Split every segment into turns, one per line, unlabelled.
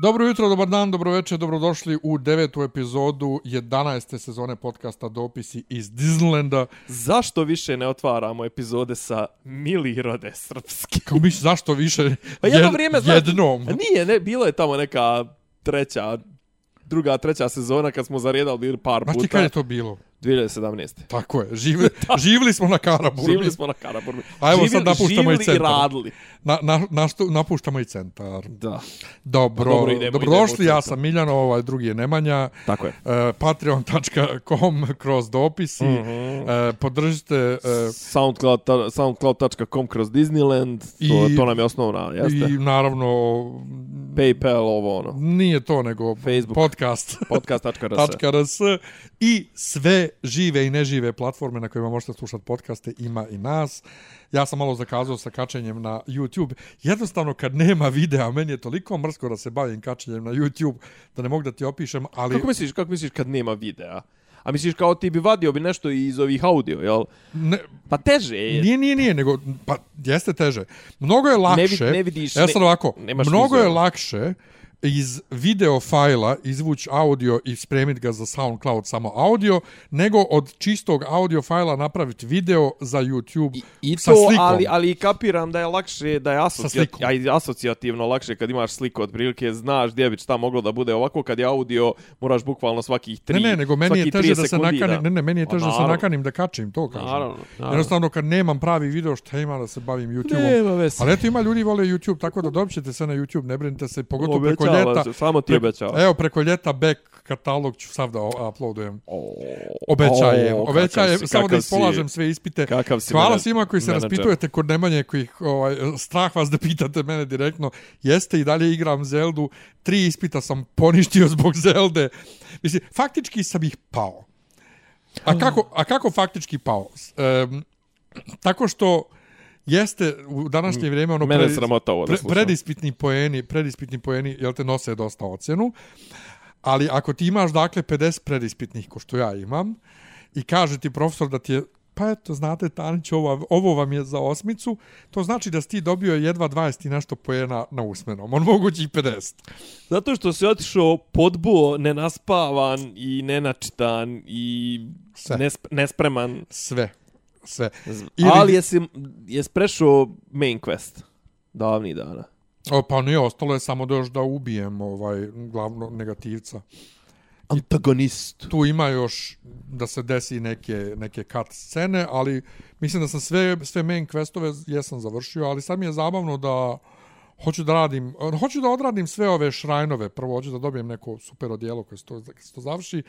Dobro jutro, dobar dan, dobro večer, dobrodošli u devetu epizodu 11. sezone podcasta Dopisi iz Disneylanda.
Zašto više ne otvaramo epizode sa Mili rode srpski?
Kao misli, zašto više
Pa jedno
jed-
vrijeme, znaš-
jednom?
A nije, ne, bilo je tamo neka treća, druga, treća sezona kad smo zaredali bili par
Znaš ti
puta.
kada je to bilo?
2017.
Tako je, živi, živili smo na Karaburmi.
Živili smo na Karaburmi.
A evo
Živjeli-
sad napuštamo i
živjeli
centar.
radili.
Na, na, na što, napuštamo i centar.
Da.
Dobro,
Pa dobro, idemo,
dobrodošli,
idemo u
ja
centar.
sam Miljan, ovaj drugi je Nemanja.
Tako je.
Uh, patreon.com kroz dopisi mm
Mhm.
-hmm. uh, podržite uh,
Soundcloud, soundcloud.com kroz Disneyland, to,
I-
to nam je osnovna, jeste?
i naravno
PayPal, ovo ono,
nije to nego
Facebook.
podcast
podcast.rs.
.rs i sve žive i nežive platforme na kojima možete slušati podcaste ima i nas. Ja sam malo zakazao sa kačenjem na YouTube. Jednostavno kad nema videa, meni je toliko mrsko da se bavim kačenjem na YouTube da ne mogu da ti opišem, ali
Kako misliš, kako misliš kad nema videa? A misliš kao ti bi vadio bi nešto iz ovih audio, jel?
ne,
Pa teže je.
Nije, nije, nije, nego, pa jeste teže. Mnogo je lakše,
vid- ne vidiš,
evo sad
ne-
ovako,
nemaš
mnogo je
vizualno.
lakše iz video fajla izvući audio i spremiti ga za SoundCloud samo audio, nego od čistog audio fajla napraviti video za YouTube
I, i
sa
to,
slikom.
ali, ali kapiram da je lakše, da je asocija,
slikom.
a i asocijativno lakše kad imaš sliku otprilike, znaš gdje bi šta moglo da bude ovako, kad je audio moraš bukvalno svakih tri,
Ne, ne, nego meni je
svakih
teže
tri
da se
sekundi
nakanim, ne, ne, meni je
Pa
teže da se
naravno.
nakanim da kačim, to kažem.
Naravno, naravno.
Jednostavno kad nemam pravi video, šta ima da se bavim YouTube-om?
Nema veze.
Ali eto ima ljudi vole YouTube, tako da dobit ćete se na YouTube, ne brinite se, pogotovo preko
Obećava
ljeta.
se, samo ti
Preko-
obećava.
Evo, preko ljeta back katalog ću sav da o- uploadujem. Obećajem,
o, kakav
obećajem,
si,
samo da
kakav si.
ispolažem sve ispite.
Kakav si
Hvala
menadž-
svima koji se
menadžer.
raspitujete kod Nemanje, koji ovaj, strah vas da pitate mene direktno. Jeste i dalje igram Zeldu, tri ispita sam poništio zbog Zelde. Mislim, faktički sam ih pao. A kako, a kako faktički pao? Um, tako što jeste u današnje vrijeme ono
Mm. Mene je
predi-
sramota ovo da
pre,
slušam.
predispitni poeni, predispitni poeni, jel te nose dosta ocjenu, ali ako ti imaš dakle 50 predispitnih, ko što ja imam, i kaže ti profesor da ti je pa eto, znate, Tanić, ovo, ovo vam je za osmicu, to znači da si ti dobio jedva 20 i nešto pojena na usmenom, on mogući i 50.
Zato što si otišao podbuo, nenaspavan i nenačitan i
Sve.
nesp nespreman.
Sve, sve.
Ili...
Ili-
Ali jesi, jesi prešao main quest davnih dana.
O, pa nije, ostalo je samo da još da ubijem ovaj glavno negativca.
Antagonist.
tu ima još da se desi neke, neke cut scene, ali mislim da sam sve, sve main questove jesam završio, ali sad mi je zabavno da hoću da radim, hoću da odradim sve ove šrajnove, prvo hoću da dobijem neko super odijelo koje se to, kad se to završi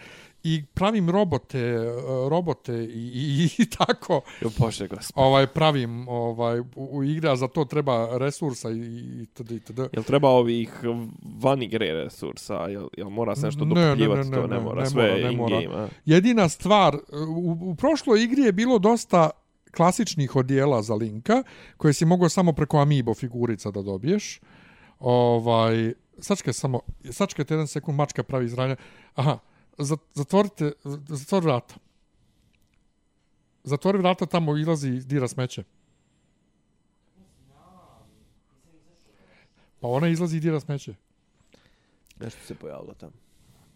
i pravim robote, e, robote i, i, i tako
Jo, bože, gospod.
ovaj pravim ovaj u, u igre, a za to treba resursa i, i td. i td.
Jel treba ovih van igre resursa? Jel, jel mora se nešto
Ne, ne,
dopljivati?
ne, ne,
To ne
ne,
mora.
ne
Sve
mora,
je
ne mora.
in-game, a?
Jedina stvar, e, u, u prošloj igri je bilo dosta klasičnih odijela za Linka, koje si mogao samo preko Amiibo figurica da dobiješ. Ovaj, sačkaj samo, sačkajte jedan sekund, mačka pravi izranja. Aha, za- zatvorite, zatvori vrata. Zatvori vrata, tamo ilazi i dira smeće. Pa ona izlazi i dira smeće.
Nešto se pojavilo tamo.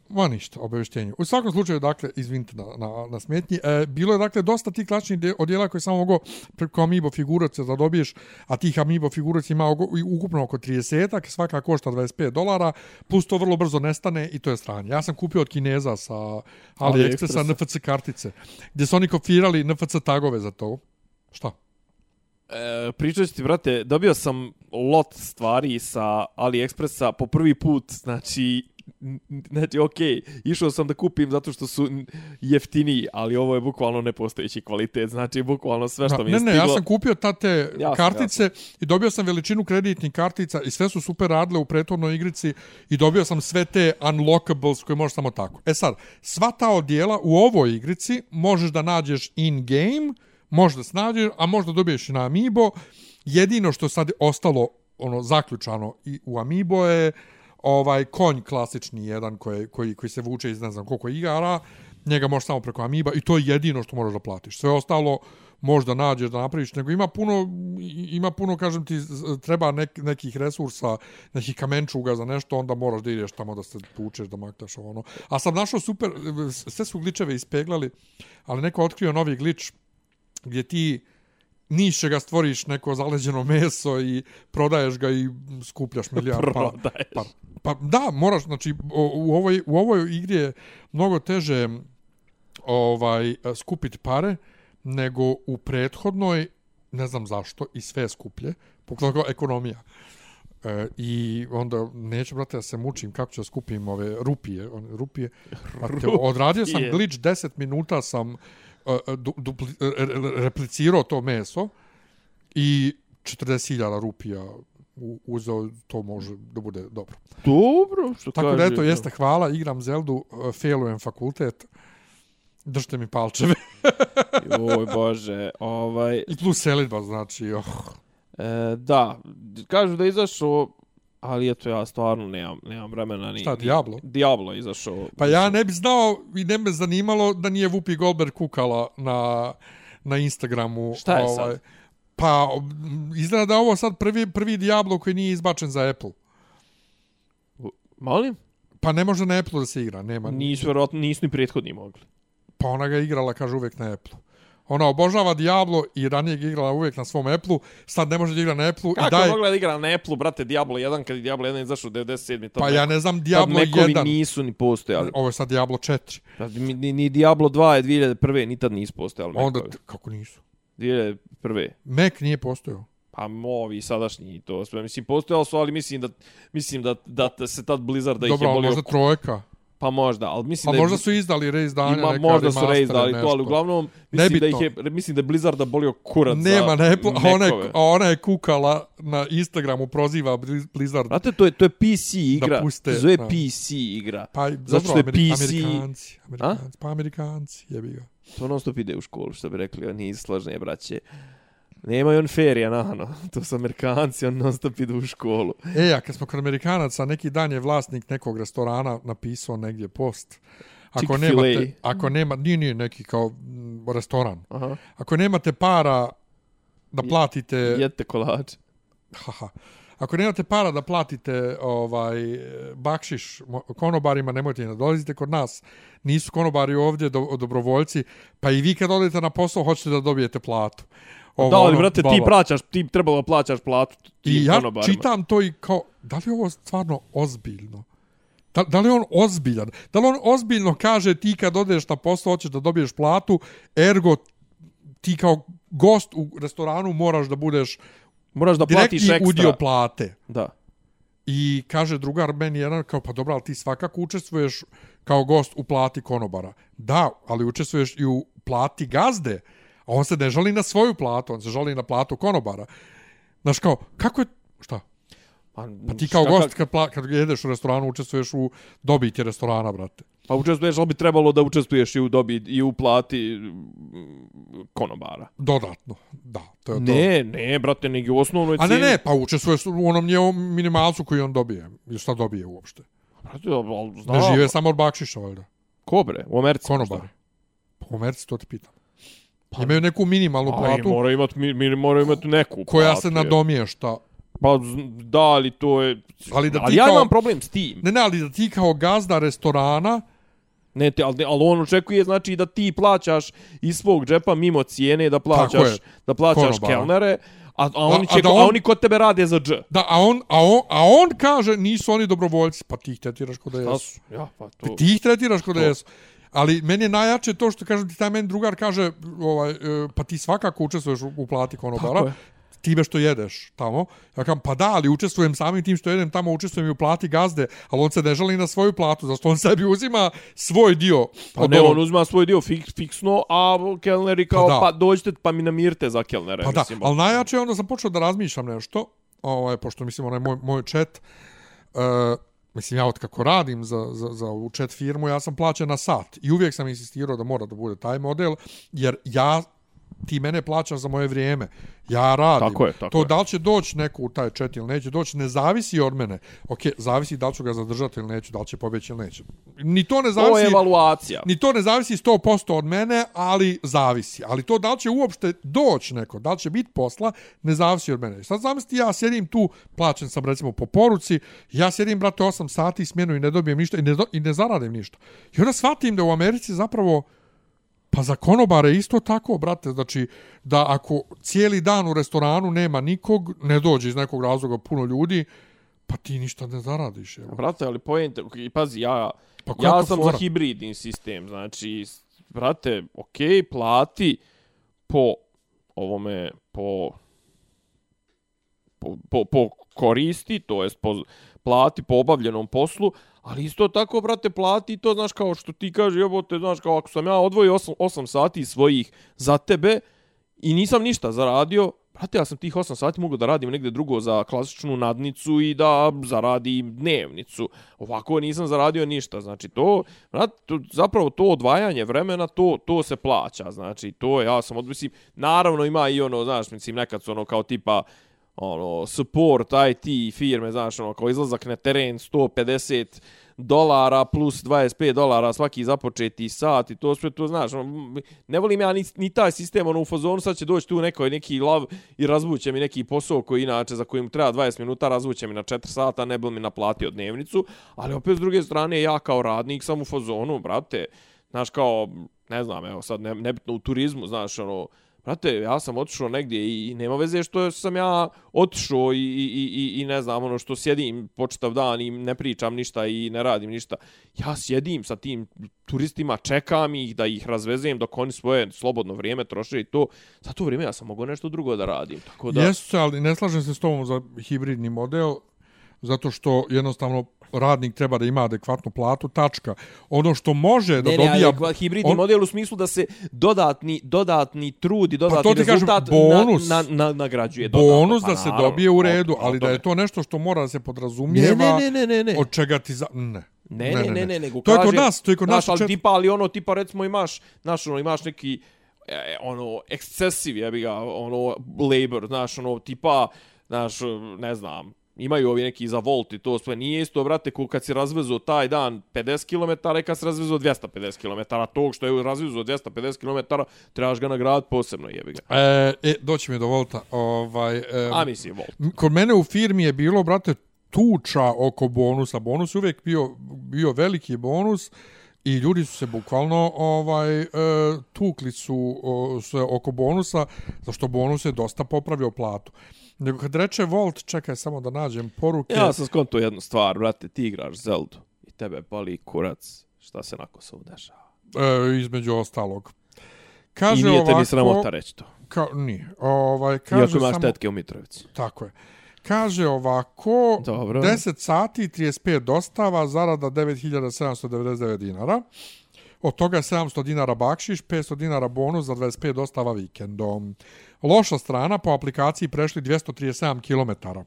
Ma ništa, obavještenje. U svakom slučaju, dakle, izvinite na, na, na smetnji, e, bilo je, dakle, dosta tih klasičnih de- odjela koje samo mogo preko Amiibo figuraca da dobiješ, a tih Amiibo figuraca ima ogo- i ukupno oko 30-ak, svaka košta 25 dolara, plus to vrlo brzo nestane i to je stranje. Ja sam kupio od Kineza sa AliExpressa
AliExpressa.
NFC kartice, gdje su oni kopirali NFC tagove za to. Šta?
E, pričat ću ti, brate, dobio sam lot stvari sa AliExpressa po prvi put, znači, n- n- znači, okej, išao sam da kupim zato što su n- jeftiniji, ali ovo je bukvalno nepostojeći kvalitet, znači, bukvalno sve što
Da,
mi je
ne, ne,
stiglo...
ja sam kupio ta te
Jasno,
kartice i dobio sam veličinu kreditnih kartica i sve su super radile u prethodnoj igrici i dobio sam sve te unlockables koje možeš samo tako. E sad, sva ta odjela u ovoj igrici možeš da nađeš in-game, možda snađeš, a možda dobiješ i na Amiibo. Jedino što sad je ostalo e, ono zaključano i u Amiibo je ovaj konj klasični jedan koji, koji, koji se vuče iz ne znam koliko igara, njega možeš samo preko Amiiba i to je jedino što moraš da platiš. Sve ostalo možda nađeš da napraviš, nego ima puno, ima puno, kažem ti, treba nek, nekih resursa, nekih kamenčuga za nešto, onda moraš da ideš tamo da se tučeš, da maktaš ovo ono. A sam našao super, sve su gličeve ispeglali, ali neko otkrio novi glič gdje ti niše ga stvoriš neko zaleđeno meso i prodaješ ga i skupljaš milijard para.
Prodaješ.
Pa, pa da, moraš, znači o- u ovoj, u ovoj igri je mnogo teže ovaj skupiti pare nego u prethodnoj, ne znam zašto, i sve je skuplje, poklako ekonomija. E, I onda neću, brate, da se mučim kako ću da skupim ove rupije. one rupije. Brate, odradio sam
Rupije.
glitch 10 minuta sam e, e, du, dupli, e, e, replicirao to meso i 40.000 rupija u- uzeo, to može da bude dobro.
Dobro, što
Tako
kaže.
da, eto, jeste, hvala, igram Zeldu, e, failujem fakultet, držite mi palčeve.
Oj, bože, ovaj...
I plus selidba, znači, oh,
E, da, kažu da je izašao, ali eto ja stvarno nemam, nemam vremena ni...
šta,
ni-
Diablo?
Diablo je izašao.
Pa ja ne bi znao i ne bi me zanimalo da nije Whoopi Goldberg kukala na, na Instagramu. ovaj.
Šta je sad?
Pa, m, izgleda da je ovo sad prvi, prvi Diablo koji nije izbačen za Apple.
Molim?
Pa ne može na Apple da se igra, nema.
Nisu, verovatno, nisu ni prethodni mogli.
Pa ona ga je igrala, kaže, uvek na Apple. Ona obožava Diablo i ranije ga je igrala uvek na svom Apple-u, sad ne može da igra na Apple-u i
Kako
daj...
je mogla da igra na Apple, brate, Diablo 1, kad je Diablo 1 izašao u 97. To
Pa
ne-
ja ne znam
tad
Diablo
mekovi
1.
nisu ni postojali.
Ovo je sad Diablo 4.
Pa, Ni, ni, ni Diablo 2 je 2001. ni tad nisu postojali
Onda,
mekovi.
t- kako nisu?
2001.
Mac nije postojao.
Pa ovi sadašnji i to sve. Mislim, postojali su, ali mislim da, mislim da, da te se tad Blizzard da ih
Dobro,
je
ali
bolio.
možda trojka.
Pa možda, ali mislim
Pa
da je...
možda su izdali reizdanje.
Ima,
neka
možda su
remastere,
reizdali to, ali
nešto.
uglavnom mislim da, ih
Nebitno.
je, mislim da je Blizzarda bolio kurac
Nema,
za
ne, a ona, je,
mekove.
a ona je kukala na Instagramu, proziva Blizz- Blizzard.
Brate, to je, to je PC igra.
puste,
to se zove
da.
PC igra.
Pa,
zato što je
Ameri-
PC
Amerikanci, Amerikanci, pa Amerikanci, jebi ga.
To non stop ide u školu, što bi rekli, oni iz slažne braće. Nemaju on ferija, nahano. To su Amerikanci, on non stop ide u školu.
E, a kad smo kod Amerikanaca, neki dan je vlasnik nekog restorana napisao negdje post. Ako
Chick-fil-A.
nemate, ako nema, nije, nije neki kao mm, restoran.
Aha.
Ako nemate para da platite...
Jedete kolač.
Haha. Ako nemate para da platite ovaj bakšiš mo- konobarima, nemojte da dolazite kod nas. Nisu konobari ovdje do, dobrovoljci, pa i vi kad odete na posao hoćete da dobijete platu. Ovo,
Da, ali
ono,
brate,
bla,
ti
bla.
plaćaš, ti trebalo da plaćaš platu tim
I ja
konobarima.
čitam to i kao, da li je ovo stvarno ozbiljno? Da, da li je on ozbiljan? Da li on ozbiljno kaže ti kad odeš na posao hoćeš da dobiješ platu, ergo ti kao gost u restoranu moraš da budeš
Moraš da platiš
direktni
ekstra.
udio plate.
Da.
I kaže drugar meni jedan kao pa dobro, ali ti svakako učestvuješ kao gost u plati konobara. Da, ali učestvuješ i u plati gazde. A on se ne žali na svoju platu, on se žali na platu konobara. Znaš kao, kako je, šta?
Pa,
Pa ti kao gost kad, pla, kad jedeš u restoranu učestvuješ u dobiti restorana, brate.
Pa učestvuješ, ali bi trebalo da učestvuješ i u dobi i u plati mm, konobara.
Dodatno, da, to je to.
Ne, ne, brate, nego u osnovnoj
A ne,
cijeni-
ne, pa učestvuješ u onom njevom minimalcu koji on dobije. I šta dobije uopšte?
Brate, ali
Ne
znam.
žive samo od bakšiša, valjda.
Ko bre? U Americi.
Konobari.
šta?
Pa u Americi to ti pitam. Imaju neku minimalnu
Ali
platu.
Pa- mora imat, mi, mi mora imat neku
koja
platu,
se
je.
nadomješta.
Pa z- da, ali to je...
Ali da ti
ali ja
kao-
imam problem s tim.
Ne, ne, ali da ti kao gazda restorana,
Ne, te, ali, ali on očekuje znači da ti plaćaš iz svog džepa mimo cijene da
Tako
plaćaš
je.
da plaćaš
Konobara.
kelnere, a, a oni
a
će
da
a,
on-
a oni kod tebe rade za dž.
da, a on, a on, a on kaže nisu oni dobrovoljci, pa ti ih tretiraš kod da
Ja,
jesu.
ja pa to.
Ti ih tretiraš kod da jesu. Ali meni je najjače to što kažem ti taj meni drugar kaže ovaj, e, pa ti svakako učestvuješ u, u plati
Tako
konobara
je.
time što jedeš tamo. Ja kažem pa da, ali učestvujem samim tim što jedem tamo, učestvujem i u plati gazde, ali on se ne žali na svoju platu, zašto on sebi uzima svoj dio.
Pa
od
ne,
ovog.
on uzima svoj dio fik, fiksno, a kelneri kao,
Pa da.
pa, pa dođite pa mi namirte za kelnere.
Pa da,
mislim, ono.
ali najjače je onda sam počeo da razmišljam nešto, ovaj, pošto mislim onaj moj, moj chat, uh, mislim ja otkako radim za, za, za ovu chat firmu, ja sam plaćen na sat i uvijek sam insistirao da mora da bude taj model, jer ja ti mene plaćaš za moje vrijeme. Ja radim.
Tako je, tako
to
je.
da li će doći neko u taj chat ili neće doći, ne zavisi od mene. Ok, zavisi da li ću ga zadržati ili neću, da li će pobjeći ili neće. Ni to ne
Ovo je
zavisi...
evaluacija.
Ni to ne zavisi 100% od mene, ali zavisi. Ali to da li će uopšte doći neko, da li će biti posla, ne zavisi od mene. Sad zamisli, ja sjedim tu, plaćen sam recimo po poruci, ja sjedim, brate, 8 sati smjenu i ne dobijem ništa i ne, do, i ne zaradim ništa. I onda shvatim da u Americi zapravo Pa za konobare isto tako, brate, znači da ako cijeli dan u restoranu nema nikog, ne dođe iz nekog razloga puno ljudi, pa ti ništa ne zaradiš. Evo.
Brate, ali pojente, i pazi, ja,
Pa kako
ja sam
fora?
za hibridni sistem, znači, s- brate, okej, plati po ovome, po, po, po, po koristi, to jest po, plati po obavljenom poslu, ali isto tako, brate, plati to, znaš, kao što ti kaže, jebote, znaš, kao ako sam ja odvojio 8, 8 sati svojih za tebe i nisam ništa zaradio, brate, ja sam tih 8 sati mogao da radim negde drugo za klasičnu nadnicu i da zaradim dnevnicu. Ovako nisam zaradio ništa, znači to, brate, to, zapravo to odvajanje vremena, to, to se plaća, znači to je, ja sam odmislim, naravno ima i ono, znaš, mislim, nekad su ono kao tipa, ono, support IT firme, znaš, ono, kao izlazak na teren 150 dolara plus 25 dolara svaki započeti sat i to sve to znaš ono, m- ne volim ja ni, ni taj sistem ono u fazonu sad će doći tu neko neki lav i razvuće mi neki posao koji inače za kojim treba 20 minuta razvuće mi na 4 sata ne bi mi naplatio dnevnicu ali opet s druge strane ja kao radnik sam u fazonu brate znaš kao ne znam evo sad ne, nebitno u turizmu znaš ono Brate, ja sam otišao negdje i i nema veze što sam ja otišao i, i, i, i- i ne znam, ono što sjedim počitav dan i ne pričam ništa i ne radim ništa. Ja sjedim sa tim turistima, čekam ih da ih razvezem dok oni svoje slobodno vrijeme troše i to. Za to vrijeme ja sam mogao nešto drugo da radim. Tako da,
Jesu se, ali ne slažem se s tobom za hibridni model, zato što jednostavno radnik treba da ima adekvatnu platu, tačka. Ono što može da
ne, ne,
dobija...
ali kva- hibridni
on-
model u smislu da se dodatni, dodatni trud i
Pa to
dodatni
ti kažem,
rezultat
bonus.
na, na, na, nagrađuje.
bonus
dodatno. Pa
da se
naravno,
dobije u
o-
redu,
o
ali da
tome.
je to nešto što mora da se
Ne,
podrazumijeva
ne, ne, ne, ne, ne.
od čega ti za... Ne.
Ne, ne, ne, ne, nego
To je
kaže,
kod nas, to je kod nas.
znaš, ali
čet-
tipa, ali ono, tipa, recimo imaš, znaš, ono, imaš neki, e, ono, ekscesiv, jebi ga, ono, labor, znaš, ono, tipa, znaš, ne znam, imaju ovi neki za volt i to sve, nije isto, brate, ko kad si razvezao taj dan 50 km i kad si razvezao 250 km, tog što je razvezao 250 km, trebaš ga nagraditi posebno, jebi ga.
E, e, doći mi do volta. Ovaj, e,
A mislim, volt.
kod mene u firmi je bilo, brate, tuča oko bonusa. Bonus je uvijek bio, bio veliki bonus i ljudi su se bukvalno ovaj e, tukli su o, se oko bonusa, zašto bonus je dosta popravio platu. Nego kad reče Volt, čekaj samo da nađem poruke.
Ja sam skonto jednu stvar, brate, ti igraš Zeldu i tebe boli kurac šta se na Kosovu dešava.
e, između ostalog.
I
Kaže
nije
ovako,
te ni sramota reći to.
Ka, nije. Ovaj, kaže
Iako imaš
samo,
tetke u Mitrovici.
Tako je. Kaže ovako,
Dobro.
10 sati, 35 dostava, zarada 9799 dinara. Od toga 700 dinara bakšiš, 500 dinara bonus za 25 dostava vikendom. Loša strana, po aplikaciji prešli 237 km.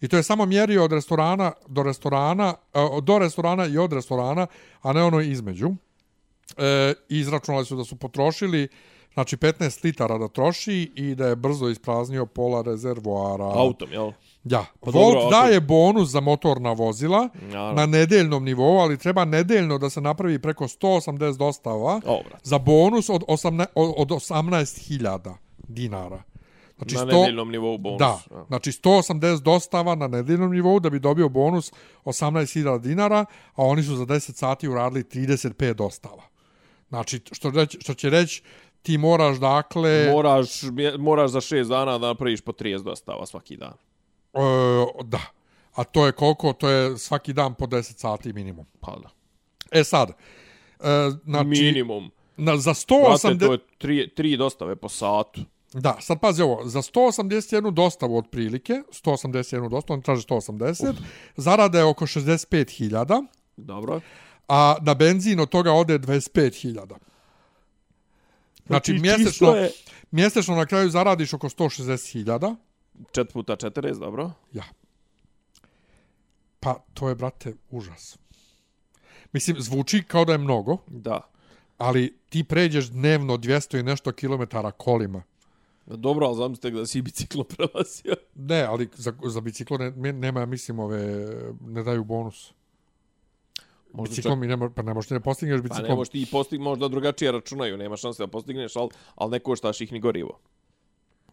I to je samo mjerio od restorana do restorana, e, do restorana i od restorana, a ne ono između. E, izračunali su da su potrošili Znači 15 litara da troši i da je brzo ispraznio pola rezervoara.
Autom, jel?
Da. Pa
dobro,
Volt
ako-
daje bonus za motorna vozila
Naravno.
na nedeljnom nivou, ali treba nedeljno da se napravi preko 180 dostava
O, brate.
za bonus od, 18, od 18.000 dinara. Znači
Na
100
nedeljnom nivou bonus.
Da,
Ja.
znači 180 dostava na nedeljnom nivou da bi dobio bonus 18.000 dinara, a oni su za 10 sati uradili 35 dostava. Znači, što, reći, što će reći, ti moraš dakle...
Moraš, moraš za šest dana da napraviš po 30 dostava svaki dan.
E, da. A to je koliko? To je svaki dan po 10 sati minimum.
Pa da.
E sad, e, znači,
Minimum.
na, za
Brate,
180...
to je tri, tri dostave po satu.
Da, sad pazi ovo, za 181 dostavu otprilike, 181 dostavu, on traži 180, zarada je oko 65.000,
Dobro.
a na benzin od toga ode 25.000. Znači,
Znači,
mjesečno,
čisto je-
mjesečno na kraju zaradiš oko 160.000,
4 puta 40, dobro.
Ja. Pa, to je, brate, užas. Mislim, zvuči kao da je mnogo,
Da.
ali ti pređeš dnevno 200 i nešto kilometara kolima.
Dobro, ali zamislite da si biciklo prelazio. Pa
Ne, ali za, za biciklo ne, me- nema, ja mislim, ove, ne daju bonus.
Možda
Biciklom i nema, pa ne možeš, ne postigneš
Pa ne
biciklom.
možeš ti i postig, možda drugačije računaju, nema šanse da postigneš, ali, ali ne koštaš ih ni gorivo.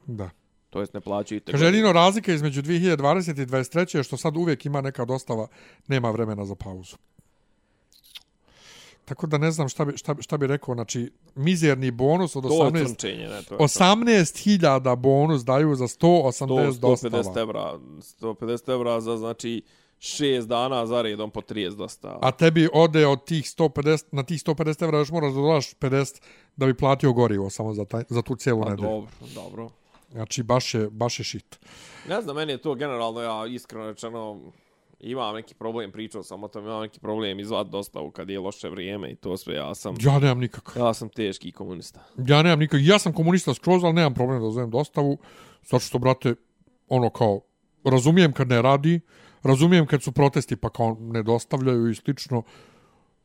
da.
To jest ne plaćaju te
Kaže, jedino razlika između 2020 i 2023 je što sad uvijek ima neka dostava, nema vremena za pauzu. Tako da ne znam šta bi, šta, bi- šta bi rekao, znači, mizerni bonus od
To je
18...
crnčenje, ne, to je
18.000 bonus daju za 180
100,
dostava.
150 evra, 150 evra za, znači, 6 dana za redom po 30 dostava.
A tebi ode od tih 150, na tih 150 evra još moraš da dodaš 50 da bi platio gorivo samo za, taj, za tu cijelu
pa,
nedelju.
dobro, dobro.
Znači, baš je, baš je shit.
Ne znam, meni je to generalno, ja iskreno rečeno, imam neki problem, pričao sam o tom, imam neki problem izvat dostavu kad je loše vrijeme i to sve, ja sam...
Ja nemam nikakav.
Ja sam teški komunista.
Ja nemam nikakav. Ja sam komunista skroz, ali nemam problem da zovem dostavu. Zato što, brate, ono kao, razumijem kad ne radi, razumijem kad su protesti pa kao ne dostavljaju i slično.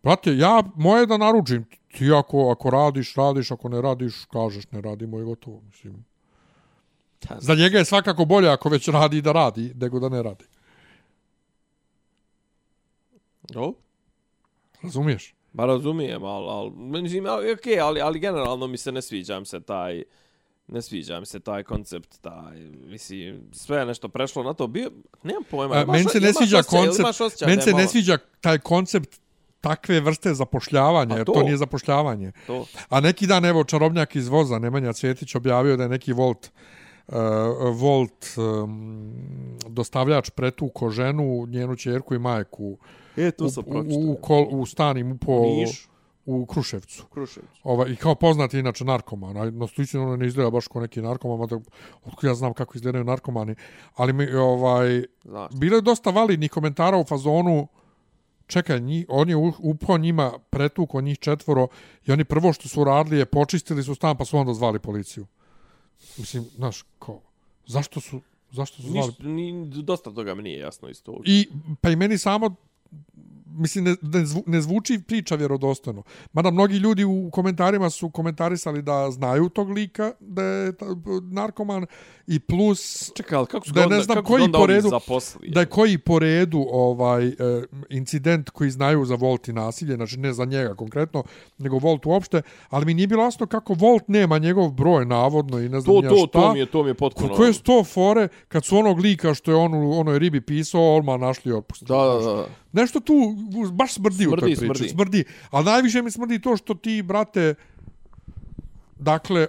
Brate, ja, moje je da naručim. Ti ako, ako radiš, radiš, ako ne radiš, kažeš ne radimo i gotovo. Mislim.
Da.
Za njega je svakako bolje ako već radi da radi, nego da ne radi.
Dobro.
Razumiješ?
Ba razumijem, ali, ali mislim, ali, okay, ali, ali generalno mi se ne sviđa mi se taj, ne sviđa mi se taj koncept, taj, mislim, sve je nešto prešlo na to, bio, nemam pojma.
A,
imaš-
E, meni se ne
imaš
sviđa
osjećaj- ili
koncept,
imaš osjećaj da
meni
je
se ne
malo-
sviđa taj koncept takve vrste zapošljavanja,
A
jer
to?
to nije zapošljavanje.
To.
A neki dan, evo, čarobnjak iz voza, Nemanja Cvjetić, objavio da je neki Volt, uh, Volt um, dostavljač pretuko ženu, njenu čerku i majku
E,
u,
to sam pročitao.
u, u, kol, u stanim po,
Niš,
u Kruševcu.
Krušević. Ovaj,
Ovaj, I kao poznati inače narkoman, a na slično ono ne izgleda baš kao neki narkoman, mada otkud ja znam kako izgledaju narkomani, ali mi, ovaj,
Znaš,
bilo je dosta validnih komentara u fazonu čekaj, nji, on je u- upao njima pretuko njih četvoro i oni prvo što su uradili je počistili su stan pa su onda zvali policiju. Mislim, znaš, kao, zašto su, zašto su zvali?
niš, ni, dosta toga mi nije jasno iz toga.
I, pa i meni samo mislim, ne, ne, zvu, ne zvuči priča vjerodostojno. Mada mnogi ljudi u komentarima su komentarisali da znaju tog lika, da je ta- narkoman i plus
Čekaj, ali kako su
da
ga
je
onda,
ne znam
kako su
koji
ga onda
po
ovi
redu-
zaposlili?
da je koji po redu ovaj e, incident koji znaju za Volt i nasilje, znači ne za njega konkretno, nego Volt uopšte, ali mi nije bilo jasno kako Volt nema njegov broj navodno i ne znam
to,
ja
to,
šta.
to mi je, to mi je potpuno...
Ko- Koje su to fore kad su onog lika što je on u onoj ribi pisao, odmah našli i otpustili.
Da, da, da.
Nešto tu baš smrdi, u toj
Smrdi,
priči. Smrdi.
smrdi.
smrdi. A najviše mi smrdi to što ti, brate, dakle,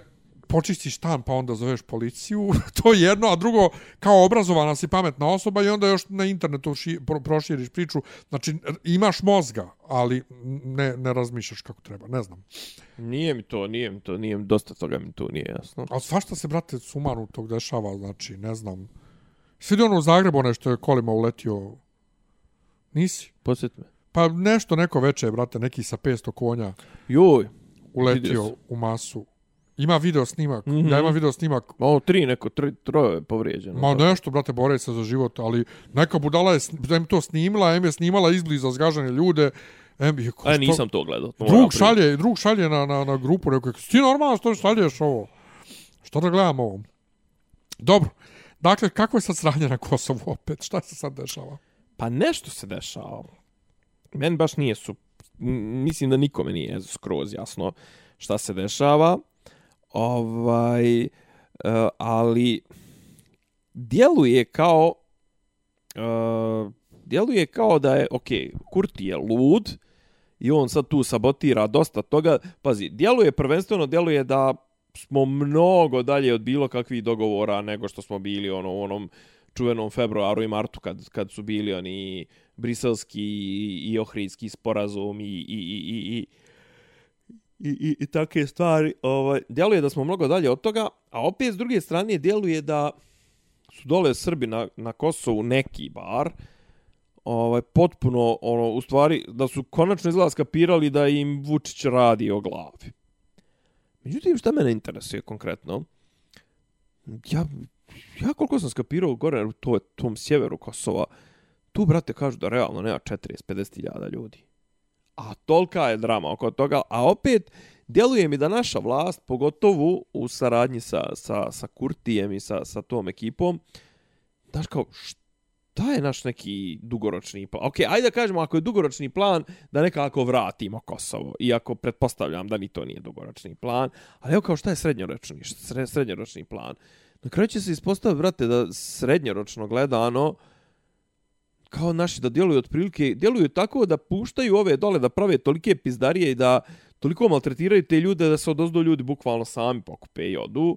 počistiš stan pa onda zoveš policiju, to je jedno, a drugo, kao obrazovana si pametna osoba i onda još na internetu ši, pro, proširiš priču, znači imaš mozga, ali ne, ne razmišljaš kako treba, ne znam.
Nije mi to, nije mi to, nije mi, dosta toga mi tu nije jasno.
A svašta se, brate, sumaru tog dešava, znači, ne znam. Svidio ono u Zagrebu, ono što je kolima uletio, nisi?
Posjet me.
Pa nešto neko veče, brate, neki sa 500 konja.
Joj, Vidio Mhm.
uletio
sam.
u masu. Ima video snimak, mm -hmm. ja imam video snimak.
malo tri neko, tri, troje je povrijeđeno.
Ma nešto, brate, bore se za život, ali neka budala je sn- em to snimila, em je snimala izbliza zgažene ljude, em je... ko-
E,
što-
nisam to gledao. To moram
Drug
priznat.
šalje, drug šalje na, na, na grupu, rekao, je, ti normalno što šalješ ovo? Što da gledam ovo? Dobro, dakle, kako je sad sranje na Kosovu opet? Šta se sad dešava?
Pa nešto se dešava. Meni baš nije su... m, Mislim da nikome nije skroz jasno šta se dešava. Ovaj... e, ali... Djeluje kao... Uh, djeluje kao da je, ok, Kurti je lud i on sad tu sabotira dosta toga. Pazi, djeluje prvenstveno, djeluje da smo mnogo dalje od bilo kakvih dogovora nego što smo bili ono u onom čuvenom februaru i martu kad, kad su bili oni briselski i ohridski sporazum i, i, i, i, i i, i, i takve stvari. Ovaj, djeluje da smo mnogo dalje od toga, a opet s druge strane djeluje da su dole Srbi na, na Kosovu neki bar, ovaj, potpuno, ono, u stvari, da su konačno izgleda skapirali da im Vučić radi o glavi. Međutim, šta mene interesuje konkretno? Ja, ja koliko sam skapirao gore u to, tom sjeveru Kosova, tu, brate, kažu da realno nema 40-50 hiljada ljudi. A tolika je drama oko toga, a opet djeluje mi da naša vlast, pogotovo u saradnji sa, sa, sa Kurtijem i sa, sa tom ekipom, znaš kao, šta je naš neki dugoročni plan? Ok, ajde da kažemo, ako je dugoročni plan, da nekako vratimo Kosovo. Iako pretpostavljam da ni to nije dugoročni plan. Ali evo kao, šta je srednjoročni, sre, srednjoročni plan? Na kraju će se ispostaviti, brate, da srednjoročno gledano, kao naši da djeluju otprilike, djeluju tako da puštaju ove dole da prave tolike pizdarije i da toliko maltretiraju te ljude da se odozdo ljudi bukvalno sami pokupe i odu.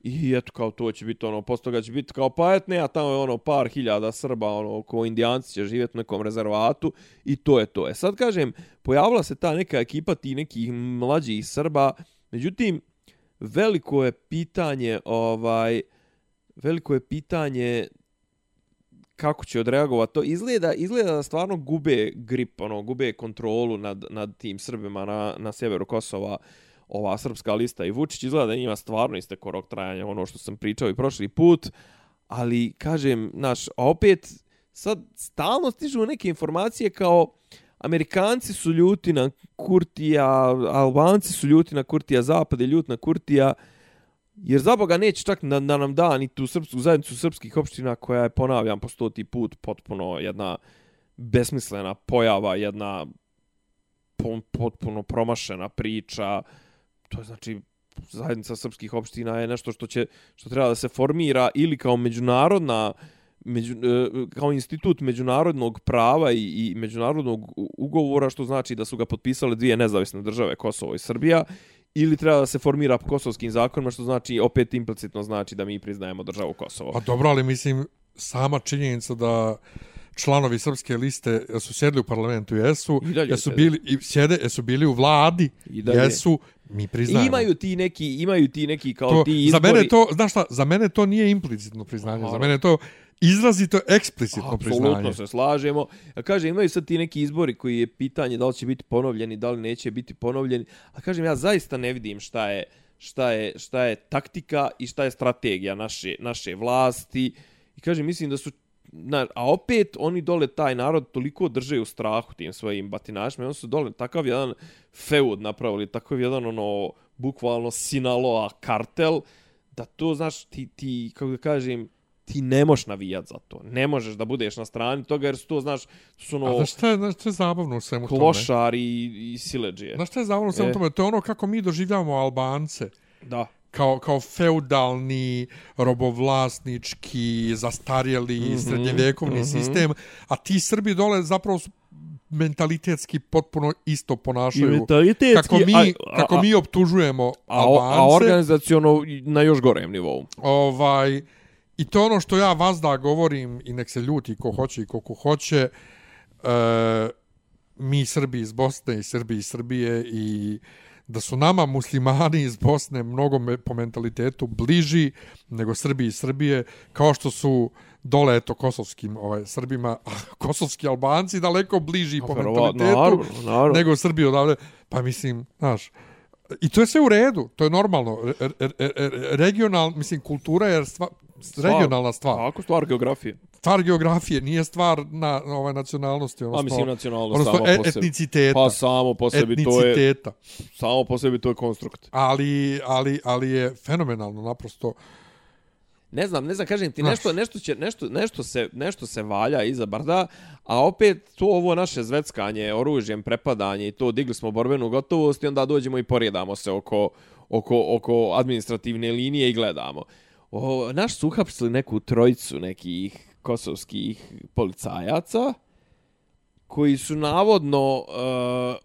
I eto kao to će biti ono, posto ga će biti kao pa et ne, a tamo je ono par hiljada Srba, ono, ko indijanci će živjeti u nekom rezervatu i to je to. E sad kažem, pojavila se ta neka ekipa ti nekih mlađih Srba, međutim, veliko je pitanje, ovaj, veliko je pitanje kako će odreagovati to. Izgleda, izgleda da stvarno gube grip, ono, gube kontrolu nad, nad tim Srbima na, na sjeveru Kosova ova srpska lista i Vučić izgleda da njima stvarno isteko rok trajanja, ono što sam pričao i prošli put, ali kažem, naš, a opet sad stalno stižu neke informacije kao Amerikanci su ljuti na Kurtija, Albanci su ljuti na Kurtija, Zapad je ljut na Kurtija, Jer za Boga neće čak da, da nam da ni tu srpsku zajednicu srpskih opština koja je, ponavljam, po stoti put potpuno jedna besmislena pojava, jedna pon, potpuno promašena priča. To je znači zajednica srpskih opština je nešto što će što treba da se formira ili kao međunarodna među, e, kao institut međunarodnog prava i, i međunarodnog ugovora što znači da su ga potpisale dvije nezavisne države Kosovo i Srbija ili treba da se formira po kosovskim zakonima, što znači opet implicitno znači da mi priznajemo državu Kosovo.
Pa dobro, ali mislim, sama činjenica da članovi srpske liste su sjedli u parlamentu, jesu,
I dalje
jesu
sjede.
bili, i sjede, jesu bili u vladi,
I dalje.
jesu, mi priznajemo.
Imaju ti neki, imaju ti neki kao
to,
ti izbori.
za mene to, znaš šta, za mene to nije implicitno priznanje, za
Naravno.
mene je to izrazito eksplicitno priznanje.
Apsolutno se slažemo. A Kaže, imaju sad ti neki izbori koji je pitanje da li će biti ponovljeni, da li neće biti ponovljeni. A kažem, ja zaista ne vidim šta je, šta je, šta je taktika i šta je strategija naše, naše vlasti. I kažem, mislim da su Na, a opet oni dole taj narod toliko drže u strahu tim svojim batinašima, i oni su dole takav jedan feud napravili, takav jedan ono bukvalno Sinaloa kartel, da to znaš ti, ti kako da kažem, ti ne moš navijat za to. Ne možeš da budeš na strani toga jer su to, znaš, su
A
ono
znaš šta je, znaš šta je zabavno u svemu tome?
klošari i, i sileđije.
Znaš šta je zabavno u svemu
E.
tome? To je ono kako mi doživljavamo Albance.
Da.
kao, kao feudalni, robovlasnički, zastarjeli,
Mhm,
mm -hmm, srednjevjekovni mm -hmm. sistem, a ti Srbi dole zapravo su mentalitetski potpuno isto ponašaju.
mentalitetski,
Kako mi, kako mi optužujemo
a, a, a
Albance,
organizaciono na još gorem nivou.
ovaj, i to je ono što ja vazda govorim, i nek se ljuti ko hoće i koliko hoće, e, mi Srbi iz Bosne i Srbi iz Srbije i da su nama muslimani iz Bosne mnogo me, po mentalitetu bliži nego Srbi iz Srbije, kao što su dole, eto, kosovskim ovaj, Srbima, a kosovski Albanci daleko bliži po
Verovatno,
mentalitetu
naravno, naravno.
nego Srbi odavde. Pa mislim, znaš, i to je sve u redu, to je normalno. Re, re, re, re- regional, mislim, kultura je stva, regionalna stvar.
Tako stvar geografije.
Stvar geografije nije stvar na, na ovaj nacionalnosti, odnosno,
A mislim nacionalnost
odnosno
sama
e-
po sebi.
etniciteta.
Pa samo po sebi to je
etniciteta.
samo po sebi to je konstrukt.
Ali, ali, ali je fenomenalno naprosto.
Ne znam, ne znam, kažem ti
Znaš.
nešto, nešto će nešto nešto se nešto se valja iza brda, a opet to ovo naše zveckanje oružjem, prepadanje i to digli smo borbenu gotovost i onda dođemo i poredamo se oko oko oko administrativne linije i gledamo. O, naš su uhapsili neku trojicu nekih kosovskih policajaca koji su navodno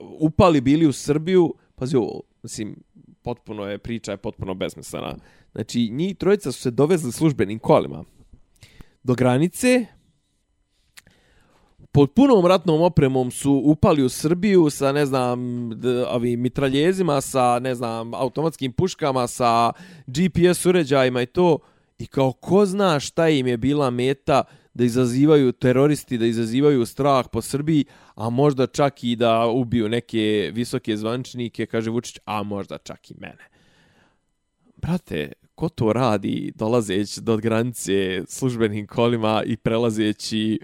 uh, upali bili u Srbiju, pazi ovo, mislim, potpuno je, priča je potpuno besmislena. Znači, njih trojica su se dovezli službenim kolima do granice, pod punom ratnom opremom su upali u Srbiju sa, ne znam, d- ovim mitraljezima, sa, ne znam, automatskim puškama, sa GPS uređajima i to. I kao ko zna šta im je bila meta da izazivaju teroristi, da izazivaju strah po Srbiji, a možda čak i da ubiju neke visoke zvančnike, kaže Vučić, a možda čak i mene. Brate, ko to radi dolazeći do granice službenim kolima i prelazeći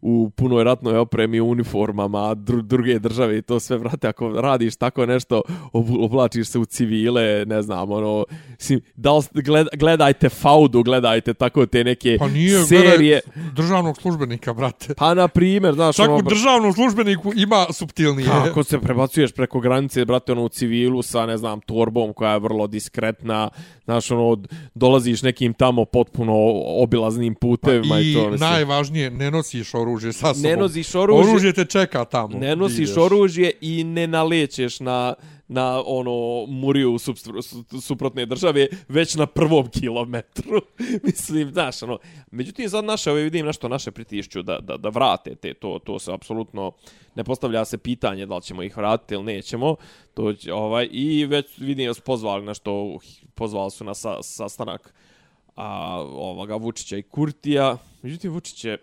u punoj ratnoj opremi, uniformama dru, druge države i to sve, vrate, ako radiš tako nešto, obu- oblačiš se u civile, ne znam, ono, mislim, da li, ste- gled, gledajte Faudu, gledajte tako te neke
Pa nije,
serije.
gledaj, državnog službenika, brate.
Pa, na primjer, znaš,
Čak
ono,
u državnom službeniku ima subtilnije.
Kako se prebacuješ preko granice, brate, ono, u civilu sa, ne znam, torbom koja je vrlo diskretna, znaš, ono, d- dolaziš nekim tamo potpuno obilaznim putevima i,
Pa I
to, mislim.
najvažnije, ne nosiš oružje sa sobom.
Ne nosiš oružje,
Oružje te čeka tamo.
ne nosiš
Ideš.
oružje i ne nalećeš na na ono muriju supstru- su- suprotne države već na prvom kilometru. Mislim, znaš, ono, međutim sad naše, ove vidim nešto naše pritišću da, da, da vrate te, to, to se apsolutno ne postavlja se pitanje da li ćemo ih vratiti ili nećemo, to će, ovaj, i već vidim da su pozvali nešto, pozvali su na sa, sastanak a, ovoga Vučića i Kurtija, međutim Vučić je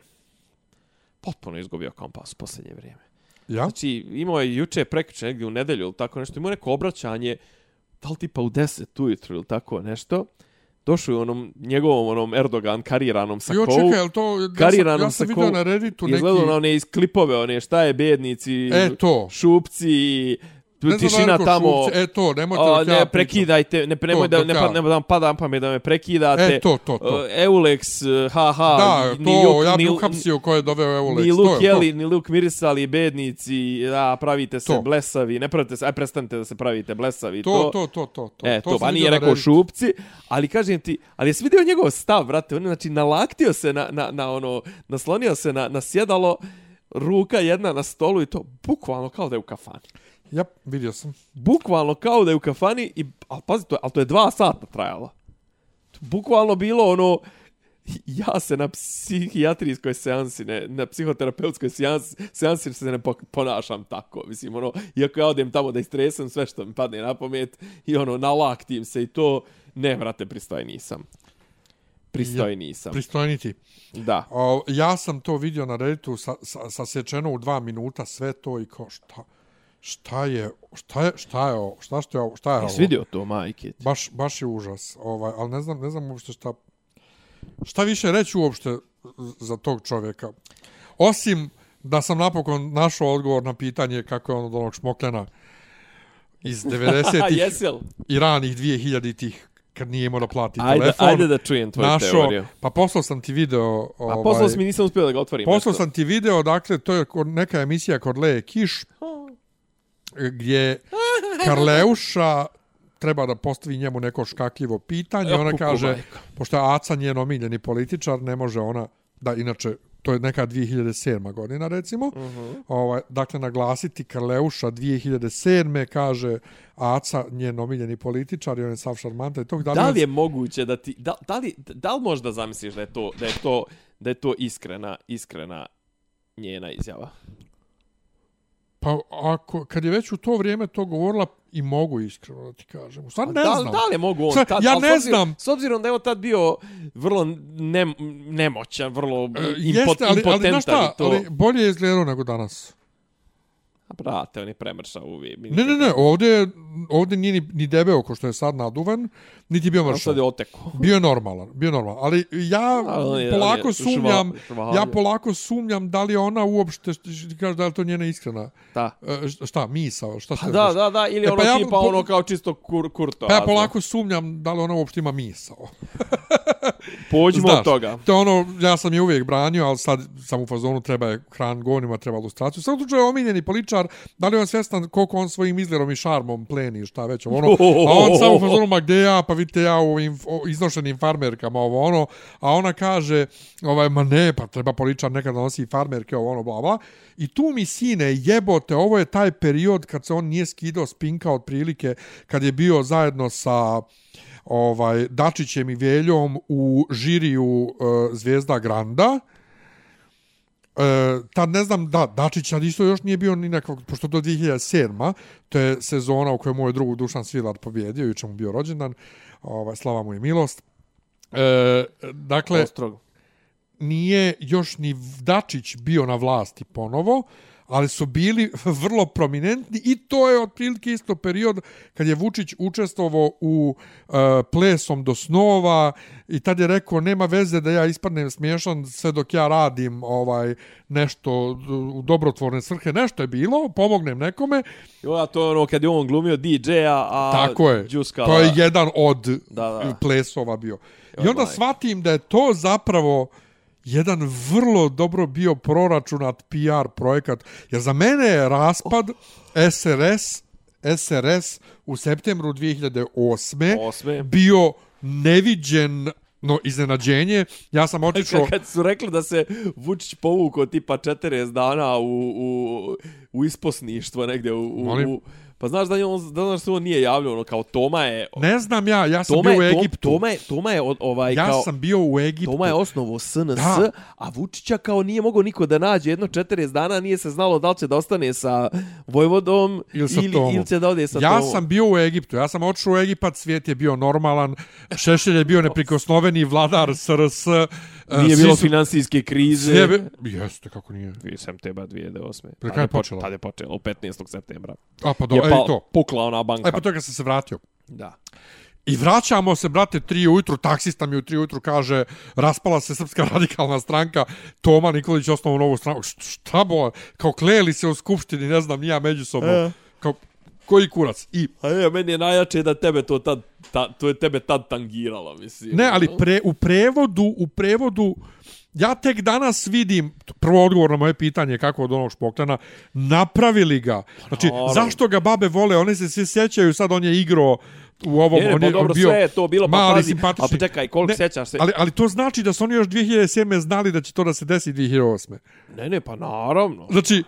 potpuno izgubio kompas u posljednje vrijeme.
Ja?
Znači, imao je juče prekriče negdje u nedelju ili tako nešto, imao neko obraćanje, da li tipa u 10 ujutru ili tako nešto, došao je u onom njegovom onom Erdogan kariranom
Jo,
sakovu.
čekaj, jel to... Ja sam,
kariranom
ja sam
sakou.
vidio na Redditu neki...
Izgledao na one iz klipove, one šta je bednici,
E, to.
šupci,
Ne znam da
tišina
li ko
tamo.
šupci, E, to, nemojte
O,
dok ja
ne,
pričam.
prekidajte, ne, nemoj da,
dok
ne,
ja.
pa, ne, da vam padam pamet, da me prekidate.
E, to, to, to.
O, Eulex, haha.
Da,
ni
to,
Juk-
ja bi
ni-
uhapsio ko je doveo Eulex.
Ni
to
luk
je to.
jeli, ni luk mirisali, bednici, da, pravite se
To.
blesavi, ne pravite se, aj prestanite da se pravite blesavi,
To,
to.
to, to, to, to.
e, to,
sam
ba
vidio
nije
na
rekao
Redditu.
šupci, ali kažem ti, ali jesi vidio njegov stav, brate, on je, znači, nalaktio se na, na, na ono, naslonio se na, na sjedalo, ruka jedna na stolu i to bukvalno kao da je u kafani.
Jap, vidio sam.
Bukvalno kao da je u kafani i, ali pazi, to je, ali to je dva sata trajalo. To je Bukvalno bilo ono, ja se na psihijatrijskoj seansi, ne, na psihoterapeutskoj seansi, seansi se ne pok- ponašam tako. Mislim, ono, iako ja odem tamo da istresam sve što mi padne na pamet i ono, nalaktim se i to, ne, vrate, pristoj nisam. Pristoj nisam,
Pristojni ti.
da.
O, ja sam to vidio na Redditu sa, sa, sasečeno u dva minuta, sve to i kao šta, šta je, šta je, šta je ovo, šta, što je ovo, šta je ovo.
Jesi vidio to, majke? ti?
Baš, baš je užas, ovaj, ali ne znam, ne znam uopšte šta, šta više reći uopšte za tog čovjeka. Osim da sam napokon našao odgovor na pitanje kako je on od onog šmokljena iz 90-ih
Jesi li?
i ranih 2000-ih kad nije imao da plati
Ajde,
telefon.
ajde da čujem tvoju
našao,
teoriju.
pa poslao sam ti video... Ovaj,
A Pa poslao si mi, nisam uspio da ga otvorim.
Poslao
eto.
sam ti video, dakle, to je kod- neka emisija kod Leje Kiš, gdje Karleuša treba da postavi njemu neko škakljivo pitanje.
Ja,
Ona
kuku,
kaže,
majko.
pošto je Aca njen omiljeni političar, ne može ona, da inače, to je neka 2007. godina recimo,
Mhm.
ovaj, dakle naglasiti Karleuša 2007. kaže Aca njen omiljeni političar i on je sav šarmanta i tog
Da li je moguće da ti da, da li da li možda zamisliš da je to da je to da je to iskrena iskrena njena izjava.
Pa ako, kad je već u to vrijeme to govorila i mogu iskreno da ti kažem. U stvari ne
da, li-
znam.
da li mogu on
Sve,
tad,
ja
ali s
ne
obzirom-
znam.
S obzirom da je on tad bio vrlo ne, nemoćan, vrlo
E,
impot,
ali, ali,
impotentan
znaš šta,
i to.
ali bolje je izgledao nego danas.
A brate, on je premršao uvijek.
Ne, ne, ne, ovdje, je- ovdje nije ni, ni debeo ko što je sad naduvan, niti bio
On
mršav.
sad je oteko.
Bio je normalan, bio je normalan. Ali ja
Ali on je- on
polako
je
sumnjam,
šva- švahalio.
ja polako sumnjam da li ona uopšte, što ti kažeš da li to njena iskrena,
Da.
e, šta- šta, misao, šta se
Da, da, da, ili
E, pa
ono
ja-
tipa
po-
ono kao čisto kur, kurto.
Pa ja polako sumnjam da li ona uopšte ima misao.
Pođimo
Znaš,
od toga.
To je ono, ja sam je uvijek branio, ali sad sam u fazonu, treba je hran gonima, treba lustraciju. Sam slučaju omiljeni političar, da li je on svjestan koliko on svojim izgledom i šarmom pleni, šta već, ovo ono, a on sam u fazonu, ma gdje ja, pa vidite ja u inf, o iznošenim farmerkama, ovo ono, a ona kaže, ovaj, ma ne, pa treba političar nekad da nosi i farmerke, ovo ono, bla, bla. I tu mi, sine, jebote, ovo je taj period kad se on nije skidao spinka otprilike, kad je bio zajedno sa ovaj Dačićem i Veljom u žiriju e, Zvezda Granda. E, tad ne znam, da, Dačić sad isto još nije bio ni nekog, pošto do 2007. To je sezona u kojoj je moj drug Dušan Svilar pobjedio, juče mu bio rođendan, ovaj, slava mu je milost. E, dakle,
Ostrogo.
nije još ni Dačić bio na vlasti ponovo, ali su bili vrlo prominentni i to je otprilike isto period kad je Vučić učestvovao u uh, plesom do snova i tad je rekao nema veze da ja ispadnem smiješan sve dok ja radim ovaj nešto u dobrotvorne svrhe, nešto je bilo, pomognem nekome.
Jo, a to je ono kad je on glumio DJ-a, a
Tako je.
Đuskala.
To je jedan od
Da, da.
plesova bio. I
Joj,
onda
majko.
shvatim da je to zapravo jedan vrlo dobro bio proračunat PR projekat, jer za mene je raspad SRS, SRS u septembru 2008.
Osme.
bio neviđen no iznenađenje. Ja sam otišao...
Kad, kad su rekli da se Vučić povukao tipa 40 dana u, u, u isposništvo negdje u, u,
Molim?
u Pa znaš da, je on, da znaš da se on nije javljao, ono kao Toma je...
Ne znam ja, ja sam
Toma
bio u
je, Tom-
Egiptu.
Toma je, Toma je od- ovaj,
ja
kao...
sam bio u Egiptu.
Toma je osnovo SNS,
Da.
da. a Vučića kao nije mogao niko da nađe jedno 40 dana, nije se znalo da li će da ostane sa Vojvodom
Ili sa
ili,
Tomom.
ili će da ode sa
ja
Tomom.
sam bio u Egiptu, ja sam otišao u Egipat, svijet je bio normalan, Šešelj je bio neprikosnoveni vladar SRS. e,
Nije
svi
bilo
su-
finansijske krize.
svi je bi- Jeste, kako nije.
2. septembra 2008.
Pre
Tad
kada je
poč-
počela?
Tad je počelo, 15. septembra.
A pa do,
je
e,
pao,
i to.
pukla ona banka.
E pa to kad sam se vratio.
Da.
I vraćamo se, brate, tri ujutru, taksista mi u tri ujutru kaže, raspala se srpska radikalna stranka, Toma Nikolić osnovu novu stranku. Št- Šta bo, kao kleli se u skupštini, ne znam, nija međusobno.
E.
Kao, koji kurac? I
A je, meni je najjače da tebe to tad, ta, to je tebe tad tangiralo, mislim. Ono.
Ne, ali pre, u prevodu, u prevodu, ja tek danas vidim, prvo odgovor na moje pitanje je kako od onog špokljana, napravili ga. Znači,
Naravno.
zašto ga babe vole, one se svi sjećaju, sad on je igrao u ovom,
Ne, ne,
on
pa
je
dobro,
on bio
sve je to bilo, pa
mali,
pazi,
simpatični.
a pa čekaj, koliko
Ne,
sjećaš se?
Ali, ali to znači da su oni još 2007. znali da će to da se desi 2008.
Ne, ne, pa naravno.
Znači,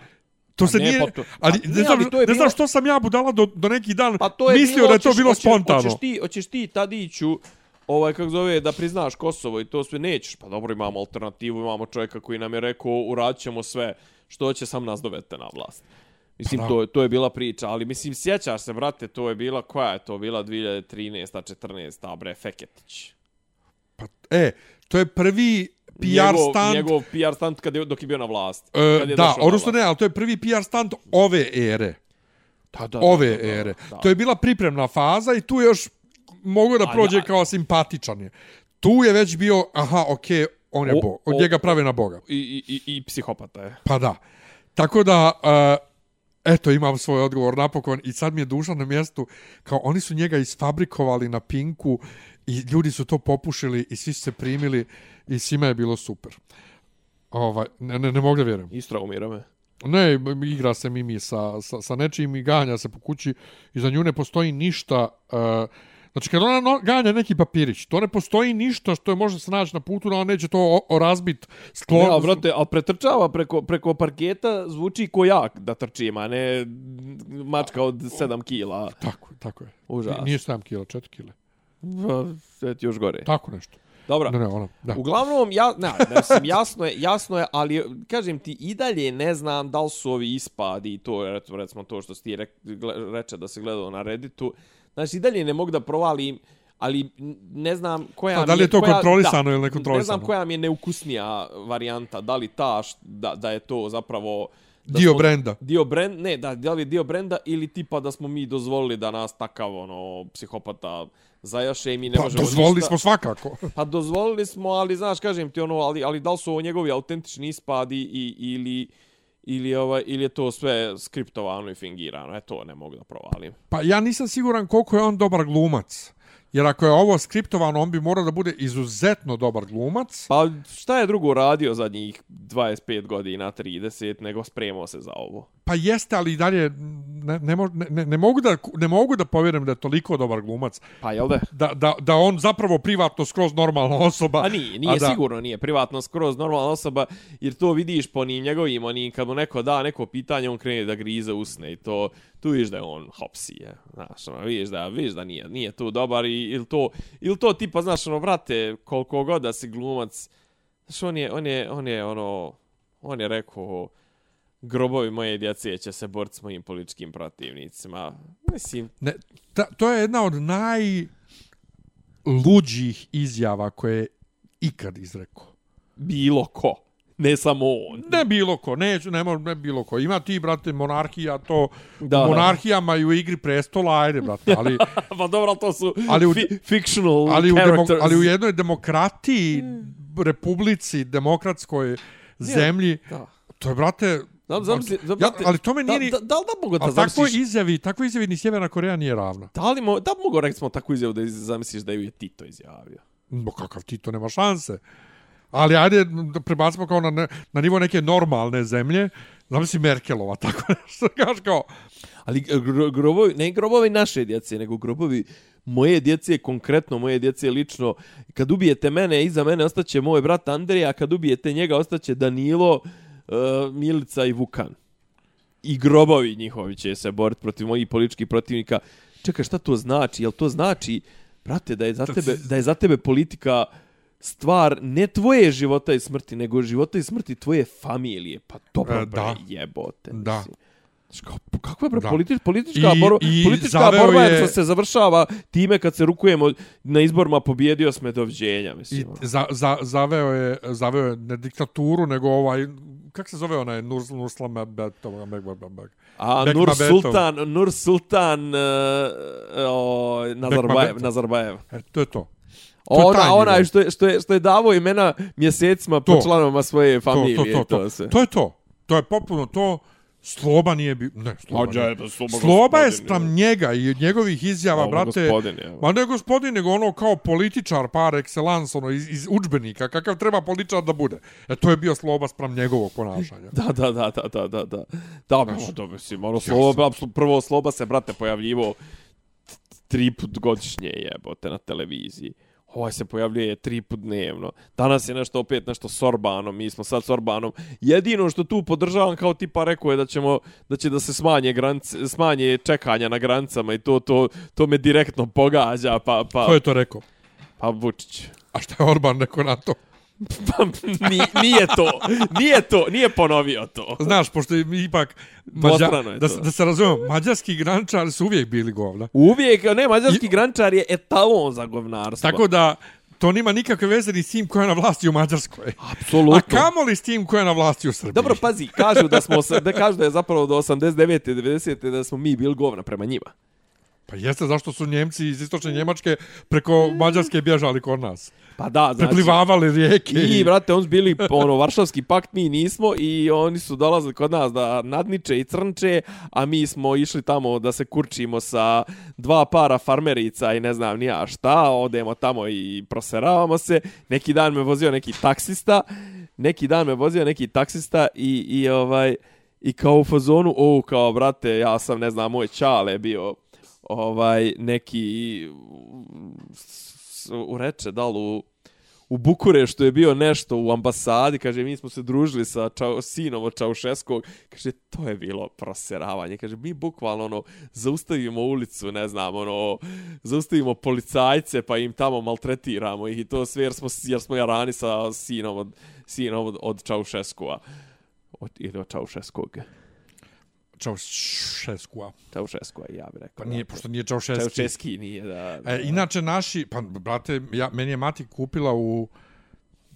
To se
ne,
nije,
pa to-
ali,
pa
ne,
ne,
znam,
ali to je
ne znam
bilo-
što sam ja budala do, do neki dan
Pa to je
mislio
bilo,
da je to
hoćeš-
bilo
hoćeš-
spontano.
Hoćeš ti, hoćeš ti Tadiću, ovaj, kako zove, da priznaš Kosovo i to sve nećeš. Pa dobro, imamo alternativu, imamo čovjeka koji nam je rekao, uradit ćemo sve što će sam nas dovete na vlast. Mislim,
da.
to, je- to je bila priča, ali mislim, sjećaš se, brate, to je bila, koja je to bila 2013. 14. bre, Feketić.
Pa, e, to je prvi PR
njegov,
stand
Njegov PR stand kad je, dok je bio na vlast.
E,
kad je
da,
došao na
odnosno ne,
vlast.
ali to je prvi PR stand ove ere.
Da, Pa da,
Ove
da, da, da,
ere.
Da.
To je bila pripremna faza i tu još mogu da
A
prođe
ja-
kao simpatičan je. Tu je već bio, aha, okej, on je
O-
bog. Od
o-
njega prave na boga.
I, i, i, i psihopata je.
Pa da. Tako da, e, eto, imam svoj odgovor napokon i sad mi je duša na mjestu. Kao, oni su njega isfabrikovali na pinku i ljudi su to popušili i svi su se primili i svima je bilo super. Ovaj, ne, ne, ne mogu da vjerujem.
Istraumira me.
Ne, m- igra se Mimi sa, sa, sa nečim i ganja se po kući i za nju ne postoji ništa. Uh, znači, kad ona no, ganja neki papirić, to ne postoji ništa što je može se naći na putu, no on neće to o, o razbit sklon.
Ne, ali brate, ali pretrčava preko, preko parketa, zvuči ko jak da trčim, a ne mačka od 7 kila.
Tako, tako je.
Užas.
Ni- Nije 7 kila, 4 kila.
Pa, Sve ti još gore.
Tako nešto.
Dobra.
Ne, ne, ona, da.
Uglavnom, ja, ne, ne, mislim, jasno je, jasno je, ali kažem ti, i dalje ne znam da li su ovi ispadi i to, recimo, recimo to što si ti rek, gle- reče da se gledao na Redditu, znači i dalje ne mogu da provalim, ali ne znam koja
A da li
mi
je to
koja,
kontrolisano ili
Ne znam
nekontrolisano?
koja mi je neukusnija varijanta, da li ta, š- da, da je to zapravo... Da
Dio
smo-
brenda.
Dio brend, ne, da, da li je dio brenda ili tipa da smo mi dozvolili da nas takav, ono, psihopata zajaše i mi ne
Pa,
možemo
dozvolili
ništa.
smo svakako.
Pa dozvolili smo, ali znaš, kažem ti ono, ali, ali da li su ovo njegovi autentični ispadi i, ili, ili, ovaj, ili je to sve skriptovano i fingirano? E to ne mogu da provalim.
Pa ja nisam siguran koliko je on dobar glumac. Jer ako je ovo skriptovano, on bi morao da bude izuzetno dobar glumac.
Pa šta je drugo radio zadnjih 25 godina, 30, nego spremao se za ovo?
Pa jeste, ali i dalje ne, ne, mo- ne, ne, ne, mogu da, ne mogu da povjerujem da je toliko dobar glumac.
Pa jel da?
Da, da, da on zapravo privatno skroz normalna osoba.
A nije, nije
Pa, a da,
sigurno, nije privatno skroz normalna osoba, jer to vidiš po njim njegovim, onim, kad mu neko da neko pitanje, on krene da grize usne i to, tu vidiš da je on hopsi, je, znaš, ono, vidiš da, vidiš da nije, nije tu dobar i, ili to, ili to tipa, znaš, ono, brate, koliko god da si glumac, znaš, on je, on je, on je, ono, on je rekao, grobovi moje djece će se boriti s mojim političkim protivnicima. Mislim,
Ne, ta, to je jedna od najluđih izjava koje je ikad izrekao.
bilo ko. Ne samo on.
Ne bilo ko, neću, ne, mo- ne bilo ko. Ima ti, brate, monarhija, to...
Da, da.
Da, monarhijama i u igri prestola, ajde, brate, ali...
pa dobro, ali to su ali
Ali
u,
u-
fi, fictional
ali u, demo,
characters.
ali u jednoj demokratiji, republici, demokratskoj zemlji,
da.
to je, brate...
Znam, znam, znam, znam,
ja, ali to me
da,
nije... ni-
da, da li da mogu da
ali tako
zamisliš?
izjavi, tako izjavi ni Sjeverna Koreja nije ravna.
Da li mo, da li mogu recimo takvu izjavu da iz- zamisliš da ju je Tito izjavio?
Bo kakav ti to nema šanse. Ali ajde da prebacimo kao na, ne, na nivo neke normalne zemlje, znam si Merkelova, tako nešto kaš kao,
Ali gro, grobovi, ne grobovi naše djece, nego grobovi moje djece, konkretno moje djece lično. Kad ubijete mene, iza mene ostaće moj brat Andrija, a kad ubijete njega ostaće Danilo, uh, Milica i Vukan. I grobovi njihovi će se boriti protiv mojih političkih protivnika. Čekaj, šta to znači? Jel to znači, brate, da je za tebe, da je za tebe politika stvar ne tvoje života i smrti, nego života i smrti tvoje familije. Pa dobro,
E,
e,
da.
jebote.
Da.
mislim. Znaš, kao, kakva je bre,
Da.
politi, politička,
I-
borba,
i
politička
zaveo
borba je...
je-
što se završava time kad se rukujemo na izborima pobjedio sme doviđenja,
i
mislim. ono.
za, za, zaveo, je, zaveo je ne diktaturu, nego ovaj, kak se zove onaj Nurs, Nursla Mebetova, Mebetova,
A
Bekmambetov.
Nur Sultan, Nur Sultan uh, o, Nazarbajev,
Bekmambetov.
Nazarbajev.
E, to je to. To je taj
Ona,
nivo.
onaj što je, što, je, što je davo imena mjesecima po
To.
članovima svoje familije.
to, to, to,
se.
to, to je to. To je popuno to. Sloba nije bio... Ne, Sloba nije. Sloba je spram njega i njegovih izjava,
Sloba
brate...
gospodin je, evo.
Ma ne gospodin, nego ono kao političar par excellence, ono, iz, iz učbenika, kakav treba političar da bude. E, to je bio Sloba spram njegovog ponašanja.
Da, da, da, da, da, da, da. Da, baš, da, mislim, ono, sloba, apsu- prvo sloba se, brate, pojavljivo t- tri put godišnje jebote na televiziji. Ovaj se pojavljuje tri put dnevno. Danas je nešto opet nešto s Orbanom, mi smo sad s Orbanom. Jedino što tu podržavam kao tipa rekao je da ćemo da će da se smanje granice, smanje čekanja na granicama i to to to me direktno pogađa, pa
Ko
pa
je to rekao?
pa Vučić.
A šta je Orban rekao na to?
Pa ni, nije to, nije to, nije ponovio to.
Znaš, pošto je ipak...
Dvostrano je
da,
to.
se- da se razumemo, mađarski grančari su uvijek bili govna.
Uvijek, ne, mađarski I... grančar je etalon za govnarstvo.
Tako da, to nima nikakve veze ni s tim koja je na vlasti u Mađarskoj.
apsolutno.
A kamoli s tim koja je na vlasti u Srbiji?
Dobro, pa- pazi, kažu da smo, osa- da kažu da je zapravo do 89. 90. da smo mi bili govna prema njima.
Pa jeste, zašto su Njemci iz istočne Njemačke preko Mađarske bježali kod nas?
Pa da, Mm. znači...
Preplivavali rijeke.
I, brate, oni su bili, ono, Varšavski pakt, mi nismo i oni su dolazili kod nas da nadniče i crnče, a mi smo išli tamo da se kurčimo sa dva para farmerica i ne znam nija šta, odemo tamo i proseravamo se. Neki dan me vozio neki taksista, neki dan me vozio neki taksista i, i ovaj... I kao u fazonu, o, kao, brate, ja sam, ne znam, moj čale je bio ovaj neki s- u reče, da li u, u Bukureštu je bio nešto u ambasadi, kaže, mi smo se družili sa čao, sinom od Čaušeskog, kaže, to je bilo proseravanje, kaže, mi bukvalno, ono, zaustavimo ulicu, ne znam, ono, zaustavimo policajce, pa im tamo maltretiramo ih i to sve, jer smo, jer smo jarani sa sinom od, sinom od, od Čaušeskova, od, ili od Čaušeskog,
Čaušeskua.
Čaušeskova, ja bih
Pa
rekao.
nije,
da.
pošto nije Čaušeski.
Čaušeski nije, da. da.
E, inače, naši, pa, brate, ja, meni je mati kupila u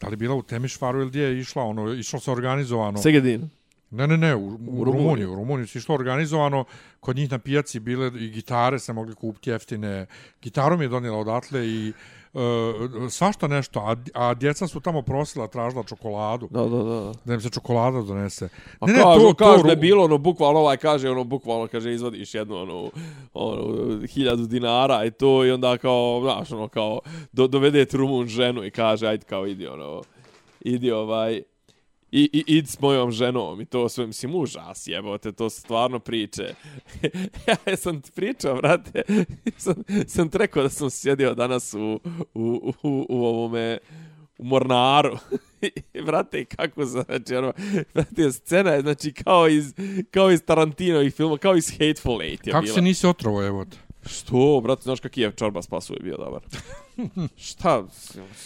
Da li je bila u Temišvaru ili gdje je išla, ono, išlo se organizovano.
Segedin.
Ne, ne, ne, u, u,
Rumuniji.
Rumuniji. U Rumuniji se išlo organizovano, kod njih na pijaci bile i gitare se mogli kupiti jeftine. Gitaru mi je donijela odatle i e, svašta nešto, a, a djeca su tamo prosila, tražila čokoladu,
Da, da, da.
da im se čokolada donese.
A ne, Pa kažu, to, kažu
Ru-
da je bilo ono bukvalno ovaj kaže ono bukvalno kaže izvadiš jednu ono ono hiljadu dinara i to i onda kao znaš ono kao do, dovede ti Rumun ženu i kaže ajde kao idi ono idi ovaj i, i id s mojom ženom i to sve, mislim, užas jebote, to su stvarno priče. ja sam ti pričao, brate, sam, sam ti rekao da sam sjedio danas u, u, u, u ovome, u Mornaru. I, brate, kako se, znači, ono, brate, scena je, znači, kao iz, kao iz Tarantinovih filma, kao iz Hateful Eight je
Kako
bila.
se nisi otrovo, evo te?
Što, brate, znaš kak je čorba spasu je bio dobar. Šta?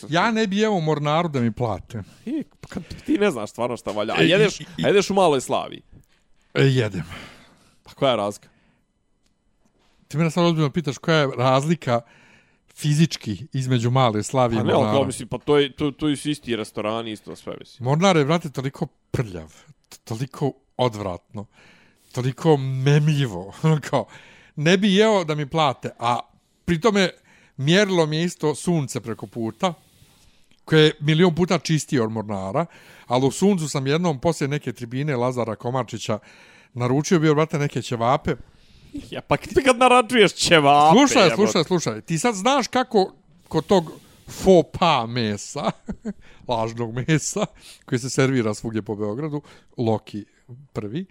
Ja ne bi jeo u mornaru da mi plate.
I, e, kad ti ne znaš stvarno šta valja. A
E, i-
jedeš,
i-
a jedeš u maloj slavi.
E, jedem.
Pa koja je razlika?
Ti mene sad ozbiljno pitaš koja je razlika fizički između male Slavije
Pa
i
ne, ali kao
Mornara.
mislim, pa to, je, to, to su isti restorani, isto sve, mislim.
Mornar je, vrate, toliko prljav, t- toliko odvratno, toliko memljivo, ono kao, ne bi jeo da mi plate, a pri tome mjerilo mi je isto sunce preko puta, koje je milion puta čistije od Mornara, ali u suncu sam jednom poslije neke tribine Lazara Komarčića naručio bio, brate, neke ćevape,
Ja, pa kad- kad narađuješ ćevape,
Slušaj,
jebote.
slušaj, slušaj. Ti sad znaš kako kod tog faux pas mesa, lažnog mesa, koji se servira svugdje po Beogradu, Loki prvi,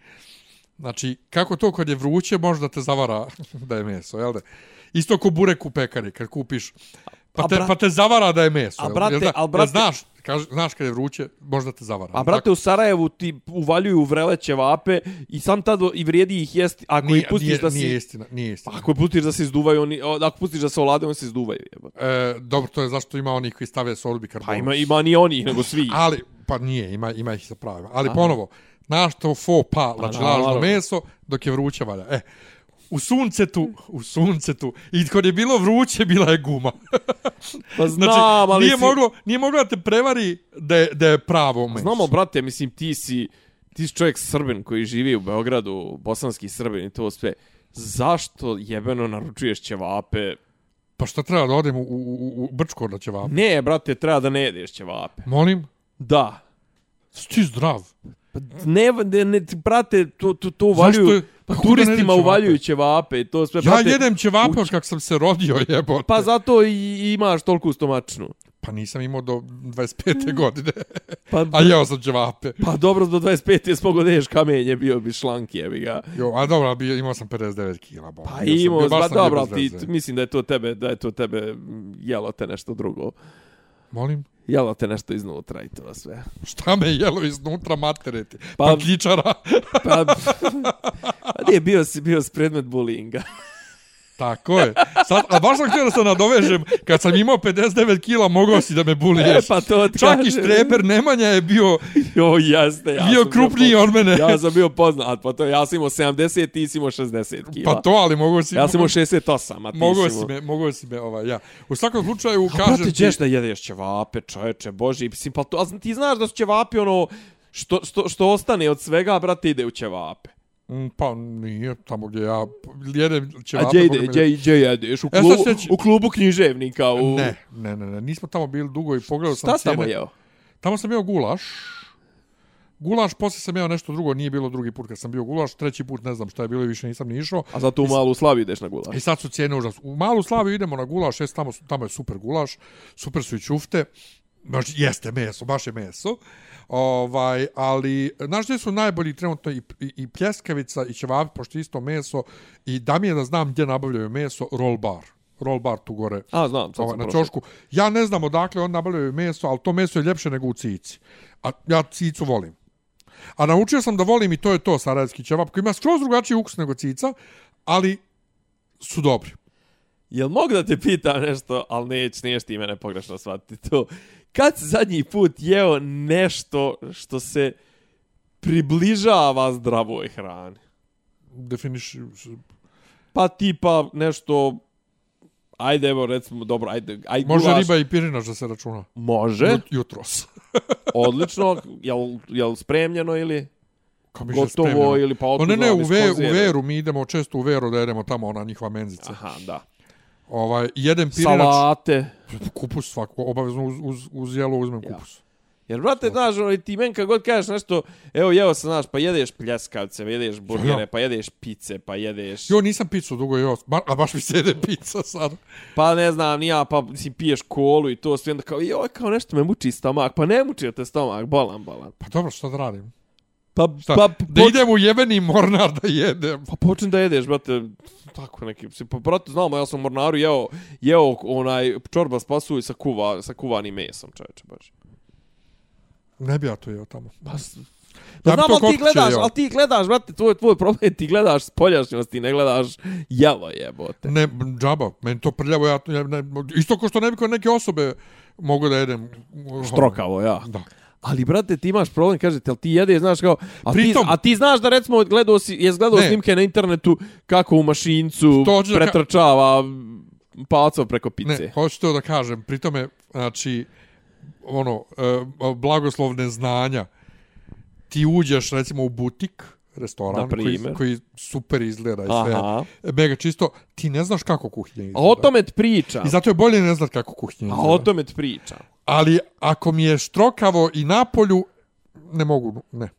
znači, kako to kad je vruće, možda te zavara da je meso, jel da? Isto ko burek u pekari, kad kupiš, pa
A
te,
bra-
pa te zavara da je meso.
A
jel?
brate,
Jel da?
al
Jel
brate-
Znaš, kaž, znaš kad je vruće, možda te zavara.
A brate, u Sarajevu ti uvaljuju vrele ćevape i sam tad i vrijedi ih jesti, ako ih
nije,
pustiš
nije,
da si... Pa-
nije istina, nije istina.
Ako je pustiš da se izduvaju, oni, o, ako pustiš da se olade, oni se izduvaju. Jebote.
E, dobro, to je zašto ima onih koji stave sodu bikarbonu.
Pa ima, ima ni oni, nego svi.
Ali, pa nije, ima, ima ih sa pravima. Ali Aha. ponovo, naš to fo pa, znači lažno
naravno.
meso, dok je vruće valja. E, u suncetu, u suncetu, i kod je bilo vruće, bila je guma.
Pa znam,
Znači,
ali
nije,
si-
moglo, nije moglo da te prevari da je, da je pravo meso.
Znamo, brate, mislim, ti si, ti si čovjek srbin koji živi u Beogradu, bosanski srbin i to sve. Zašto jebeno naručuješ ćevape?
Pa šta treba da odem u, u, u, u Brčko da će vam?
Ne, brate, treba da ne jedeš ćevape.
Molim,
Da.
jesi ti zdrav.
Pa ne, ne, ne ti, brate, to, to,
Zašto
to uvaljuju,
je-
pa
kako da ne jedem
turistima
ćevape?
uvaljuju ćevape i to sve,
Ja
brate.
jedem ćevape od kak sam se rodio, jebote.
Pa
Pa,
zato i imaš tolku stomačnu.
pa nisam imao do
Mm.
25. godine,
Pa,
a jeo sam ćevape.
pa dobro, do 25 je smogo da ješ kamenje, bio bi šlank jebi ga.
Jo, a dobro, bio, imao sam 59 kila. Bo.
Pa imao,
baš
ba,
sam bio
dobro,
bez
ti,
veze.
t- mislim da je to tebe, da je to tebe mm, jelo te nešto drugo.
Molim?
Jelo te nešto iznutra i to sve.
Šta me jelo iznutra matereti?
Pa-
Pa, Patljičara.
Pa, pa nije, bio si, bio si predmet bulinga.
Tako je. Sad, a baš sam htio da se nadovežem, kad sam imao 59 kila, mogao si da me
E,
buliješ.
pa to ti
Čak i
kažem.
Štreber Nemanja je bio,
Jo, jasne, ja
bio
sam
krupniji ono.
bio
od mene.
Ja sam bio poznat, pa to ja sam imao 70, ti si imao 60 kila.
pa to, ali mogao si...
Ja sam imao 68, a ti
Mogao
si
si
imao...
me, mogao si me, ovaj, ja. U svakom slučaju,
A
kažem
brate,
ti...
ćeš da jedeš ćevape, čoveče, bože, i mislim, pa to, a zna- ti znaš da su ćevapi ono, što, što, što ostane od svega, brate, ide u ćevape.
Mm, Pa nije, tamo gdje ja jedem ćevape...
A gdje ide,
Boga mi-
gdje, gdje jedeš? U
E, sad
klubu,
se će-
u klubu književnika, u...
Ne, ne, ne, ne, nismo tamo bili dugo i pogledao sam
Šta sam tamo
cijene.
jeo?
Tamo sam jeo gulaš. Gulaš, poslije sam jeo nešto drugo, nije bilo drugi put kad sam bio gulaš, treći put ne znam šta je bilo i više nisam ni išao.
A zato u malu slavi ideš na gulaš.
I sad su cijene užasne. U Malu Slaviju idemo na gulaš, jest, tamo, su- tamo je super gulaš, super su i ćufte, baš jeste meso, baš je meso. Ovaj, ali, znaš gdje su najbolji trenutno i, i, i pljeskavica i ćevapi, pošto je isto meso, i da mi je da znam gdje nabavljaju meso, roll bar. Roll bar tu gore
A, znam, sad
ovaj,
sam
na
prošao.
čošku. Ja ne znam odakle on nabavljaju meso, ali to meso je ljepše nego u cici. A ja cicu volim. A naučio sam da volim i to je to sarajevski ćevap, koji ima skroz drugačiji ukus nego cica, ali su dobri.
Jel mogu da te pitam nešto, ali neć, neš ti mene pogrešno shvatiti to. Kad si zadnji put jeo nešto što se približava zdravoj hrani?
Definiš...
Pa tipa nešto... Ajde, evo, recimo, dobro, ajde, ajde
Može
gulaš.
riba i pirinač da se računa.
Može,
Jut- Jutros.
odlično. Jel, jel spremljeno ili
Kao mi še
gotovo
spremljeno.
ili pa
O,
otkuda
ne, ne, u,
iz
ve, u
konzerve?
veru mi idemo često u veru da jedemo tamo, ona njihova menzica.
Aha, da.
Ovaj, jedem pirinač,
Salate.
kupus svaku, obavezno uz, uz, uz jelo uzmem kupus.
Jer, brate, znaš, ono, i ti men kad god kažeš nešto, evo, jeo sam, znaš, pa jedeš pljeskavce, pa jedeš burgere, pa jedeš pice, pa jedeš...
Jo, nisam picu dugo jeo, ba- a baš mi se jede pizza sad.
Pa ne znam, ni ja, pa mislim, piješ kolu i to sve, onda kao, joj, kao nešto me muči stomak, pa ne muči te stomak, bolan, bolan.
Pa dobro, šta da radim?
Pa,
Šta?
pa,
da
poč-
idem u jebeni mornar da jedem.
Pa počnem da jedeš, brate, tako neki, mislim, pa brate, znamo, ja sam u mornaru jeo, jeo onaj čorba s pasulj sa, kuva, sa kuvanim mesom, čoveče, baš.
Ne bi ja to jeo tamo.
Pa, s-
Ja
Pa
bi
znam,
to
ali
kopče
ti gledaš,
jeo.
ali ti gledaš, brate, tvoj, tvoj problem, je ti gledaš spoljašnjost, ti ne gledaš jelo jebote.
Ne, m, džaba, meni to prljavo, ja, to- ja ne, isto ko što ne bi kod neke osobe mogu da jedem.
Štrokavo, ja.
Ono, Da.
Ali, brate, ti imaš problem, kažete, ali ti jedeš, znaš, kao, a,
Pritom-
ti, a ti znaš da, recimo, gledao si, jes gledao
Ne.
snimke na internetu kako u mašincu
To hoću da ka-
pretrčava palcom preko pice.
Ne, hoću to da kažem. Pri tome, znači, ono, e, blagoslovne znanja. Ti uđeš, recimo, u butik, restoran, koji,
Naprimer.
koji super izgleda i sve.
Aha.
Mega čisto. Ti ne znaš kako kuhinja izgleda.
A o tome ti pričam.
I zato je bolje ne znat kako kuhinja
A o
izgleda.
tome ti pričam.
Ali ako mi je štrokavo i napolju, ne mogu, ne.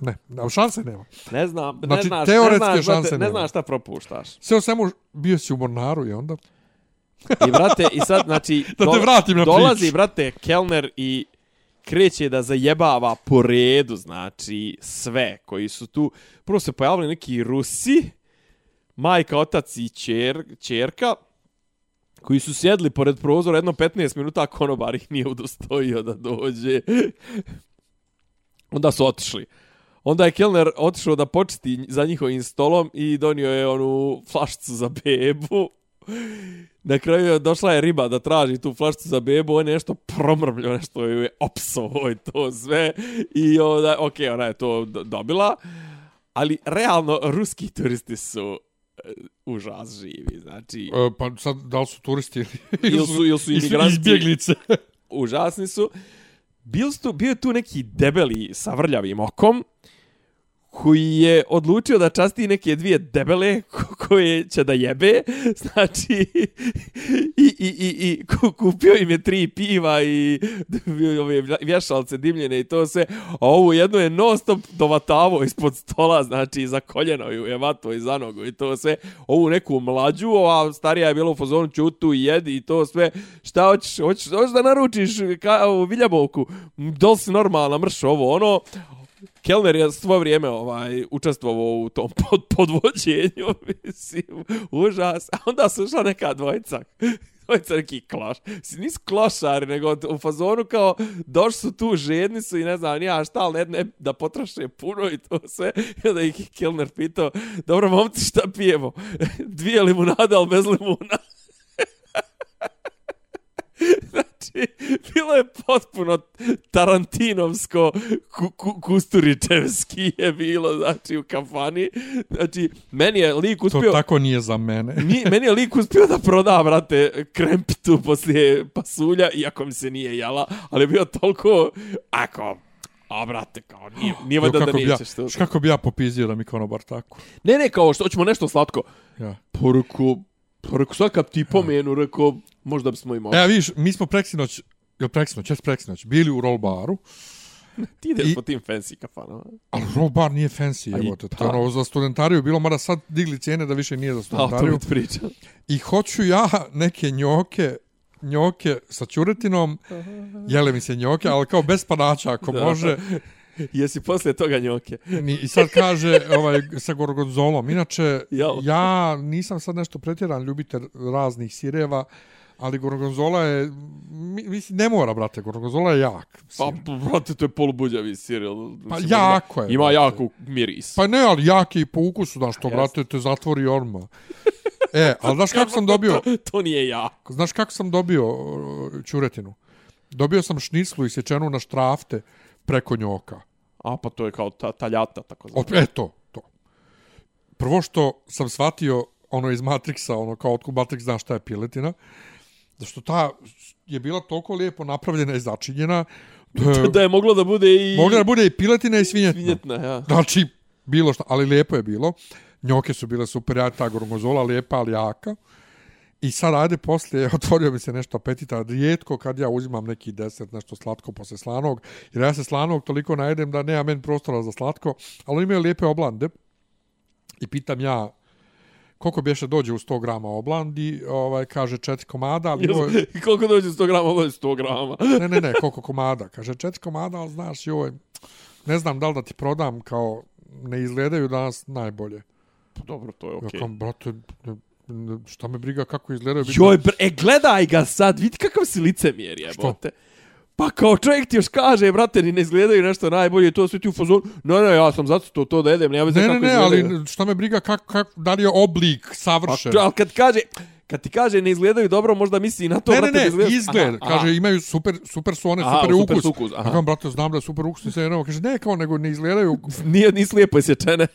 Ne, ali šanse nema.
Ne znam, ne
Znači,
znaš,
teoretske
ne znaš, brate,
šanse
ne
nema.
znaš šta propuštaš.
Sve o svemu, bio si u Mornaru i onda...
I brate, i sad, znači...
Da te
dola-
vratim na
Dolazi,
priču.
brate, Kelner i kreće da zajebava po redu, znači, sve koji su tu. Prvo se pojavili neki Rusi, majka, otac i čer, čerka, koji su sjedli pored prozora jedno 15 minuta, a konobar ih nije udostojio da dođe. Onda su otišli. Onda je Kellner otišao da početi za njihovim stolom i donio je onu flašcu za bebu. Na kraju je došla je riba da traži tu flašcu za bebu, on je nešto promrmljio, nešto ju je opsovo i to sve. I onda, ok, ona je to do- dobila. Ali realno, ruski turisti su e, užas živi, znači...
E, pa sad, da li su turisti ili,
Ili su, ili su imigranti
izbjeglice?
užasni su. Bil su tu, bio je tu neki debeli sa vrljavim okom koji je odlučio da časti neke dvije debele ko- koje će da jebe, znači i, i, i, i ku- kupio im je tri piva i ove vješalce dimljene i to sve, a ovu jednu je non stop dovatavo ispod stola, znači za koljeno ju je vato i za nogu i to sve, ovu neku mlađu, a starija je bila u fazonu ćutu i jedi i to sve, šta hoćeš, hoćeš, hoćeš da naručiš ka, u Viljabovku, da li si normalna, mrš ovo, ono, Kelner je svo vrijeme ovaj učestvovao u tom pod, podvođenju, mislim, užas. A onda su ušla neka dvojica, dvojica neki kloš. Mislim, nisu klošari, nego u fazonu kao došli su tu, žedni su i ne znam, nija šta, ali ne, ne, da potroše puno i to sve. I onda ih je Kelner pitao, dobro momci šta pijemo? Dvije limunade, ali bez limuna. Znači, bilo je potpuno tarantinovsko, ku, ku, kusturičevski je bilo, znači, u kafani. Znači, meni je lik
To
uspio...
tako nije za mene.
Nije, meni je lik uspio da proda, brate, krempitu poslije pasulja, iako mi se nije jela, ali je bio toliko, ako, a brate, kao, nije, nije
Oh, Jo,
valjda da
kako bi ja,
nećeš to.
kako bi ja popizio da mi konobar tako?
Ne, ne, kao, što, hoćemo nešto slatko.
Ja.
Poruku, poruku, sad kad ti pomenu, rekao, možda bismo i mogli.
E, vidiš, mi smo preksinoć, jel preksinoć, jes preksinoć, bili u roll baru,
ti ideš
i-
po tim fancy kafanama.
ali roll bar nije fancy,
i
evo te, to
ta.
je ono za studentariju bilo, mada sad digli cijene da više nije za
A, Pa, o tome
studentariju.
ti pričam.
I hoću ja neke njoke, njoke sa ćuretinom, jele mi se njoke, ali kao bez panača ako
Da.
može.
Jesi poslije toga njoke?
Ni- I sad kaže ovaj, sa gorgonzolom. Inače,
Jao.
ja nisam sad nešto pretjeran ljubitelj raznih sireva, ali gorgonzola je, mi- mislim, ne mora, brate, gorgonzola je jak.
Pa,
sir.
brate, to je polubudjavi sir. jel?
Pa
Mislim,
jako
ima-
je,
Ima
brate.
jaku miris.
Pa ne, ali jak je i po ukusu, znaš to,
Jeste.
brate, te zatvori orma. E, ali znaš kako sam dobio,
to nije jako.
znaš kako sam dobio uh, čuretinu? Dobio sam šniclu isječenu na štrafte preko njoka.
A, pa to je kao ta, taljata, tako znam.
Od, e, to, to. Prvo što sam shvatio ono iz Matrixa, ono kao otkud Matrix zna šta je piletina, da što ta je bila toliko lijepo napravljena i začinjena, da je,
da je moglo da bude i...
mogla da bude i piletina i svinjetina.
Vinjetna, ja.
Znači, bilo šta, ali lijepo je bilo. Njoke su bile super, ja ta gorgonzola lijepa, ali jaka. I sad, ajde, poslije otvorio mi se nešto apetita. Rijetko kad ja uzimam neki desert, nešto slatko posle slanog, jer ja se slanog toliko najedem da nema meni prostora za slatko, ali oni imaju lijepe oblande. I pitam ja, koliko bješe dođe u 100 grama oblandi, ovaj, kaže četiri komada, ali ovo je-
I koliko dođe 100 grama, ovo je 100 grama.
ne, ne, ne, koliko komada. Kaže, četiri komada, ali znaš, joj, ne znam da li da ti prodam, kao, ne izgledaju danas najbolje.
Pa dobro, to je
Ja
okej.
kao, brate, ne- ne- šta me briga kako izgledaju. bitno-
Joj, br e, gledaj ga sad, vidi kakav si licemjer, jebote. Pa kao čovjek ti još kaže, brate, ni ne izgledaju nešto najbolje, to sve ti u fazonu. No, no, ja sam zato to, to da jedem, nema veze
Ne,
kako
ne, ne,
izgledaju.
ali šta me briga kak, kak, da li je oblik savršen.
Pa, ali kad kaže, kad ti kaže ne izgledaju dobro, možda misli i na to,
Ne, ne,
brate, da
ne,
izgledaju-
izgled.
Aha, aha.
Kaže, imaju super, super su one,
Aha,
super je
super
ukus.
su ukus, aha.
Ja kao, brate, znam da je super ukus, nisam jedno. Kaže, ne, kao, nego ne izgledaju.
Nije, nisu lijepo isječene.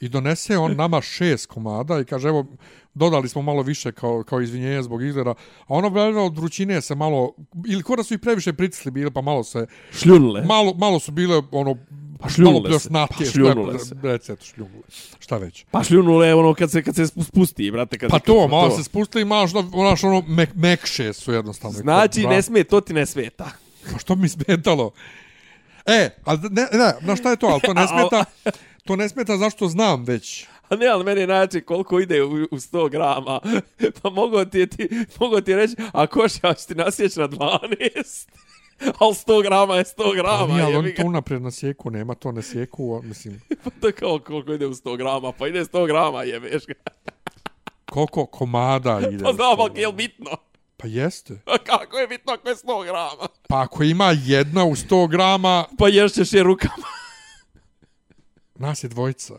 I donese on nama šest komada i kaže, evo, dodali smo malo više kao, kao izvinjenje zbog izgleda. A ono, valjda, od vrućine se malo, ili kora su i previše pritisli bili, pa malo se,
Šljunule.
malo, malo su bile, ono,
Pa šljunule
malo
se,
pljosnatije,
pa šljunule
šta-
se.
Recet, šljunule. Šta već.
Pa šljunule je ono kad se, kad se spusti, brate. Kad,
Pa
kad
to,
smo
malo se spustili i malo, što- znaš, ono, mek, mekše su jednostavno.
Znači,
Dva-
ne smije, to ti ne smeta.
Pa što mi smetalo? E, a ne, ne, na šta je to, ali to ne smeta, to ne smeta zašto znam već.
A ne, ali meni je najjače koliko ide u, u 100 grama. Pa mogu ti, je ti, mogu ti je reći, a košlja ću ti nasjeći na 12. Ali 100 grama je 100
Pa
grama.
nije, ali
je
oni to unaprijed na sjeku, nema to na sjeku, a, mislim,
Pa to je kao koliko ide u 100 grama. Pa ide 100 grama, jebeš ga.
koliko komada ide.
Pa znam, ali je li bitno?
Pa jeste.
A kako je bitno ako je 100 grama?
Pa ako ima jedna u 100 grama,
Pa ješćeš je rukama.
nas je dvojica.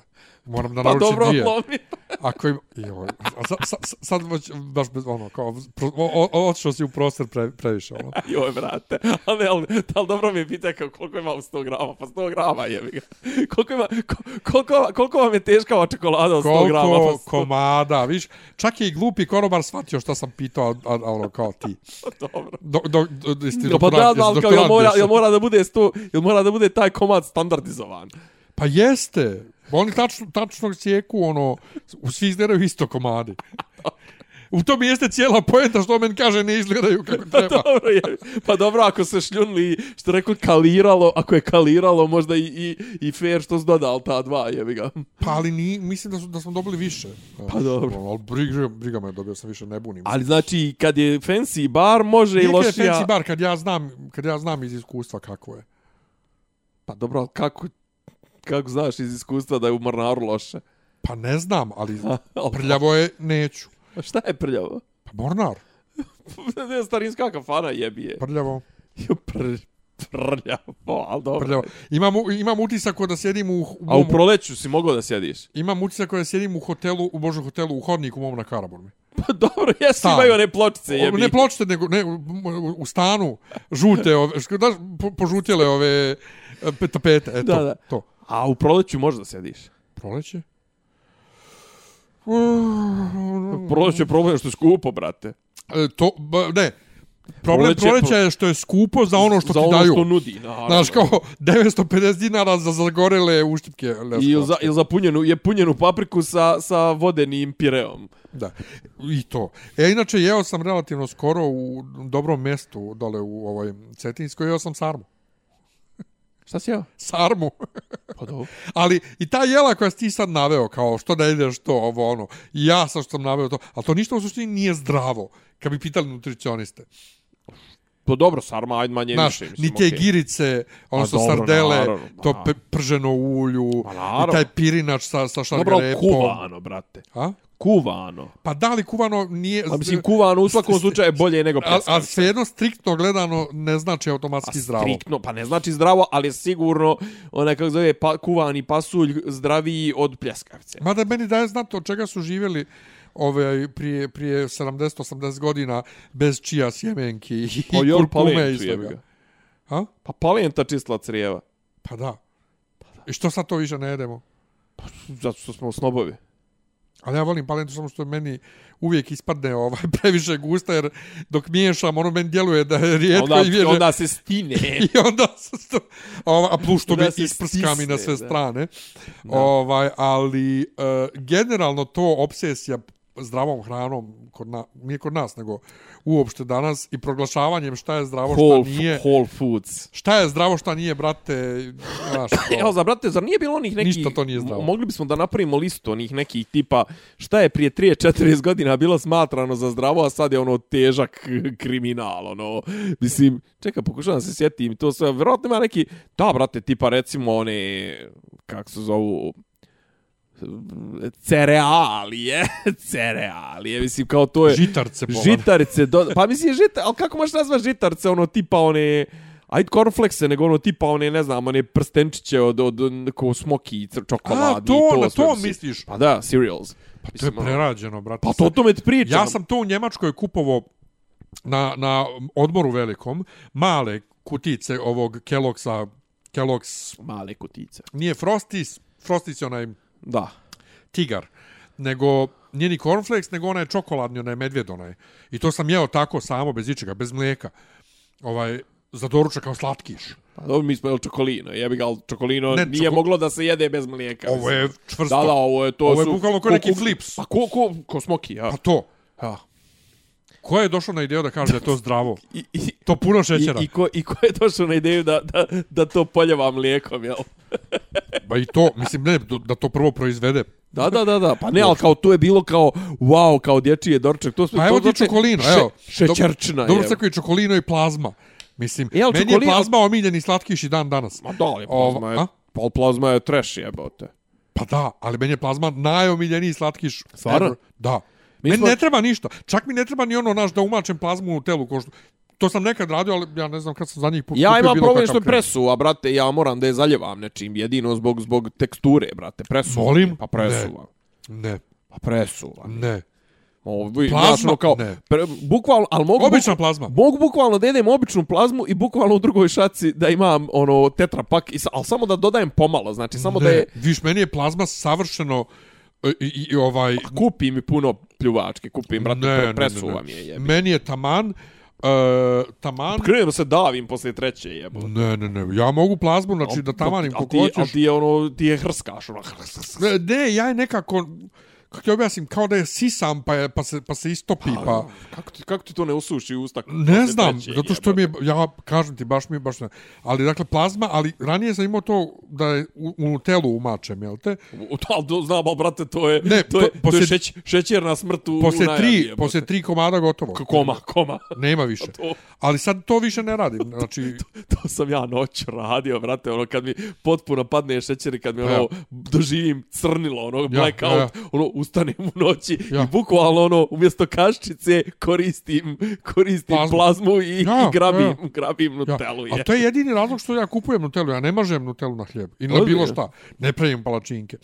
Moram da
Pa
naručim
dobro,
dvije.
lomi.
Ako im... Joj, a sa, sa, sa- sad već, baš bez, ono, kao, pro- o- o- otišao si u prostor pre, previše, ono.
Joj, brate. Ali, ne, ali, ali dobro mi je pitao kao koliko ima u 100 grama. Pa 100 grama jebi ga. Koliko, ima, ko- koliko, koliko vam je teška ova čokolada od 100 grama? Pa
Koliko
100
komada, viš, čak je i glupi konobar shvatio šta sam pitao, a, a, a ono, kao ti.
Dobro.
Do, do, do, jesi ti
Pa da,
doktorant,
da,
jesi
ali kao, jel
doktorant
mora,
jesi?
jel mora da bude 100, jel mora da bude taj komad standardizovan?
Pa jeste. Oni tačno, tačno sjeku, ono, u svi izgledaju isto komadi. U tom jeste cijela poenta što men kaže ne izgledaju kako treba.
Dobro je. Pa dobro, ako se šljunli, što rekao, kaliralo, ako je kaliralo, možda i, i, i fair što su dodali ta dva, jebi ga.
Pa ali ni, mislim da, su, da smo dobili više.
Pa dobro.
Ono, ali briga, briga me, dobio sam više, ne bunim.
Ali znači, kad je fancy bar, može
Nije
i
kad je
lošija...
fancy bar, kad ja znam, kad ja znam iz iskustva kako je.
Pa dobro, ali kako, kako znaš iz iskustva da je u Mornaru loše?
Pa ne znam, ali
Al-
prljavo je, neću.
A Šta je prljavo?
Pa mornar,
Ne, Starinska kafana jebije.
prljavo,
Jo, Pr, prljavo, ali dobro.
prljavo. Imam, imam utisak ko da sjedim u... u
A u
mom-
proleću si mogao da sjediš?
Imam utisak ko da sjedim u hotelu, u Božu hotelu, u hodniku mom na Karaburmi.
Pa dobro, jesu
Stan.
imaju one pločice
O,
jebi.
Ne pločite, nego ne, u- u- u stanu žute, ove, što, daš, po, požutjele ove e, pe- tapete, e, to,
Da, da.
to.
A u proleću možeš da sjediš.
Proleće?
Proleće je problem što je skupo, brate.
E, to, ba, ne, problem
Proleće-
proleća, je što je skupo za ono što
za
ti
ono
daju.
što nudi. Naravno.
Znaš, kao 950 dinara za zagorele uštipke. ne znam.
I za, ili za punjenu, je punjenu papriku sa, sa vodenim pireom.
Da, i to. E, inače, jeo sam relativno skoro u dobrom mestu dole u ovoj Cetinskoj, jeo sam sarmu.
Šta si jeo?
Sarmu.
Pa dobro.
Ali i ta jela koja si ti sad naveo, kao što da ideš to, ovo ono, i ja sam što sam naveo to, ali to ništa u suštini nije zdravo, kad bi pitali nutricioniste.
Pa dobro, sarma, ajde manje
Znaš,
više.
ni te
okej.
girice, ono
Ma
što
dobro,
sardele,
naravno, ma
to
naravno.
pe, prženo u ulju,
Ma
i
naravno.
taj pirinač sa, sa
Dobro, ali
šargarepom.
kuvano, brate.
A?
Kuvano.
Pa da li kuvano nije...
Pa mislim, kuvano u svakom slučaju je bolje nego
A, a
preskano.
svejedno striktno gledano ne znači automatski zdravo.
Striktno, pa ne znači zdravo, ali je sigurno, onaj kako zove, pa, kuvani pasulj zdraviji od pljeskavice.
Mada meni daje znati od čega su živjeli ove, prije, prije 70-80 godina bez čija sjemenki i
Pa jel
kurkume i
palentu, jebi
svega.
ga.
A?
Pa palenta čistila crijeva.
Pa da. I što sad to više ne jedemo?
Zato što smo snobovi.
Ali ja volim palentu samo što meni uvijek ispadne ovaj previše gusta jer dok miješam ono meni djeluje da je rijetko
Onda,
i vježe.
onda se stine.
I onda se sto, ova, a plus što mi
Da se
isprskam i na sve
stisne, da.
strane. Ovaj, ali e, generalno to obsesija zdravom hranom, kod na, nije kod nas, nego uopšte danas i proglašavanjem šta je zdravo,
Whole,
šta nije.
Whole Foods.
Šta je zdravo, šta nije, brate, znaš, ono,
Evo,
to,
za brate, zar nije bilo onih nekih...
Ništa to nije zdravo.
Mo- Mogli bismo da napravimo listu onih nekih tipa šta je prije 30-40 godina bilo smatrano za zdravo, a sad je ono težak kriminal, ono. Mislim, čeka, pokušavam da se sjetim to sve. Vjerojatno ima neki... Da, brate, tipa recimo one... Kako se zovu cerealije, cerealije, mislim kao to je...
žitarce pola.
Žitarice, do... pa mislim žita, ali kako možeš nazvati žitarice, ono tipa one, ajde cornflakese, nego ono tipa one, ne znam, one prstenčiće od, od, od ko smoki i cr- čokoladi.
A,
i
to, na
sve,
to
mislim.
misliš?
Pa da, cereals. Pa
To je prerađeno, brate.
Pa to o tome ti pričam.
Ja sam to u Njemačkoj kupovo na, na odmoru velikom, male kutice ovog Kelloggsa, Kellogg's,
Male kutice.
nije Frostis, Frostis je onaj
Da.
tigar, nego nije ni cornflakes, nego onaj čokoladni, onaj medvjed onaj. I to sam jeo tako samo, bez ičega, bez mlijeka. Ovaj, za doručak kao slatkiš.
Pa dobro, mi smo jeli čokolino, jebi ga, ali čokolino
Ne,
ne, nije
čoko-
moglo da se jede bez mlijeka.
Ovo je
mislim.
čvrsto.
Da, da, ovo je to
Ovo je
su-
bukvalno ko neki flips.
Pa ko, ko, ko smoki, ja.
Pa to.
ja.
Ko je došao na ideju da kaže da je to zdravo?
I, i,
To puno
I,
šećera.
i, ko, I ko je došao na ideju da, da, da to poljeva mlijekom, jel?
Ba i to, mislim, ne, da to prvo proizvede.
Da, da, da, da. Pa ne, ali kao to je bilo kao, wow, kao dječiji je dorčak. To smo,
Pa
to
evo ti
znači
čokolino,
še-
evo.
Šećerčina,
Dobro
jel?
se koji čokolino i plazma. Mislim,
E, ali
meni je
čokolino-
plazma omiljeni slatkiš i dan danas.
Ma Pa da, ali
Ovo,
plazma je,
a?
pa plazma je trash jebote.
Pa da, ali meni je plazma najomiljeniji slatkiš.
Stvarno?
ever. Da.
Mi
meni
smo-
ne treba ništa. Čak mi ne treba ni ono naš da umačem plazmu u telu. Ko što... To sam nekad radio, ali ja ne znam kad sam za njih pu- kupio
Ja
bilo
imam problem
kakav
što je
krem.
presu, a brate, ja moram da je zaljevam nečim, jedino zbog, zbog teksture, brate, presu.
Molim?
Pa presuvam.
Ne,
Pa presuvam.
ne.
Ovo, vi,
Plazma?
znaš, ono kao,
Ne.
pre, bukvalno, ali mogu...
Obična
buk-
plazma.
Mogu bukvalno da jedem običnu plazmu i bukvalno u drugoj šaci da imam ono tetrapak, i, sa- ali samo da dodajem pomalo, znači samo
ne.
da je...
Viš, meni je plazma savršeno e, i, i, i ovaj...
Kupi mi puno pljuvačke, kupim, brate,
ne,
pre,
ne,
presuvam
ne,
je,
ne.
jebim.
Meni je taman, uh, taman...
Krenem se davim poslije treće, jebo.
Pa Ne, ne, ne, ja mogu plazmu, znači da tamanim
Al
koliko
ti, al
hoćeš.
ti je ono, ti je hrskaš, ono, hrs, hrs,
Ne, Ne, ja je nekako, kako ti objasnim, kao da je sisam pa, je, pa, se, pa se istopi, pa...
Kako ti, kako ti to ne usuši usta?
Ne znam, zato što mi je, ja kažem ti, baš mi je, baš ne. Ali, dakle, plazma, ali ranije sam imao to da je u, u telu umačem, jel te?
Al, do, znam, al, brate, to je,
Ne,
ne, to je,
po-
to je
poslije-
šeć, šećerna smrt u, u
Posle
najjavi,
tri,
jebote.
posle tri komada gotovo.
K- Koma, koma.
Nema više.
To-
Ali sad to više ne radim. Znači,
To sam ja noć radio, brate, ono, kad mi potpuno padne šećer i kad mi, ono,
Pa Ja.
doživim crnilo, ono, blackout,
ja.
ono, ustanem u noći
Ja.
i bukvalno, ono, umjesto kaščice koristim, koristim
Plazmu.
plazmu i,
Ja,
i grabim,
ja.
grabim
ja.
Nutellu,
A
je.
to je jedini razlog što ja kupujem Nutellu. Ja ne mažem Nutellu na hljeb. I na
Ozbiljno?
bilo šta. Ne pravim palačinke.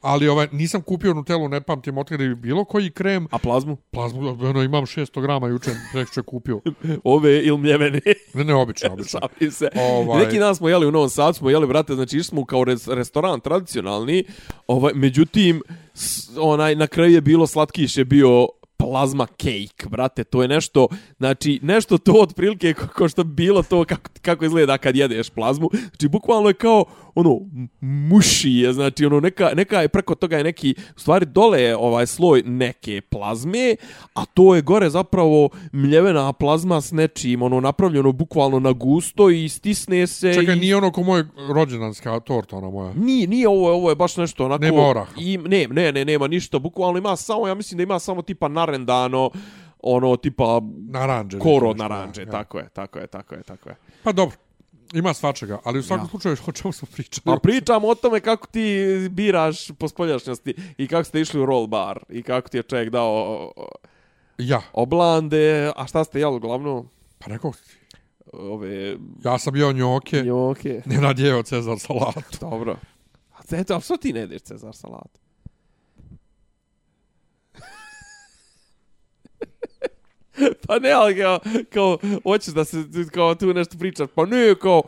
Ali ovaj, nisam kupio Nutellu, ne pamtim otkada je bilo koji krem.
A plazmu?
Plazmu, ono, imam 600 grama juče, rekću je kupio.
Ove ili mljevene.
Ne, ne, obično, obično.
Šalim se.
Ovaj.
Ovaj. Neki dan smo jeli u Novom Sadu, smo jeli, brate, znači išli smo kao res, restoran tradicionalni, ovaj, međutim, s, onaj, na kraju je bilo slatkiš je bio plazma cake, brate, to je nešto, znači, nešto to otprilike ko, ko što bi bilo to kako, kako izgleda kad jedeš plazmu, znači, bukvalno je kao, ono, m- muši je, znači, ono, neka, neka je, preko toga je neki, u stvari, dole je ovaj sloj neke plazme, a to je gore zapravo mljevena plazma s nečim, ono, napravljeno bukvalno na gusto i stisne se
Čekaj,
i...
nije ono ko moj rođendanska torta, ona moja.
Nije, nije ovo, je- ovo je baš nešto onako...
Nema oraha.
I, ne, ne, ne, nema ništa, bukvalno ima samo, ja mislim da ima samo tipa narendano, ono, tipa
Naranđe.
koro od
Nešto,
naranđe,
da,
tako je, tako je, tako je, tako je.
Pa dobro, ima svačega, ali u svakom slučaju o čemu smo pričali.
Pa pričam o tome kako ti biraš po spoljašnjosti i kako ste išli u roll bar i kako ti je čovjek dao
Ja,
oblande, a šta ste jeli uglavnom?
pa rekao ti.
Ove
Ja sam jeo njoke,
njoke.
ne nadjeo Cezar salatu.
Dobro. A te, eto, ali što ti ne jedeš Cezar salatu? pa ne, ali kao, kao, hoćeš da se kao tu nešto pričaš, pa ne, kao,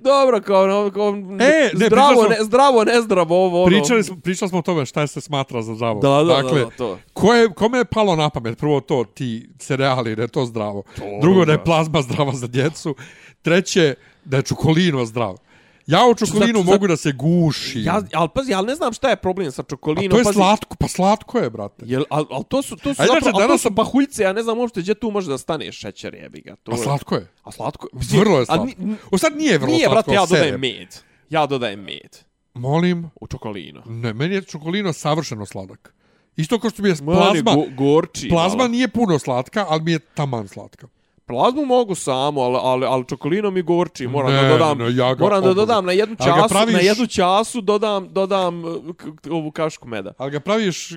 dobro, kao, no, kao
E, ne, pričali
zdravo,
smo-
ne, zdravo, nezdravo, ovo, ono.
Pričali smo, pričali smo o tome šta se smatra za zdravo.
Da, da,
dakle,
da, da, to.
Ko je, kome je palo na pamet? Prvo to, ti cereali, da je to zdravo. Drugo, da je
da.
plazma zdrava za djecu. Treće, da je čokolino zdravo. Ja u čokolinu
Zato- zato-
mogu da se guši.
Ja, ali pazi, ali ne znam šta je problem sa
A
čokolinom.
to je
pazi,
slatko, pa slatko je, brate.
Jel, al, al to su, to su,
A inače,
zapravo, al to
danas
su
sam-
pahuljice, ja ne znam uopšte gdje tu može da stane šećer, jebi ga. To
A
je-
slatko je.
A slatko?
Vrlo je
A
slatko.
ni- n-
O sad nije vrlo
Nije,
slatko,
brate, ja
ali
dodajem
sere.
med. Ja dodajem med
Molim,
u čokolino.
ne, meni je čokolino savršeno sladak. Isto kao što mi je
Meni
plazma,
go, gorči.
plazma
malo.
nije puno slatka, ali mi je taman slatka.
Plazmu mogu samo, ali, ali, ali čokolino mi gorči. Moram
Ne,
da dodam,
ne, ja ga
moram da
obožavam.
dodam na jednu
Ali ga
času,
praviš-
na jednu času dodam, dodam eh, k- k- ovu kašku meda.
Ali ga praviš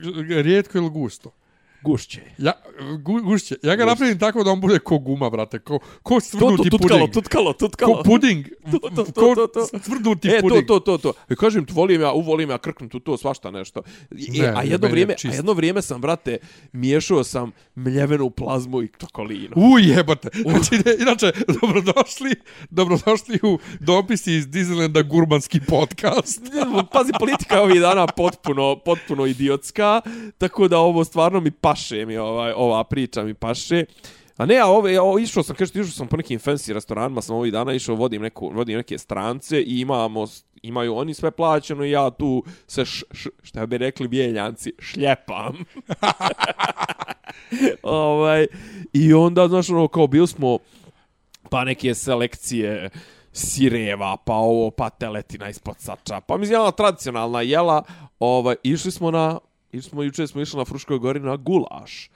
rijetko ili gusto.
Gušće.
Ja, gu, gušće. Ja ga napravim tako da on bude ko guma, brate. Ko, ko
To, to,
stvrdnuti
tutkalo,
puding.
tutkalo, tutkalo.
Ko puding.
To, to, to,
Ko
to, to.
stvrdnuti
E, to,
puding.
to, to, to. I kažem, tu volim ja, uvolim ja, krknem tu to, svašta nešto. I, e,
Ne,
a,
ne,
jedno
meni je
vrijeme, a
čist.
jedno vrijeme sam, brate, miješao sam mljevenu plazmu i čokolinu.
U jebote. Znači, ne, inače, dobrodošli, dobrodošli u dopisi iz Disneylanda gurmanski podcast.
Pazi, politika je ovih dana potpuno, potpuno idiotska, tako da ovo stvarno mi paše, mi ovaj, ova priča mi paše. A ne, a ove, ja, o, išao sam, kažete, išao sam po nekim fancy restoranima, sam ovih dana išao, vodim, neku, vodim neke strance i imamo, imaju oni sve plaćeno i ja tu se, š, š, šta bi rekli bijeljanci, šljepam. ovaj, I onda, znaš, ono, kao bili smo, pa neke selekcije sireva, pa ovo, pa teletina ispod sača, pa mislim, ona tradicionalna jela, ovaj, išli smo na, išli smo, juče smo išli na Fruškoj gori na gulaš.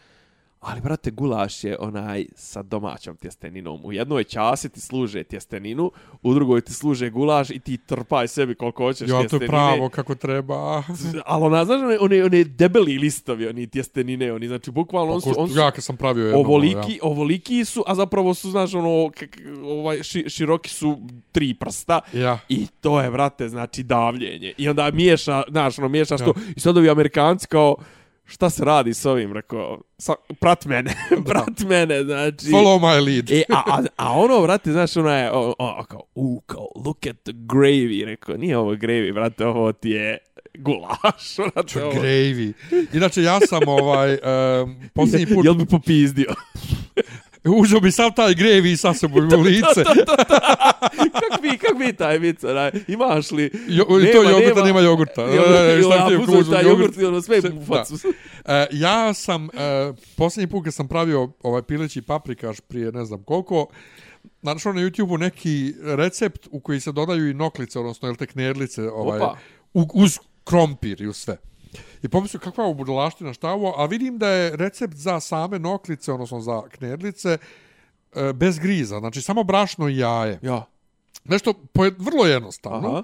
Ali, brate, gulaš je onaj sa domaćom tjesteninom. U jednoj časi ti služe tjesteninu, u drugoj ti služe gulaš i ti trpaj sebi koliko hoćeš
Jo, to
tjestenine.
je pravo kako treba.
Ali ona, znaš, one, one, one debeli listovi, oni tjestenine, oni, znači, bukvalno, on su,
Pa Ko,
on su,
ja kad sam pravio jedno.
ovoliki, ovoliki su, a zapravo su, znaš, ono, k- k- ovaj, ši, široki su tri prsta.
Ja. ja.
I to je, brate, znači davljenje. I onda miješa, znaš, ono, miješaš to. I sad ovi Amerikanci kao, šta se radi s ovim? Rekao, sa, prat mene, prat mene, znači...
Follow my lead.
E, a, a, a ono, brate, znaš, ono je, o, o, kao, u, kao, look at the gravy, rekao, nije ovo gravy, brate, ovo ti je gulaš, brate, ovo...
Gravy. Inače, ja sam ovaj, um, posljednji put
Jel bi popizdio?
uzeo bi sav taj gravy i sa sobom u lice.
kak bi, kak bi taj vic, onaj, imaš li?
Jo, to jogurta, nema jogurta.
Jel,
Pa, Ne, ne, ne, šta
ja
ti je
uzmem
kužno,
taj jogurt i ono sve
Sve-
mu u facu.
E, ja sam, e, posljednji put kad sam pravio ovaj pileći paprikaš prije ne znam koliko, našao na YouTube-u neki recept u koji se dodaju i noklice, odnosno jel te knedlice, ovaj,
Opa.
u, uz krompir i uz sve. I pomislio kakva je ovo budalaština, šta je ovo, a vidim da je recept za same noklice, odnosno za knedlice, e, bez griza, znači samo brašno i jaje.
Ja.
Nešto pojed, vrlo jednostavno.
Aha.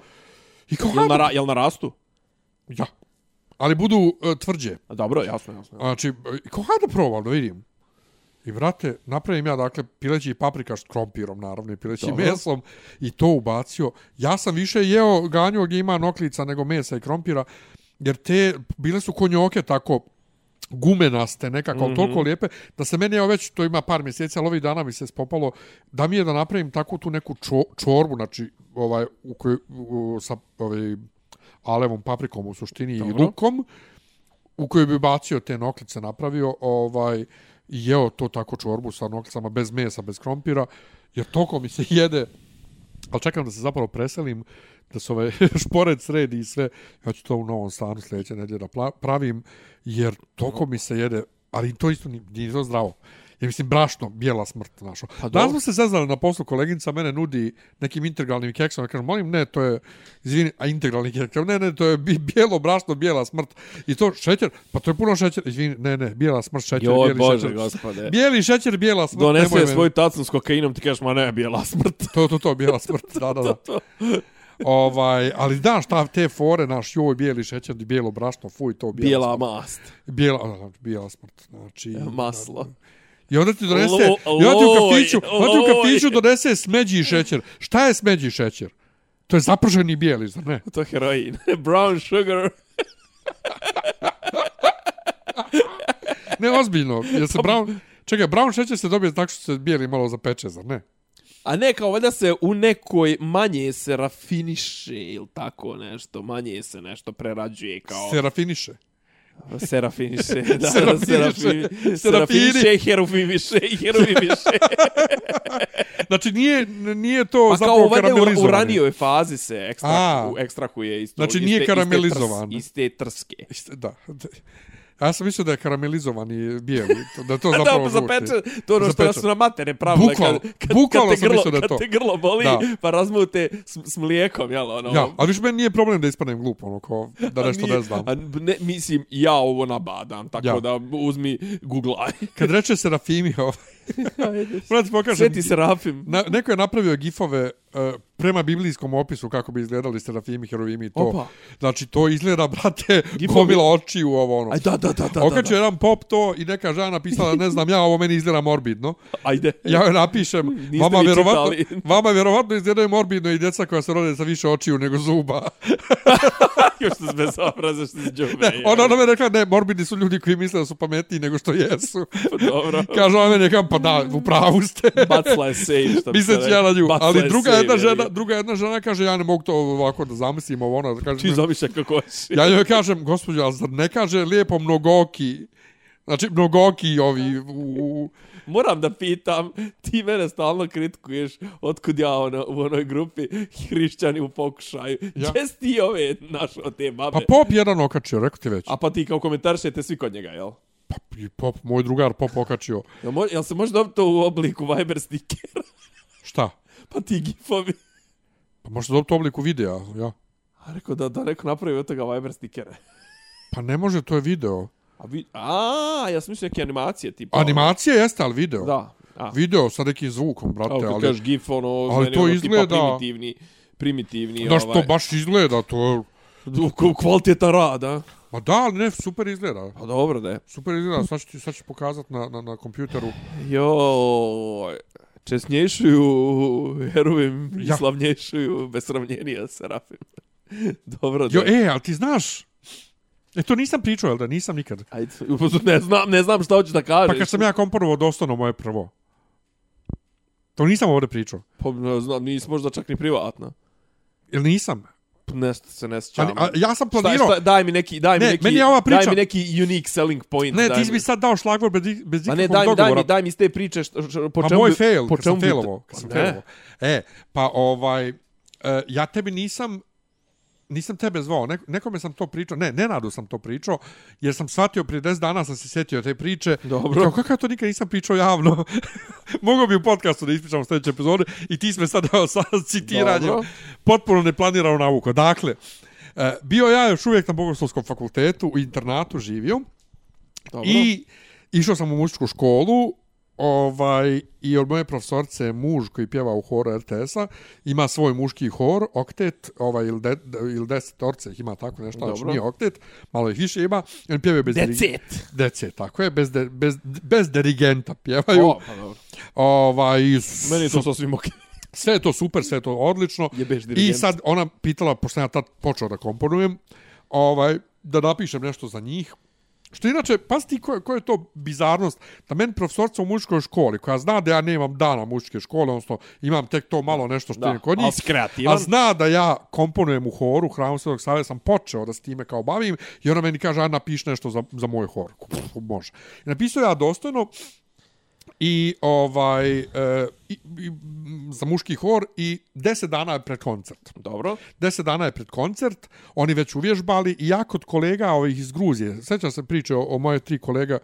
I kao,
Jel na,
hajde,
ra- jel na rastu?
ja. Ali budu e, tvrđe.
A dobro, jasno, jasno.
Znači, ko hajde probam da vidim. I vrate, napravim ja, dakle, pileći paprikaš s krompirom, naravno, i pileći
Dobro.
mesom, i to ubacio. Ja sam više jeo ganjog gdje ima noklica nego mesa i krompira, jer te, bile su konjoke tako, gumenaste nekako, mm -hmm. toliko lijepe, da se meni, evo već, to ima par mjeseci, ali ovih dana mi se spopalo, da mi je da napravim tako tu neku čo, čorbu, znači, ovaj, u kojoj, u, sa, ovaj, alevom paprikom u suštini
Dobro.
i lukom, u kojoj bi bacio te noklice napravio, ovaj, i jeo to tako čorbu sa noklicama, bez mesa, bez krompira, jer toliko mi se jede, ali čekam da se zapravo preselim, da se ovaj špored sredi i sve, ja ću to u novom stanu sljedeće nedlje da pla- pravim, jer toliko mi se jede, ali to isto ni- nije to zdravo. Ja mislim, brašno, bijela smrt našo. Pa
dobro.
Danas smo se zeznali na poslu, koleginica mene nudi nekim integralnim keksom, ja kažem, molim, ne, to je, izvini, a integralni keks, ne, ne, to je bi- bijelo brašno, bijela smrt, i to šećer, pa to je puno šećera, izvini, ne, ne, bijela smrt, šećer,
Joj,
bijeli
Bože,
šećer.
gospode.
Bijeli šećer, bijela smrt, nemoj
Donese
me-
svoju tacnu s kokainom, ti kažeš, ma ne, bijela smrt.
To, to, to, bijela smrt, da, da, da. ovaj, ali da, šta te fore, naš joj, bijeli šećer, bijelo brašno, fuj, to bijela,
Bijela E, mast,
bijela, bijela, bijela smrt, znači...
maslo.
I onda ti donese,
Lo-
i onda ti u
loj,
kafiću, onda ti u kafiću
loj.
donese smeđi šećer. Šta je smeđi šećer? To je zapraženi bijeli, zar ne?
To je heroin. Brown sugar.
Ne, ozbiljno, jer se brown... Čekaj, brown šećer se dobije tako što se bijeli malo zapeče, zar ne?
A ne, kao valjda se u nekoj manje se rafiniše ili tako nešto, manje se nešto prerađuje kao...
Se rafiniše.
Serafiniše, da,
Serafiniše.
serafiniše,
Serafini.
serafiniše, herufimiše, herufimiše.
Znači, nije, nije to
Pa kao
zapravo
valjda u, u
karamelizovanje.
ranijoj fazi se ekstrahu,
A.
ekstrahuje iz, tog,
Znači,
iz
nije
te- iz te trs-
karamelizovan.
Iz te trske.
Iste- Da. Ja sam mislio da je karamelizovani bijeli, to- da je to
Da, pa
zapravo
za peče,
žuti.
to je ono što
Zapečen.
nas su na matere pravile.
Bukvalno,
kad, kad,
bukvalno
kad te
sam
grlo,
mislio da je
kad
to.
te grlo boli,
Da.
pa razmute s, s mlijekom, jel, ono.
Ja, ali više meni nije problem da ispanem glup, ono, kao, da
a
nešto
nije-
ne znam.
A, ne, mislim, ja ovo nabadam, tako
Ja.
da uzmi googlaj.
Kad reče Serafimi, ovaj, moram ti pokažem,
Sveti Serafim.
na, neko je napravio gifove e, prema biblijskom opisu kako bi izgledali serafimi, herovimi i to.
Opa.
Znači, to izgleda, brate,
Gibovi.
gomila očiju ovo ono.
Aj, da, da, da, da.
Okačio
da.
jedan pop to i neka žena napisala, ne znam ja, ovo meni izgleda morbidno.
Ajde.
Ja joj napišem,
Niste
vama
vi
vjerovatno,
čitali.
vama vjerovatno izgledaju morbidno i djeca koja se rode sa više očiju nego zuba.
Još se bez obraza što se džume.
Ona ona Ono, me rekla, ne, morbidni su ljudi koji misle da su pametniji nego što jesu.
Pa Dobro.
Kaže ona meni, kao, pa da, u pravu ste.
Bacla je safe, što bi se
Misleći ja na nju.
Bacla je
Ali druga
safe,
jedna,
jebi ga.
žena, druga jedna žena kaže, ja ne mogu to ovako da zamislim, ovo ona, kaže,
Ti zamišlja kako hoćeš.
Ja joj kažem, gospođo, ali zar ne kaže lijepo mnogoki? Znači, mnogoki ovi... U, u,
Moram da pitam, ti mene stalno kritikuješ otkud ja ono, u onoj grupi hrišćani u pokušaju. Ja.
Ja.
Gdje si ti ove našo te babe?
pa pop jedan okačio, rekao ti već.
E. A pa ti kao komentaršete svi kod njega, jel?
Pa, i pop, moj drugar pop okačio.
Jel, mo, jel se može dobiti to u obliku Viber stikera?
Šta?
pa ti gifovi.
Pa možete dobiti u obliku videa, ja.
A rekao da, da neko napravi od toga Viber stikere.
Pa ne može, to je video.
A vi, a, ja sam mislio neke animacije tipa. ono.
Animacija jeste, ali video.
Da. A,
Video sa nekim zvukom, brate,
Kao kad
Pa ali...
kažeš gif, ono,
ali
meni
to
ono,
izgleda-
tipa primitivni, primitivni,
Da
ovaj,
što baš izgleda, to je...
baš... kvaliteta rada.
Ma da, ali ne, super izgleda.
Pa dobro da je.
Super izgleda, sad ću, ti- sad ću pokazat na, na, na kompjuteru.
Joj, česnješuju herovim i
Ja.
slavnješuju besravnjenija serafim. Dobro da
Jo,
je.
e, ali ti znaš... E, to nisam pričao, jel da? Nisam nikad.
Ajde, ne znam, ne znam šta hoću da kažeš.
Pa kad sam ja komponovao dostano moje prvo. To nisam ovdje pričao.
Pa, ne znam, nisi možda čak ni privatna.
Jel nisam?
P, Nešto se ne sjećam.
Ali, a, ja sam
Šta, je-
planirao...
šta, daj mi neki, daj mi
Ne,
neki,
meni je ova
daj
priča-
mi neki unique selling point.
Ne,
daj
ti
mi.
bi sad dao šlagvor bez, i- bez
Ma Pa ne,
ikakvog
daj mi, daj mi,
dogovora.
daj mi iz te priče što, što, po
pa
čemu
moj
bi-
fail,
po
kad sam
čemu bi-
failovo. Kad sam
Ne.
failovo. E, pa ovaj... e, ja tebi nisam nisam tebe zvao, Nek, nekome sam to pričao, ne, Nenadu sam to pričao, jer sam shvatio prije 10 dana sam se sjetio te priče.
Dobro.
I Kao, kako ja to nikad nisam pričao javno? Mogao bi u podcastu da ispričam u sljedećoj epizodi i ti sme sad evo, sa citiranjem
Dobro.
potpuno neplanirano navuko. Dakle, e, bio ja još uvijek na Bogoslovskom fakultetu, u internatu živio
Dobro.
i išao sam u muzičku školu ovaj, i od moje profesorce je muž koji pjeva u horu RTS-a, ima svoj muški hor, oktet, ovaj, ili, de, ili deset orce, ih ima tako nešto, znači
Dobro.
nije oktet, malo ih više ima, i oni pjevaju bez diri-
Decet.
Dece, tako je, bez, de, bez, bez dirigenta pjevaju.
O, pa dobro.
Ovaj,
Meni je to sasvim okej.
sve je to super, sve je to odlično.
Jebeš
I
dirigent.
sad ona pitala, pošto sam ja tad počeo da komponujem, ovaj, da napišem nešto za njih. Što inače, pazi ti koja ko je to bizarnost, da meni profesorca u muškoj školi, koja zna da ja nemam dana muške škole, odnosno imam tek to malo nešto što
Da,
je kod
ali
njih,
si kreativan.
a zna da ja komponujem u horu, Hramu Svetog Save, sam počeo da s time kao bavim, i ona meni kaže, a napiši nešto za, za moj hor. Pff, može. I napisao ja dostojno, i ovaj e, i, i, m, za muški hor i 10 dana je pred koncert.
Dobro.
10 dana je pred koncert, oni već uvježbali i ja kod kolega ovih iz Gruzije, sećam se priče o, o moje tri kolega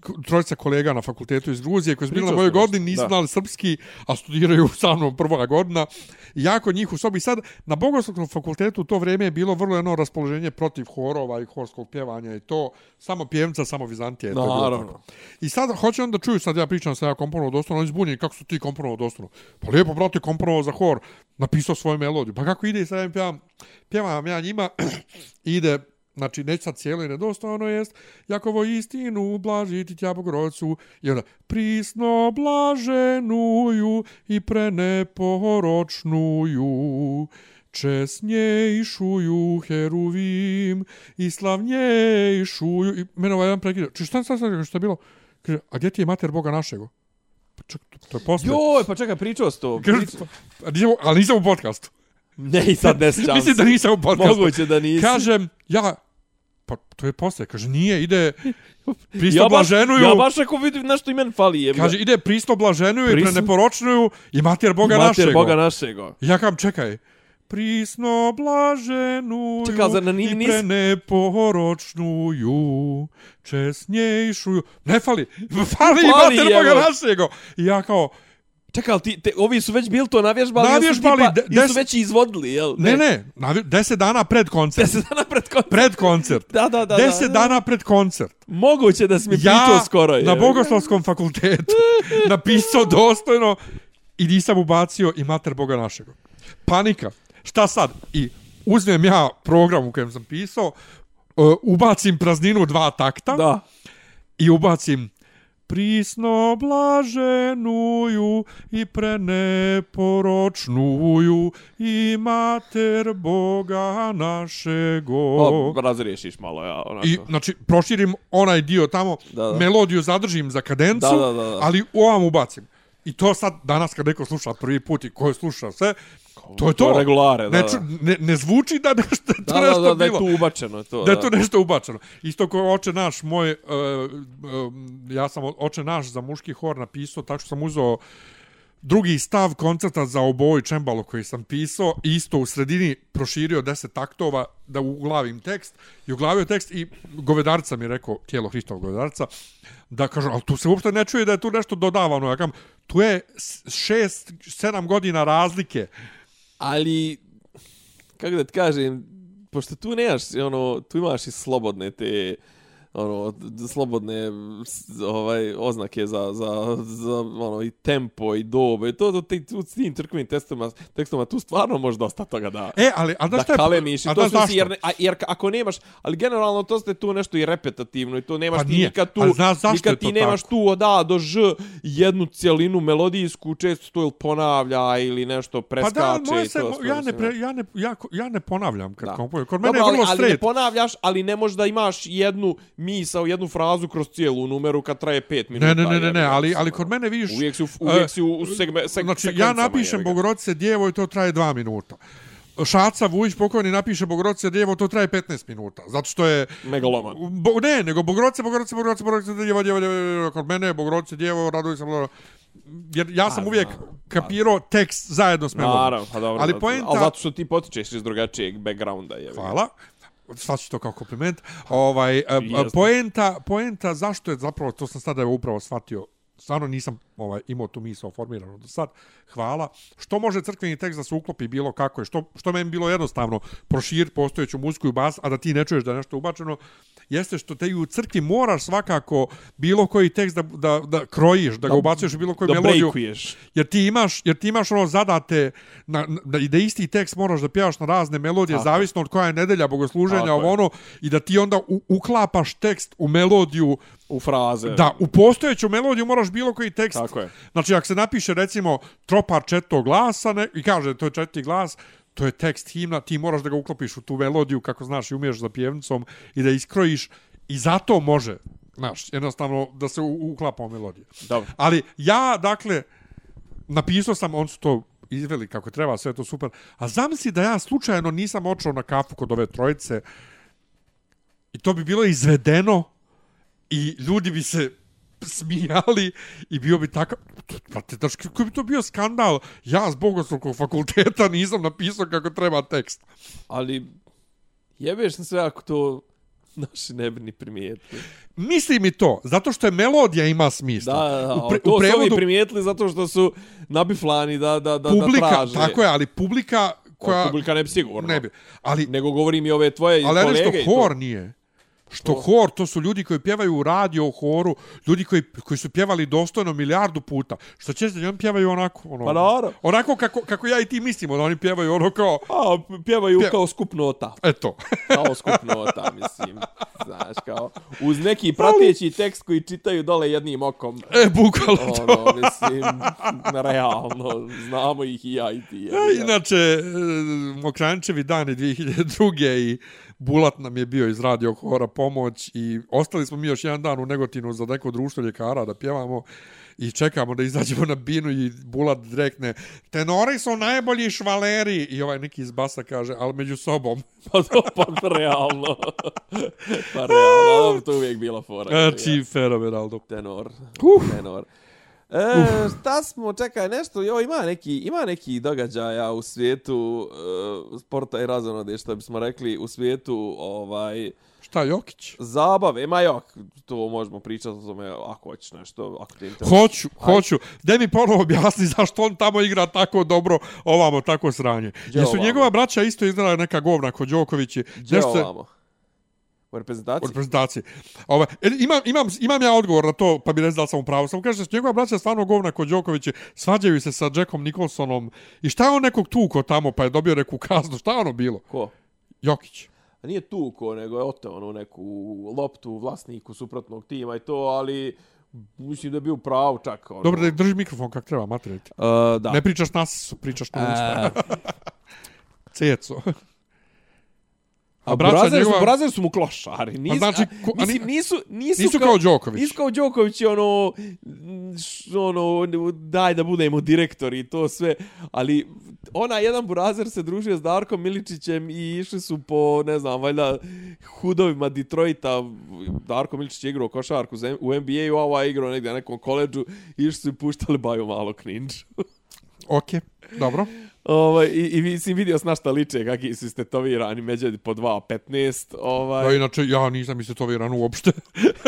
k- trojica kolega na fakultetu iz Gruzije koji su bili na
Pričao
mojoj
sam nešto,
godini, nisu
da.
znali srpski, a studiraju sa mnom prva godina. I ja kod njih u sobi. Sad, na Bogoslovnom fakultetu u to vrijeme je bilo vrlo jedno raspoloženje protiv horova i horskog pjevanja i to. Samo pjevnica, samo Vizantija. je to bilo
Naravno.
tako. I sad hoće on da čuju, sad ja pričam sa ja komponovao dostano, on je zbunjen, kako su ti komponovao dostano? Pa lijepo, brate, komponovao za hor, napisao svoju melodiju. Pa kako ide i sad ja im pjevam, pjevam ja njima, ide, znači neću sad cijelo i nedostojno jest, Jakovo istinu blaži ti tja Bogorocu, i onda prisno blaženuju i preneporočnuju, česnjejšuju heruvim i slavnjejšuju. I mene ovaj jedan prekida. Či šta sad sad što je bilo? Kaže, a gdje ti je mater Boga našego? Pa ček, to, to je posle.
Joj, pa čekaj, pričao si to.
Kaže,
Prič-
pa, a nisam, ali nisam u podcastu.
Ne, i sad ne sjećam
Mislim da ono
se.
nisam u podcastu.
Moguće da nisi.
Kažem, ja, pa to je posle. Kaže, nije, ide pristo
ja baš,
blaženuju.
ja baš ako vidim nešto i meni fali jebe.
Kaže, ide pristo blaženuju i
Prisno-
preneporočnuju i mater Boga
Mater
našego.
Boga našego.
Ja kam, čekaj. Prisno blaženuju
Čekaj, ali zar na ni-
i
nis-
preneporočnuju, česnjejšuju. Ne fali, fali,
Fali,
fali mater Boga
evo.
našego. I ja kao,
Čekaj, ali ti, te, ovi su već bili to navježbali,
Navježbali,
jesu,
de-
tipa, jesu
des-
već i izvodili, jel?
ne, ne, navi- deset dana pred koncert.
Deset dana pred koncert.
Pred koncert.
Da, da, da.
deset
da, da.
dana pred koncert.
Moguće da si mi
Ja
pričao skoro.
na
jebe.
Bogoslovskom fakultetu napisao dostojno i nisam ubacio i mater Boga našega. panika. Šta sad? I uzmem ja program u kojem sam pisao, e, ubacim prazninu dva takta
Da.
i ubacim prisno blaženuju i preneporočnuju i mater Boga našego.
O, razriješiš malo, ja, onako.
I, znači, proširim onaj dio tamo,
Da, da.
melodiju zadržim za kadencu,
Da, da, da, da.
ali ovam ubacim. I to sad, danas kad neko sluša prvi put i ko je sluša sve, to je to.
to regulare, da,
ne, ču- ne, ne zvuči da nešto, da, to
da, da,
nešto
da, da je
bilo.
tu ubačeno je to.
Da je to nešto ubačeno. Isto kao oče naš, moj, uh, uh, ja sam oče naš za muški hor napisao, tako što sam uzeo drugi stav koncerta za oboj čembalo koji sam pisao, i isto u sredini proširio 10 taktova da uglavim tekst i uglavio tekst i govedarca mi je rekao, tijelo Hristovog govedarca, da kažu, ali tu se uopšte ne čuje da je tu nešto dodavano. Ja kam, tu je 6-7 godina razlike.
Ali, kako da ti kažem, pošto tu nemaš, ono, tu imaš i slobodne te ono d- slobodne s- ovaj oznake za za za ono i tempo i dobe to to ti tu s tim crkvenim testovima tekstovima tu stvarno može dosta toga da
E, ali, a znaš
da
šta je-
kalemiš i
a
to
znaš
su si,
zašto?
jer, ne- a, jer ka- ako nemaš, ali generalno to ste tu nešto i repetativno i to nemaš
Pa
ti
nije.
nikad tu,
A znaš zašto je
nikad
to
ti nemaš
tako?
tu od A do Ž jednu cjelinu melodijsku, često to ili ponavlja ili nešto
Pa
preskače.
da,
i
moje
to
se,
sve,
ja ne,
mislim,
pre, ja, ne, ja, ko- ja ne ponavljam kad
Da.
komponujem. Kod mene
Dobro,
je
ali,
vrlo
ali ne
straight.
ponavljaš, ali ne možeš da imaš jednu misao, jednu frazu kroz cijelu numeru kad traje pet minuta.
Ne, ne, ne, ne,
jebi
ne,
ga,
ali,
mislim,
ali kod
ono.
mene vidiš...
Uvijek si u,
e,
uvijek si u, u segme, seg,
Znači, ja
sekvencama,
napišem
jebi ga.
Bogorodice djevo i to traje 2 minuta. Šaca Vujić pokojni napiše Bogorodice djevo, to traje 15 minuta. Zato što je...
Megaloman.
Bo, ne, nego Bogorodice, Bogorodice, Bogorodice, Bogorodice, djevo, djevo, djevo, djevo, kod mene je Bogorodice djevo, raduj sam, bla, bla. Jer ja sam
A,
uvijek
znam.
kapirao tekst zajedno s melodijom.
pa Naravno, pa dobro.
Ali
zato-
poenta-
Ali zato što ti potičeš iz drugačijeg backgrounda, je.
Hvala. Sad ću to kao kompliment. Ovaj, a, a,
Jasno.
poenta, poenta zašto je zapravo, to sam sada evo upravo shvatio, stvarno nisam ovaj, imao tu misao formirano do sad, hvala. Što može crkveni tekst da se uklopi bilo kako je, što, što meni bilo jednostavno, prošir postojeću muziku i bas, a da ti ne čuješ da je nešto ubačeno, jeste što te i u crkvi moraš svakako bilo koji tekst da, da, da krojiš, da ga ubacuješ u bilo koju
Da
melodiju.
breakuješ.
Jer ti imaš, jer ti imaš ono zadate na, na, i da isti tekst moraš da pjevaš na razne melodije,
Tako je.
zavisno od koja je nedelja
Tako
bogosluženja,
je.
ovo ono, i da ti onda u, uklapaš tekst u melodiju,
U fraze.
da u postojeću melodiju moraš bilo koji tekst.
Tako je.
Znači, ako se napiše recimo tropar četog glasa ne, i kaže to je četiri glas, to je tekst himna, ti moraš da ga uklopiš u tu melodiju kako znaš i umiješ za pjevnicom i da iskrojiš i zato može, znaš, jednostavno da se u- uklapa u melodiju.
Dobro.
Ali ja, dakle, napisao sam, on su to izveli kako treba, sve je to super. A zamisli da ja slučajno nisam očao na kafu kod ove trojice i to bi bilo izvedeno i ljudi bi se smijali i bio bi takav... Pa te, znaš, koji bi to bio skandal? Ja s bogoslovkog fakulteta nisam napisao kako treba tekst.
Ali jebeš na sve ako to naši ne bi ni primijetili.
Misli mi to, zato što je melodija ima
Da,
smisla.
da, da.
u, pre,
to
u
su
prevodu
ovi primijetili zato što su nabiflani da, da, da,
publika,
da traže.
tako je, ali publika koja...
Koja... Publika ne bi sigurno.
ne bi. Ali
Nego govorim i ove tvoje i
Ali ja
kolege.
nešto
i to.
hor nije. Što hor, to su ljudi koji pjevaju u radio horu, ljudi koji, koji su pjevali dostojno milijardu puta. Što će da oni pjevaju onako, ono,
Pa naravno.
onako kako, kako ja i ti mislimo, da oni pjevaju ono kao,
A, pjevaju
Pje-
kao skupnota.
eto.
Kao skupnota, mislim. Znaš, kao... Uz neki prateći tekst koji čitaju dole jednim okom.
E, bukvalno to.
Ono, mislim, realno, znamo ih i ja i ti. jebi ga.
Inače, e, Mokrančevi dan je 2002. i Bulat nam je bio iz radio hora pomoć i ostali smo mi još jedan dan u Negotinu za neko društvo ljekara da pjevamo i čekamo da izađemo na binu i Bulat rekne tenori su najbolji švaleri i ovaj neki iz basa kaže ali među sobom
Pa to, pa realno. Pa realno, ali dobro, to Pa je uvijek bila fora.
znači fenomenalno
Tenor.
Uf.
Tenor. E, šta smo, čekaj, nešto, jo, ima neki, ima neki događaja u svijetu e, sporta i razonode, što bismo rekli, u svijetu ovaj
šta Jokić?
zabave, ma jok, to možemo pričati o tome, ako hoćeš nešto, ako te interesuje.
Hoću, hoću. Daj mi ponovo objasni zašto on tamo igra tako dobro, ovamo tako sranje.
Gdje
Jesu
ovamo?
njegova braća isto igrala neka govna kod Đoković? i
Gdje
nešto se-
ovamo? U reprezentaciji?
u reprezentaciji. Ovaj, e, imam, imam, imam ja odgovor na to, pa bi ne znao sam u pravu. Samo kaže, njegova braća stvarno govna kod Đokovića, svađaju se sa Jackom Nicholsonom i šta je on nekog tuko tamo pa je dobio neku kaznu, šta je ono bilo?
Ko?
Jokić.
A Pa nije tuko, nego je oteo ono neku loptu vlasniku suprotnog tima i to, ali mislim da je bio prav čak. Ono.
Dobro, da drži mikrofon kako treba, materijaliti.
Uh, da.
Ne pričaš nas, pričaš na usta. Ceco.
A
braća
brazer, njegova...
njegova-
brazer su mu klošari. Nis,
A znači, ko- a ni-
mislim, nisu, nisu,
nisu kao Đoković.
Nisu kao Đoković, i ono, š- ono, daj da budemo direktori i to sve. Ali ona jedan burazer se družio s Darkom Miličićem i išli su po, ne znam, valjda hudovima Detroita. Darko Miličić je igrao košarku za- u NBA-u, a ova je igrao negdje na nekom koleđu. Išli su i puštali baju malo kninđu.
Ok, dobro.
Ovaj, i, i mislim, vidio sam na šta liče, kakvi su istetovirani, među po 2.15. Ovaj.
Da, inače, ja nisam istetoviran uopšte.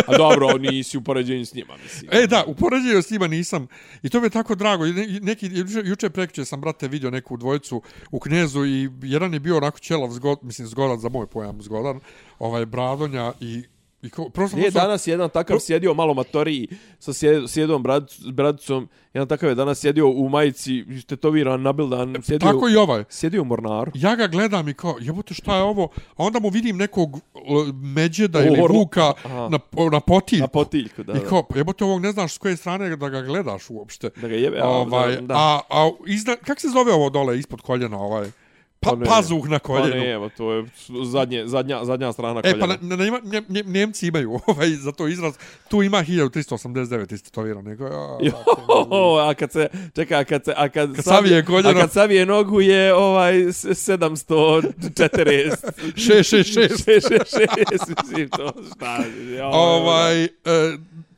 A dobro, nisi u poređenju s njima, mislim.
E, da, upoređio s njima nisam. I to mi je tako drago. I ne- i Neki, juče, juče prekće sam, brate, vidio neku dvojicu u Knezu i jedan je bio onako ćelav, zgod, mislim, zgodan, za moj pojam zgodan, ovaj, bradonja i... i kao, prosto,
Nije danas jedan takav sjedio malo matoriji sa sjed- sjedom brad, bradicom. Jedan takav je danas sjedio u majici, istetoviran, nabildan, sjedio,
Tako i ovaj.
sjedio u mornaru.
Ja ga gledam i kao, jebote, šta je ovo? A onda mu vidim nekog l, međeda ili
Orla.
vuka
Aha.
na, na potilj.
Na potiljku, da.
I
da.
kao, pa jebote, ovog ne znaš s koje strane da ga gledaš uopšte.
Da ga jebe, a,
ovaj,
da, da.
A, a izna, kak se zove ovo dole ispod koljena ovaj? Pa,
Pa ne.
pazuh na
Pa
koljenu.
ne, evo, to je zadnje, zadnja, zadnja strana
E, pa
koljena.
na, na, na, nje, nje, Njemci imaju ovaj, za to izraz. Tu ima 1389 istetovirane. Ja,
Jo, a kad se, čekaj, a kad se, a kad,
Kad savije koljeno.
a kad savije nogu je ovaj s- 740.
666.
666, mislim, to šta, jo,
ovaj, e,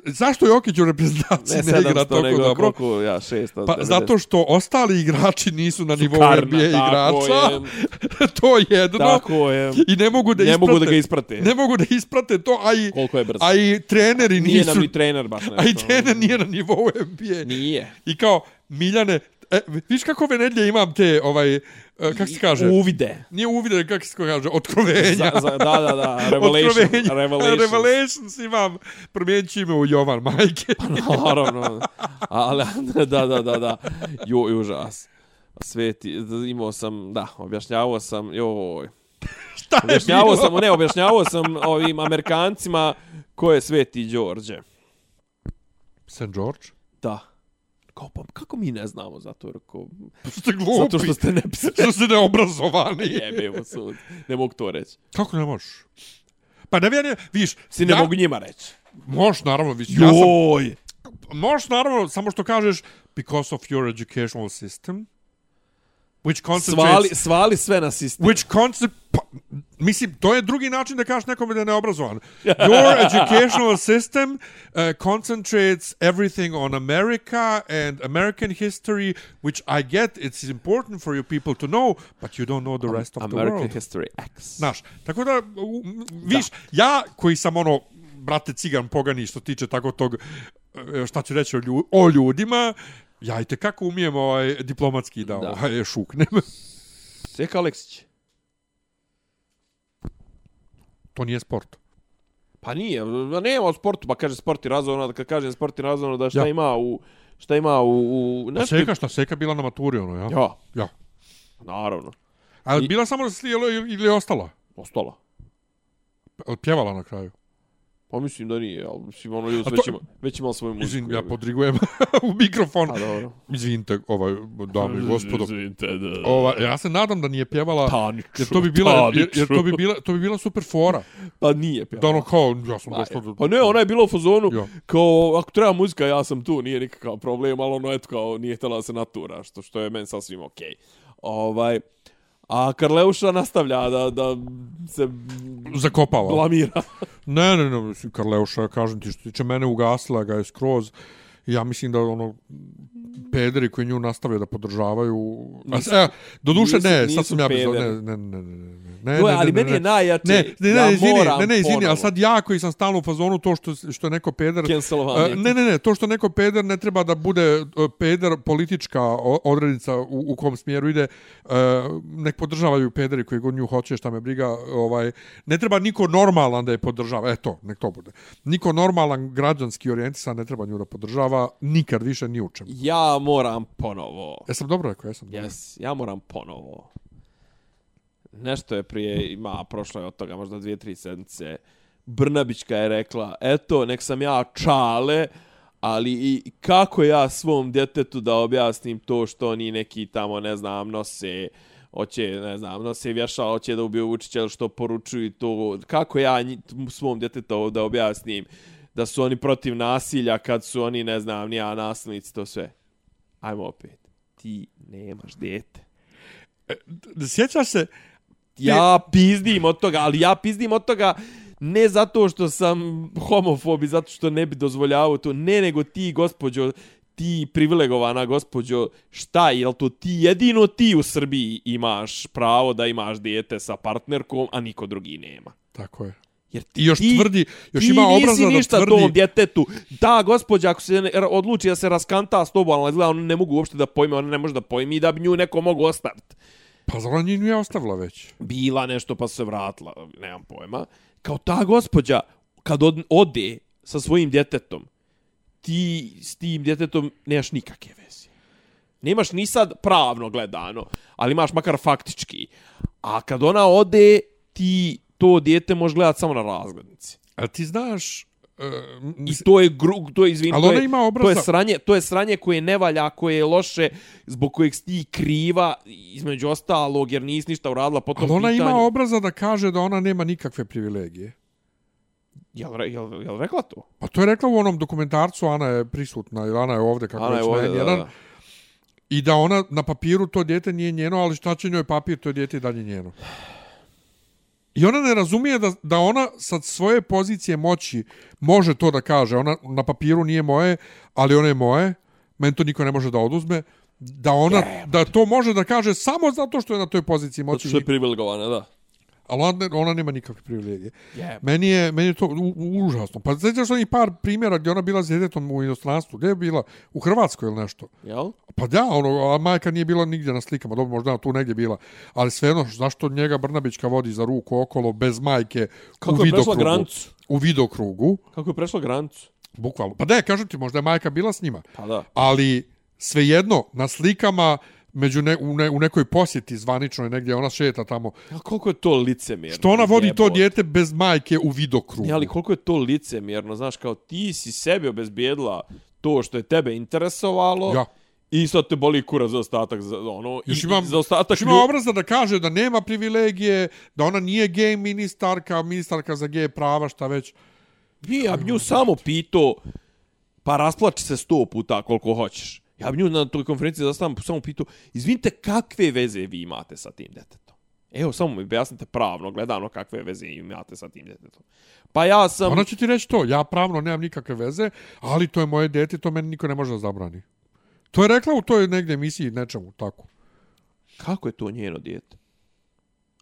zašto Jokić u reprezentaciji ne, igra toliko
nego
dobro?
Koliko, ja, 600.
Pa zato što ostali igrači nisu na nivou
karna,
NBA
tako
igrača. to je jedno.
Tako je.
I ne mogu da
Ne
isprate.
mogu da ga isprate.
Ne mogu da isprate to, a i,
Koliko je brzo.
a i treneri
Nije
nisu...
nam ni trener baš nešto. ono.
a i trener nije na nivou NBA.
Nije.
I kao, Miljane, e, viš kako ove nedlje imam te, ovaj, e, kako se kaže?
Uvide.
Nije uvide, kako se kaže, otkrovenja.
Za, za, da, da, da, Revelation.
Otkrovenja.
Revelation.
Revelations imam. Promijenit ću ime u Jovan, majke.
Pa Naravno. Ali, da, da, da, da. Jo, jo, užas. Sveti, imao sam, da, objašnjavao sam, joj.
Šta je
Objašnjavao
bilo?
sam, ne, objašnjavao sam ovim Amerikancima ko je Sveti Đorđe.
St. George?
Da. Kao, pa kako mi ne znamo za to? Rekao,
Pa Ste glupi.
zato što ste ne pisali.
što ste neobrazovani.
Jebemo sud. Ne mogu to reći.
Kako ne možeš? Pa ne vjerujem, viš,
Si ne
ja,
mogu njima reći.
Možeš naravno, viš, ja sam
Joj!
Možeš naravno, samo što kažeš because of your educational system which concentrates
Svali, svali sve na sistem.
which concept pa, mislim to je drugi način da kažeš nekome da je neobrazovan. Your educational system uh, concentrates everything on America and American history which I get it's important for you people to know but you don't know the rest of the
American
world.
History X.
Znaš, tako da, u- m, viš, ja koji sam ono, brate cigan pogani što tiče tako tog, e, šta ću reći o, lju, o ljudima, ja i tekako umijem ovaj, diplomatski da,
Da.
Ovaj, šuknem.
Sjeka Aleksić.
to nije sport.
Pa nije, ma nema o sportu, pa kaže sport i razvojno, da kad kažem sport i razvojno, da šta
Ja.
ima u... Šta ima u... u
A
nešto...
seka, šta seka bila na maturi, ono, ja?
Pa Ja,
Ja.
naravno.
A
I-
bila samo da se slijelo ili ili je ostala?
Ostala.
Jel Pjevala na kraju.
Pa mislim da nije, ali mislim ono ljudi
A to-
već, ima, već imali svoju muziku.
Izvin, ja podrigujem u mikrofon.
A dobro.
Izvinite, ovaj, dame i gospodo.
Izvinite, da.
Ova, ja se nadam da nije pjevala,
Taniću,
jer to bi bila,
pa,
jer, jer to bi
Taniću.
bila, to bi bila super fora.
Pa nije pjeva.
Da ono kao, ja sam
Pa,
došla do...
pa ne, ona je bila u fazonu,
Ja.
kao, ako treba muzika, ja sam tu, nije nikakav problem, ali ono, eto, kao, nije htjela da se natura, što, što je meni sasvim okej. Ovaj, a Karleuša nastavlja da, da se
Zakopava.
blamira.
Ne, ne, ne, mislim, Karleuša, kažem ti, što se tiče mene, ugasila ga je skroz. Ja mislim da ono, pederi koji nju nastavljaju da podržavaju... Nisu, e, doduše
nisu-
ne,
nisu
sad sam ja bez...
pederi.
Ne, ne, ne, ne, ne, ne. Ne,
Gle,
ne, ne, ne,
ali meni
ne.
je najjače.
Ne, ne,
Znači, ja
ne, izvini,
moram
ne, ne, izvini,
ponovo.
ali sad ja koji sam stalno u fazonu to što, što je neko peder...
Cancelovanje.
E, ne, ne, ne, to što neko peder ne treba da bude e, peder politička o- odrednica u, u kom smjeru ide, e, nek podržavaju pederi koji god nju hoće, šta me briga, ovaj, ne treba niko normalan da je podržava, eto, nek to bude. Niko normalan građanski orijentisan ne treba nju da podržava, nikad više ni u čemu.
Ja moram ponovo.
Jesam dobro rekao, jesam dobro.
Yes, ja moram ponovo. Nešto je prije, ima, prošlo je od toga možda dvije, tri sedmice. Brnabićka je rekla, eto, nek sam ja čale, ali i kako ja svom djetetu da objasnim to što oni neki tamo, ne znam, nose hoće, ne znam, nose vješala, hoće da ubiju Vučića ili što poručuju to, kako ja nji- svom djetetu da objasnim da su oni protiv nasilja kad su oni, ne znam, nija nasilnici, to sve. Ajmo opet ti nemaš dijete.
Sjećaš se,
Ja pizdim od toga, ali ja pizdim od toga ne zato što sam homofob i zato što ne bi dozvoljavao to, ne nego ti gospođo, ti privilegovana gospođo, šta, jel to ti jedino ti u Srbiji imaš pravo da imaš dijete sa partnerkom, a niko drugi nema.
tako je.
Jer ti,
I još
ti,
tvrdi, još
ti
ima
nisi
obraza da
ništa
tvrdi...
tom djetetu. Da, gospođa, ako se ne, odluči da se raskanta s tobom, ali izgleda, ona ne mogu uopšte da pojme, ona ne može da pojmi da bi nju neko mogu ostaviti.
Pa zar ona nju nije ostavila već?
bila nešto pa se vratila, nemam pojma. Kao ta gospođa, kad od, ode sa svojim djetetom, ti s tim djetetom nemaš nikakve veze. Nemaš ni sad pravno gledano, ali imaš makar faktički. A kad ona ode, ti to dijete možeš gledati samo na razglednici.
A ti znaš... e,
I to je gru, to je izvin,
Ali
to
ona
je,
ima obraza.
to je sranje, to je sranje koje ne valja, koje je loše, zbog kojeg si ti kriva, između ostalog, jer nisi ništa uradila po tom
Ali ona
pitanju.
ima obraza da kaže da ona nema nikakve privilegije.
Jel, re- jel, jel rekla to?
Pa to je rekla u onom dokumentarcu, Ana je prisutna, ili Ana je ovdje, kako
Ana je
već
ovdje,
na
da,
N1,
da.
I da ona na papiru to dijete nije njeno, ali šta će njoj papir, to je dijete i dalje njeno. I ona ne razumije da, da ona sa svoje pozicije moći može to da kaže. Ona na papiru nije moje, ali ono je moje. Meni to niko ne može da oduzme. Da ona, da to može da kaže samo zato što je na toj poziciji moći.
Zato što je privilegovana, da.
Ali ona, ona nema nikakve privilegije.
Jebe.
Meni je, meni je to u, u, užasno. Pa sjećaš onih par primjera gdje ona bila s djetetom u inostranstvu? Gdje je bila? U Hrvatskoj ili nešto?
Jel?
Pa da, ono, a majka nije bila nigdje na slikama, dobro, možda je tu negdje bila. Ali svejedno, zašto njega Brnabićka vodi za ruku okolo bez majke
Kako
u
je prešla
vidokrugu?
granicu?
U vidokrugu,
Kako je prešla granicu?
bukvalno. Pa ne, kažem ti, možda je majka bila s njima.
Pa da.
Ali svejedno, na slikama, među ne, u, ne, u nekoj posjeti zvaničnoj negdje, ona šeta tamo.
A koliko je to licemjerno?
Što ona vodi to
jebote?
dijete bez majke u vidokrugu?
Ne, ali koliko je to licemjerno, znaš, kao ti si sebi obezbijedila to što je tebe interesovalo.
Ja.
I sad te boli kurac za ostatak, za ono,
Još
i,
imam,
i za ostatak
još ima
lju-
obraza da kaže da nema privilegije, da ona nije gej ministarka, ministarka za gej prava, šta već.
Nije, ja bi nju samo pitao, pa rasplači se sto puta koliko hoćeš. Ja bi nju na toj konferenciji za stampu samo pitao, izvinite, kakve veze vi imate sa tim detetom? Evo, samo mi objasnite pravno, gledano kakve veze imate sa tim detetom. Pa ja sam...
Ona će ti reći to, ja pravno nemam nikakve veze, ali to je moje dete, to meni niko ne može da zabrani. To je rekla u toj negdje emisiji nečemu, tako.
Kako je to njeno dijete?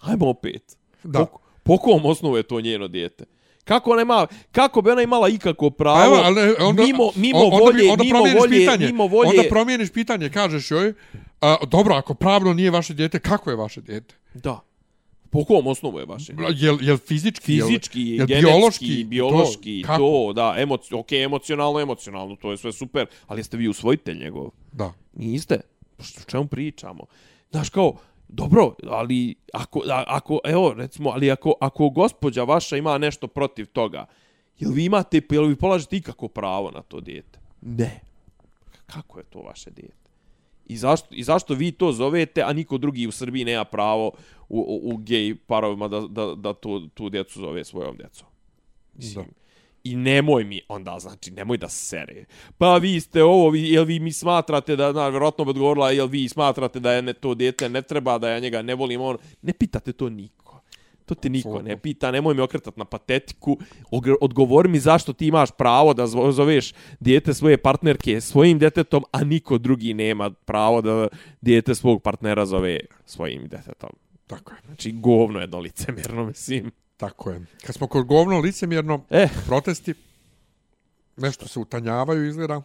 Hajmo opet.
Da.
Po, po kom osnovu je to njeno dijete? Kako ona ima, kako bi ona imala ikako pravo
A Pa ali
mimo, mimo
on-
volje,
bi-
mimo
promijeniš
volje,
pitanje,
mimo volje,
Onda promijeniš pitanje, kažeš joj, a, dobro, ako pravno nije vaše dijete, kako je vaše dijete?
da. Po kom osnovu je vaše?
Jel, jel fizički? jel-
fizički,
jel
genetski,
biološki,
biološki,
to,
biološki to,
kako?
to da, emoci, ok, emocionalno, emocionalno, to je sve super, ali jeste vi usvojitelj njegov?
Da.
Niste? Pa Što, čemu pričamo? Znaš, kao, dobro, ali ako, a, ako evo, recimo, ali ako, ako gospođa vaša ima nešto protiv toga, jel vi imate, jel vi polažete ikako pravo na to dijete? Ne. Kako je to vaše dijete? I zašto, I zašto vi to zovete, a niko drugi u Srbiji nema pravo u, u, u gej parovima da, da, da tu, tu djecu zove svojom djecom? Mislim,
Da.
I nemoj mi onda, znači, nemoj da sere. Pa vi ste ovo, vi, jel vi mi smatrate da, na, vjerojatno bi odgovorila, jel vi smatrate da je ne, to dijete ne treba, da ja njega ne volim, on, ne pitate to niko. To te niko ne pita, nemoj mi okretat na patetiku, Ogr- odgovori mi zašto ti imaš pravo da zvo- zoveš dijete svoje partnerke svojim djetetom, a niko drugi nema pravo da dijete svog partnera zove svojim djetetom.
Tako je,
Znači, govno jedno licemjerno, mislim.
tako je. Kad smo kod govno licemjerno,
Eh.
protesti, nešto se utanjavaju izgleda.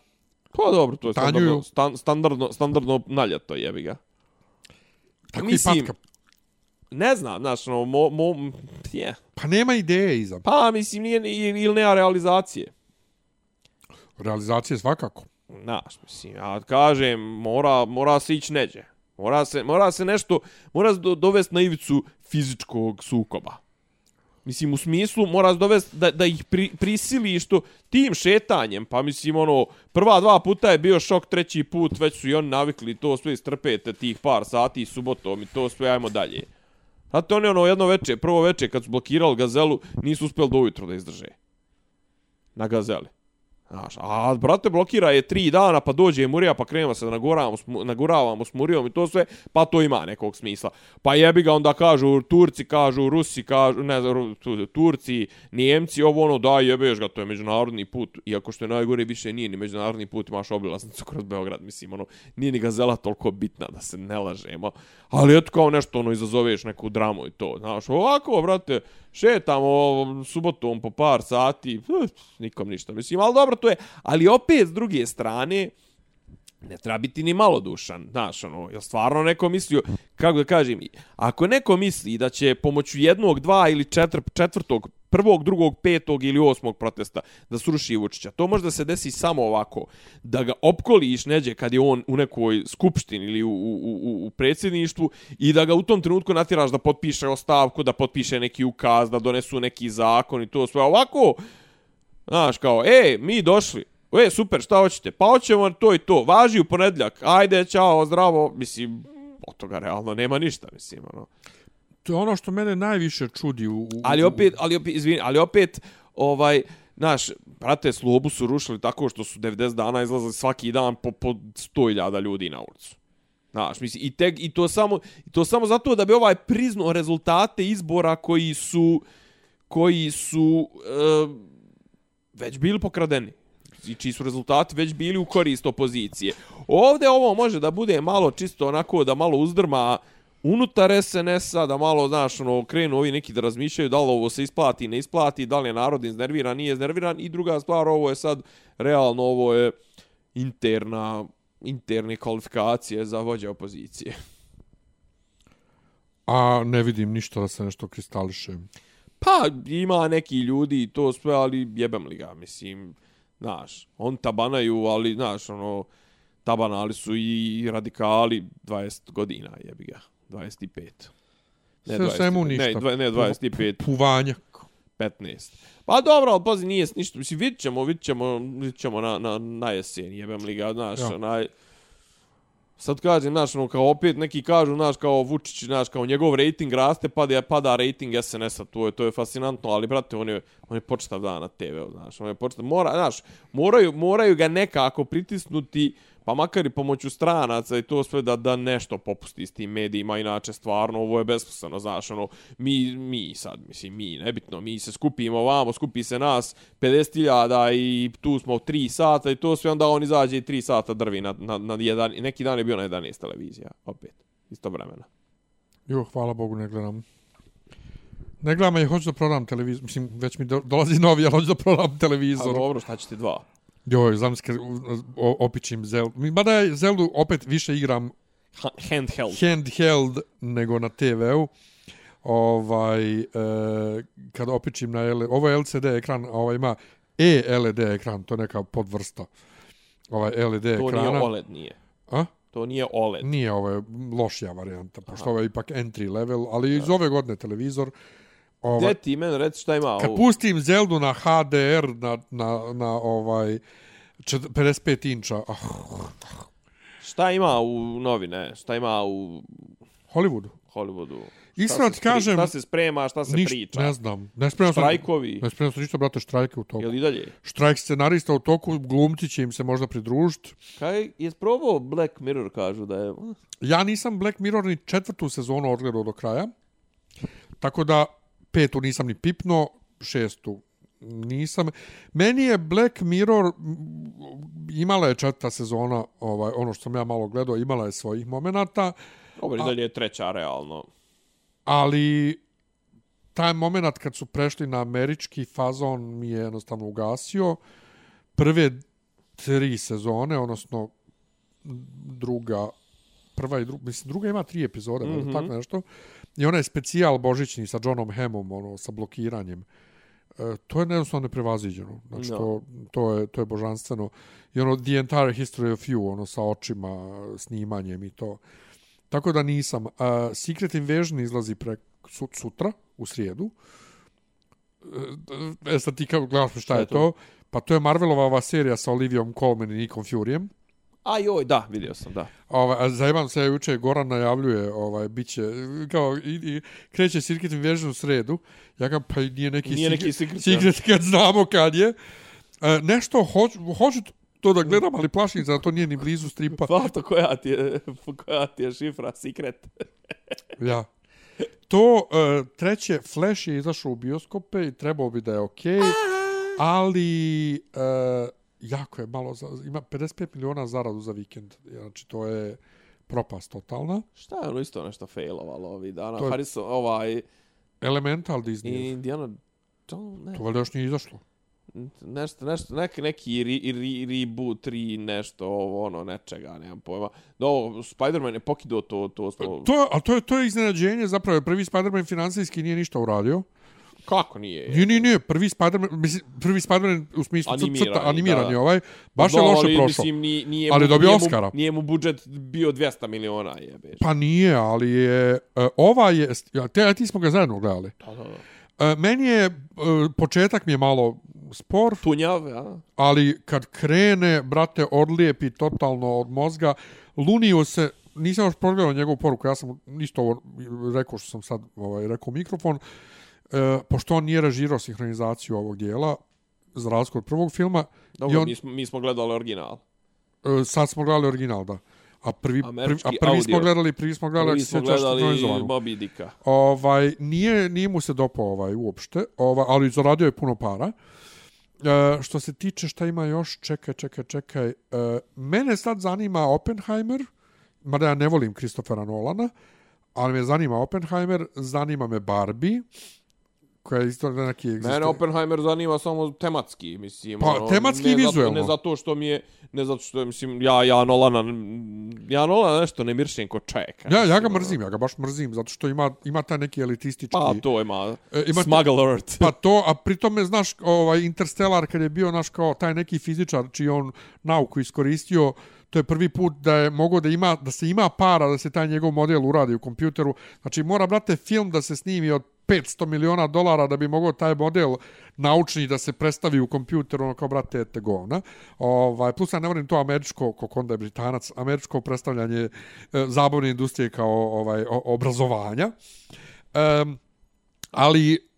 Pa dobro, to je standardno,
Tanjuju.
stan, standardno, standardno naljeto jebi ga.
Tako
Mislim-
i patka.
Ne znam, znaš, no, mo, mo, m, je.
Pa nema ideje iza.
Pa, mislim, nije, ni- ili nema realizacije.
Realizacije svakako.
Znaš, mislim, ja kažem, mora, mora se ići neđe. Mora se, mora se nešto, mora se do, dovesti na ivicu fizičkog sukoba. Mislim, u smislu, mora se dovesti da, da ih pri, prisili što tim šetanjem, pa mislim, ono, prva dva puta je bio šok, treći put, već su i oni navikli to sve istrpete tih par sati subotom i to sve, ajmo dalje. Znate, oni ono jedno veče, prvo veče kad su blokirali gazelu, nisu uspjeli do ujutro da izdrže. Na gazeli. Znaš, a brate blokira je tri dana, pa dođe Murija, pa krenemo se da naguravamo, s mu- naguravamo s Murijom i to sve, pa to ima nekog smisla. Pa jebi ga onda kažu Turci, kažu Rusi, kažu, ne znam, Ru- tu- Turci, Nijemci, ovo ono, da jebeš ga, to je međunarodni put. Iako što je najgore, više nije ni međunarodni put, imaš obilaznicu kroz Beograd, mislim, ono, nije ni gazela toliko bitna da se ne lažemo. Ali eto kao nešto, ono, izazoveš neku dramu i to, znaš, ovako, brate, šetamo subotom po par sati, eh, nikom ništa, mislim, ali dobro to je. Ali opet, s druge strane, ne treba biti ni malodušan, znaš, ono, jel stvarno neko mislio, kako da kažem, ako neko misli da će pomoću jednog, dva ili četiri, četvrtog, prvog, drugog, petog ili osmog protesta da sruši Vučića, to može da se desi samo ovako, da ga opkoliš neđe kad je on u nekoj skupštini ili u, u, u, u predsjedništvu i da ga u tom trenutku natjeraš da potpiše ostavku, da potpiše neki ukaz, da donesu neki zakon i to sve ovako, Znaš, kao, e, mi došli. E, super, šta hoćete? Pa hoćemo to i to. Važi u ponedljak. Ajde, čao, zdravo. Mislim, od toga realno nema ništa, mislim, ono.
To je ono što mene najviše čudi. U, u,
Ali
u-
opet, ali opet, izvini, ali opet, ovaj, znaš, brate, slobu su rušili tako što su 90 dana izlazili svaki dan po, po 100.000 ljudi na ulicu. Znaš, mislim, i, tek, i, to samo, i to samo zato da bi ovaj priznao rezultate izbora koji su, koji su e, već bili pokradeni i čiji su rezultati već bili u korist opozicije. Ovdje ovo može da bude malo čisto onako da malo uzdrma unutar SNS-a, da malo, znaš, ono, krenu ovi neki da razmišljaju da li ovo se isplati, ne isplati, da li je narod iznerviran, nije iznerviran i druga stvar, ovo je sad, realno, ovo je interna, interne kvalifikacije za vođe opozicije.
A ne vidim ništa da se nešto kristališe.
Pa, ima neki ljudi i to sve, ali jebem li ga, mislim, znaš, on tabanaju, ali, znaš, ono, tabanali su i radikali 20 godina, jebi ga, 25. Ne,
Sve u svemu
25, Ne,
ništa.
dva- ne 25,
Puvanja.
15. Pa dobro, ali pazi, nije ništa, mislim, vidit ćemo, vidit ćemo, vidit ćemo na, na, na jesen, jebem li ga, znaš,
Ja.
ja. onaj... Sad kažem, znaš, ono, kao opet neki kažu, znaš, kao Vučić, znaš, kao njegov rating raste, pada, pada rating SNS-a, to je, to je fascinantno, ali, brate, on je, on je početav dan na TV-u, znaš, on je početav, mora, znaš, moraju, moraju ga nekako pritisnuti, pa makar i pomoću stranaca i to sve da, da nešto popusti s tim medijima, inače stvarno ovo je besposleno, znaš, ono, mi, mi sad, mislim, mi, nebitno, mi se skupimo ovamo, skupi se nas 50.000 i tu smo 3 sata i to sve, onda on izađe i 3 sata drvi na, na, na jedan, neki dan je bio na 11 televizija, opet, isto vremena.
Jo, hvala Bogu, ne gledam. Ne gledam, ja hoću da prodam televizor. Mislim, već mi do, dolazi novi, ali hoću da prodam
A
televizor.
dobro, šta ćete dva?
Joj, znam se, kad o- opičim Zeldu. Mi- Mada ja Zeldu opet više igram
Ha- Handheld.
handheld nego na TV-u. Ovaj, e, kad opičim na L, ovo je LCD ekran, a ovaj ima e-LED ekran, to je neka podvrsta ovaj LED
To
ekrana.
nije OLED, nije.
A?
To nije OLED.
Nije ovo je lošija varijanta, pošto ovo je ipak entry level, ali iz ove godine televizor.
Gdje
Ovaj,
ti meni reci šta ima
kad
ovo?
pustim Zeldu na HDR, na, na, na ovaj, čet- 55 inča, ah,
Šta ima u novine? Šta ima u
Hollywoodu.
Hollywoodu?
Iskreno
Šta se
ti kažem,
pri- Šta se sprema, šta se
niš,
priča?
ne znam. Ne spremam sam,
Štrajkovi?
ne spremam sam ništa, brate, štrajke u toku.
Jel i dalje?
štrajk scenarista u toku, glumci će im se možda pridružiti.
Kaj, je probao Black Mirror, kažu da je... Mm,
Ja nisam Black Mirror ni četvrtu sezonu odgledao do kraja, tako da petu nisam ni pipno, šestu nisam. Meni je Black Mirror, m, imala je četvrta sezona, ovaj, ono što sam ja malo gledao, imala je svojih momenata,
Dobar, i dalje je treća, realno.
ali taj moment kad su prešli na američki fazon mi je jednostavno ugasio. Prve tri sezone, odnosno druga, prva i druga, mislim druga ima tri epizode, mm -hmm. tako nešto. I onaj specijal božićni sa Johnom Hemom, ono, sa blokiranjem. E, to je jednostavno neprevaziđeno. Znači,
Da.
to, to, je, to je božanstveno. I ono, The Entire History of You, ono, sa očima, snimanjem i to. Tako da nisam. Uh, Secret Invasion izlazi pre, su, sutra, u srijedu. E sad ti kao gledaš šta je
je to?
to? Pa to je Marvelova serija sa Olivijom Colman i Nickom Furyem.
A joj, da, vidio sam, da.
Ovaj, a zajebam se, juče Goran najavljuje, ovaj, bit će, kao, i, i, kreće Circuit Invasion u sredu, ja ga, pa i nije neki,
Nije neki
secret,
secret,
secret kad znamo kad je. E, nešto, hoću, hoću to da gledam, ali plašim se da to nije ni blizu stripa.
Fato, koja ti je, koja ti je šifra, secret?
Ja. To e, treće Flash je izašao u bioskope i trebao bi da je okej, okay, ali e, jako je malo za, ima 55 miliona zaradu za vikend. Znači to je propast totalna.
Šta je ono isto nešto failovalo ovih dana?
To je-
Harrison, ovaj,
Elemental
i
Disney.
Indiana Jones, ne,
To valjda još nije izašlo.
nešto, nešto, neki, neki re, re, reboot, re, nešto, ovo, ono, nečega, nemam pojma. No, Spider-Man je pokido to, to smo...
To, je- ali to je, to je iznenađenje zapravo. jer Prvi Spider-Man financijski nije ništa uradio.
Kako nije?
Nije, nije, nije. Prvi Spider-Man, mislim, prvi Spider-Man u smislu crta-
Animirani,
crta- animiran
da,
je
da.
ovaj. Baš je
No,
loše
ali,
prošao.
Mislim, nije, nije
Ali
mu,
dobio
nije
Oscara.
Mu, nije mu budžet bio 200 miliona, jebeš.
Pa nije, ali je... e, Ova je... ja, Te, a ti smo ga zajedno gledali.
Da, da, da.
E, Meni je... e, Početak mi je malo spor,
Tunjav, a?
ali kad krene, brate, odlijepi totalno od mozga. Lunio se... Nisam još progledao njegovu poruku, ja sam isto ovo rekao što sam sad ovaj, rekao u mikrofon. E, pošto on nije režirao sinhronizaciju ovog dijela, za razliku od prvog filma,
Dobro,
I on-
mi, smo, mi smo gledali original.
e, sad smo gledali original, da. A prvi, prvi,
Američki
a prvi smo
audio.
gledali, prvi smo gledali,
Mi
ako se
smo
sjećaš,
gledali
sinhronizovanu.
Bobby Dicka.
Ovaj, nije, nije mu se dopao ovaj uopšte, ovaj, ali zaradio je puno para. E, što se tiče šta ima još, čekaj, čekaj, čekaj. E, mene sad zanima Oppenheimer, mada ja ne volim Kristofera Nolana, ali me zanima Oppenheimer, zanima me Barbie, koja je isto neki egzistuje.
Mene Oppenheimer zanima samo tematski, mislim. ono,
Pa, tematski i
ne zato-
vizuelno.
ne zato što mi je, ne zato što, mislim, ja, ja Nolana, ja Nolana nešto ne miršim ko čeka.
Ja, ja ga mrzim, ja ga baš mrzim, zato što ima, ima taj neki elitistički...
Pa, to ima,
E,
e,
ima-
ima smuggle alert.
Pa to, a pritome, znaš, ovaj, Interstellar kad je bio, naš kao taj neki fizičar čiji je on nauku iskoristio, to je prvi put da je mogo da ima, da se ima para da se taj njegov model uradi u kompjuteru. Znači, mora, brate, film da se snimi od 500 miliona dolara da bi mogao taj model naučni da se predstavi u kompjuteru, ono kao, brate, te govna. Ovaj, plus, ja ne volim to američko, kako onda je britanac, američko predstavljanje e, zabavne industrije kao ovaj o, obrazovanja. Um, ali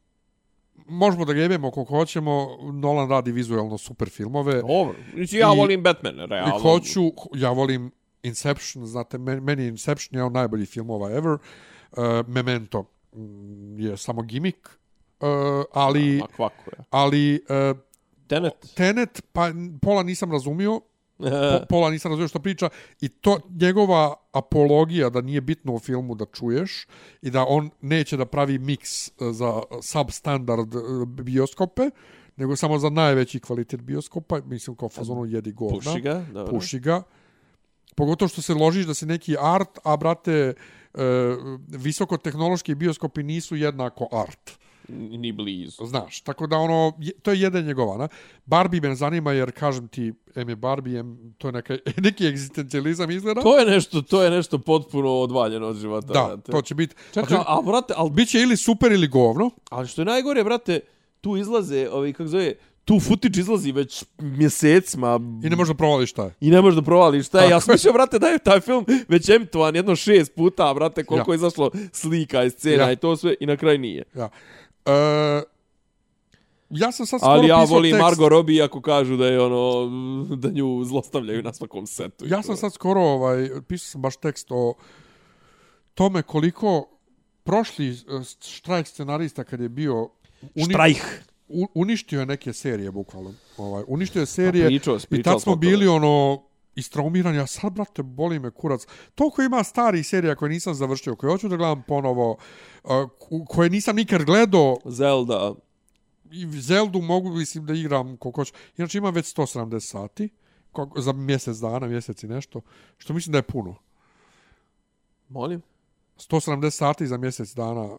možemo da jebemo koliko hoćemo, Nolan radi vizualno super filmove.
Dobro, mislim, ja
I-
volim Batman,
I
realno.
hoću, ja volim Inception, znate, men- meni je Inception jedan od najboljih filmova ever. Uh, Memento mm, je samo gimmick, uh, ali,
Ma, kvako je.
ali uh,
Tenet.
Tenet, pa n- pola nisam razumio,
E.
po, pola nisam razumio što priča i to njegova apologija da nije bitno u filmu da čuješ i da on neće da pravi miks e, za substandard e, bioskope, nego samo za najveći kvalitet bioskopa, mislim kao fazonu jedi govna.
Puši ga, dobro.
Puši ga. Pogotovo što se ložiš da si neki art, a brate, e, visokotehnološki bioskopi nisu jednako art.
Ni blizu.
Znaš, tako da ono, je- to je jedan njegovana. Barbie me zanima jer, kažem ti, em je Barbie, em, to je neka, neki egzistencijalizam izgleda.
To je nešto, to je nešto potpuno odvaljeno od života.
da,
brate.
to će biti.
Čekaj, a brate, al
Biće ili super ili govno.
Ali što je najgore, brate, tu izlaze, ovaj, kako zove, tu futič izlazi već mjesecima
I ne možda provališ šta je.
i ne možeš da provališ šta je.
Tako
Ja sam mislio, brate, da je taj film već emitovan jedno šest puta, brate, koliko
Ja.
je izašlo slika i scena
Ja.
i to sve i na kraju nije.
Ja. E, ja sam sad skoro
Ali ja
pisao
volim
tekst.
Margot Robbie ako kažu da je ono, da nju zlostavljaju na svakom setu. i
Ja
to.
sam sad skoro, ovaj, pisao sam baš tekst o tome koliko prošli e, štrajk scenarista kad je bio uni-
Štrajh.
u- uništio je neke serije bukvalno. Ovaj, uništio je serije
Pa Pričao,
I
pričao
tad smo bili ono istraumiran, ja sad, brate, boli me kurac. Toliko ima starih serija koje nisam završio, koje hoću da gledam ponovo, a, ku- koje nisam nikad gledao,
Zelda.
i Zeldu mogu, mislim, da igram koliko hoću. Inače, imam već 170 sati, kako- za mjesec dana, mjesec i nešto, što mislim da je puno.
Molim?
170 sati za mjesec dana,
A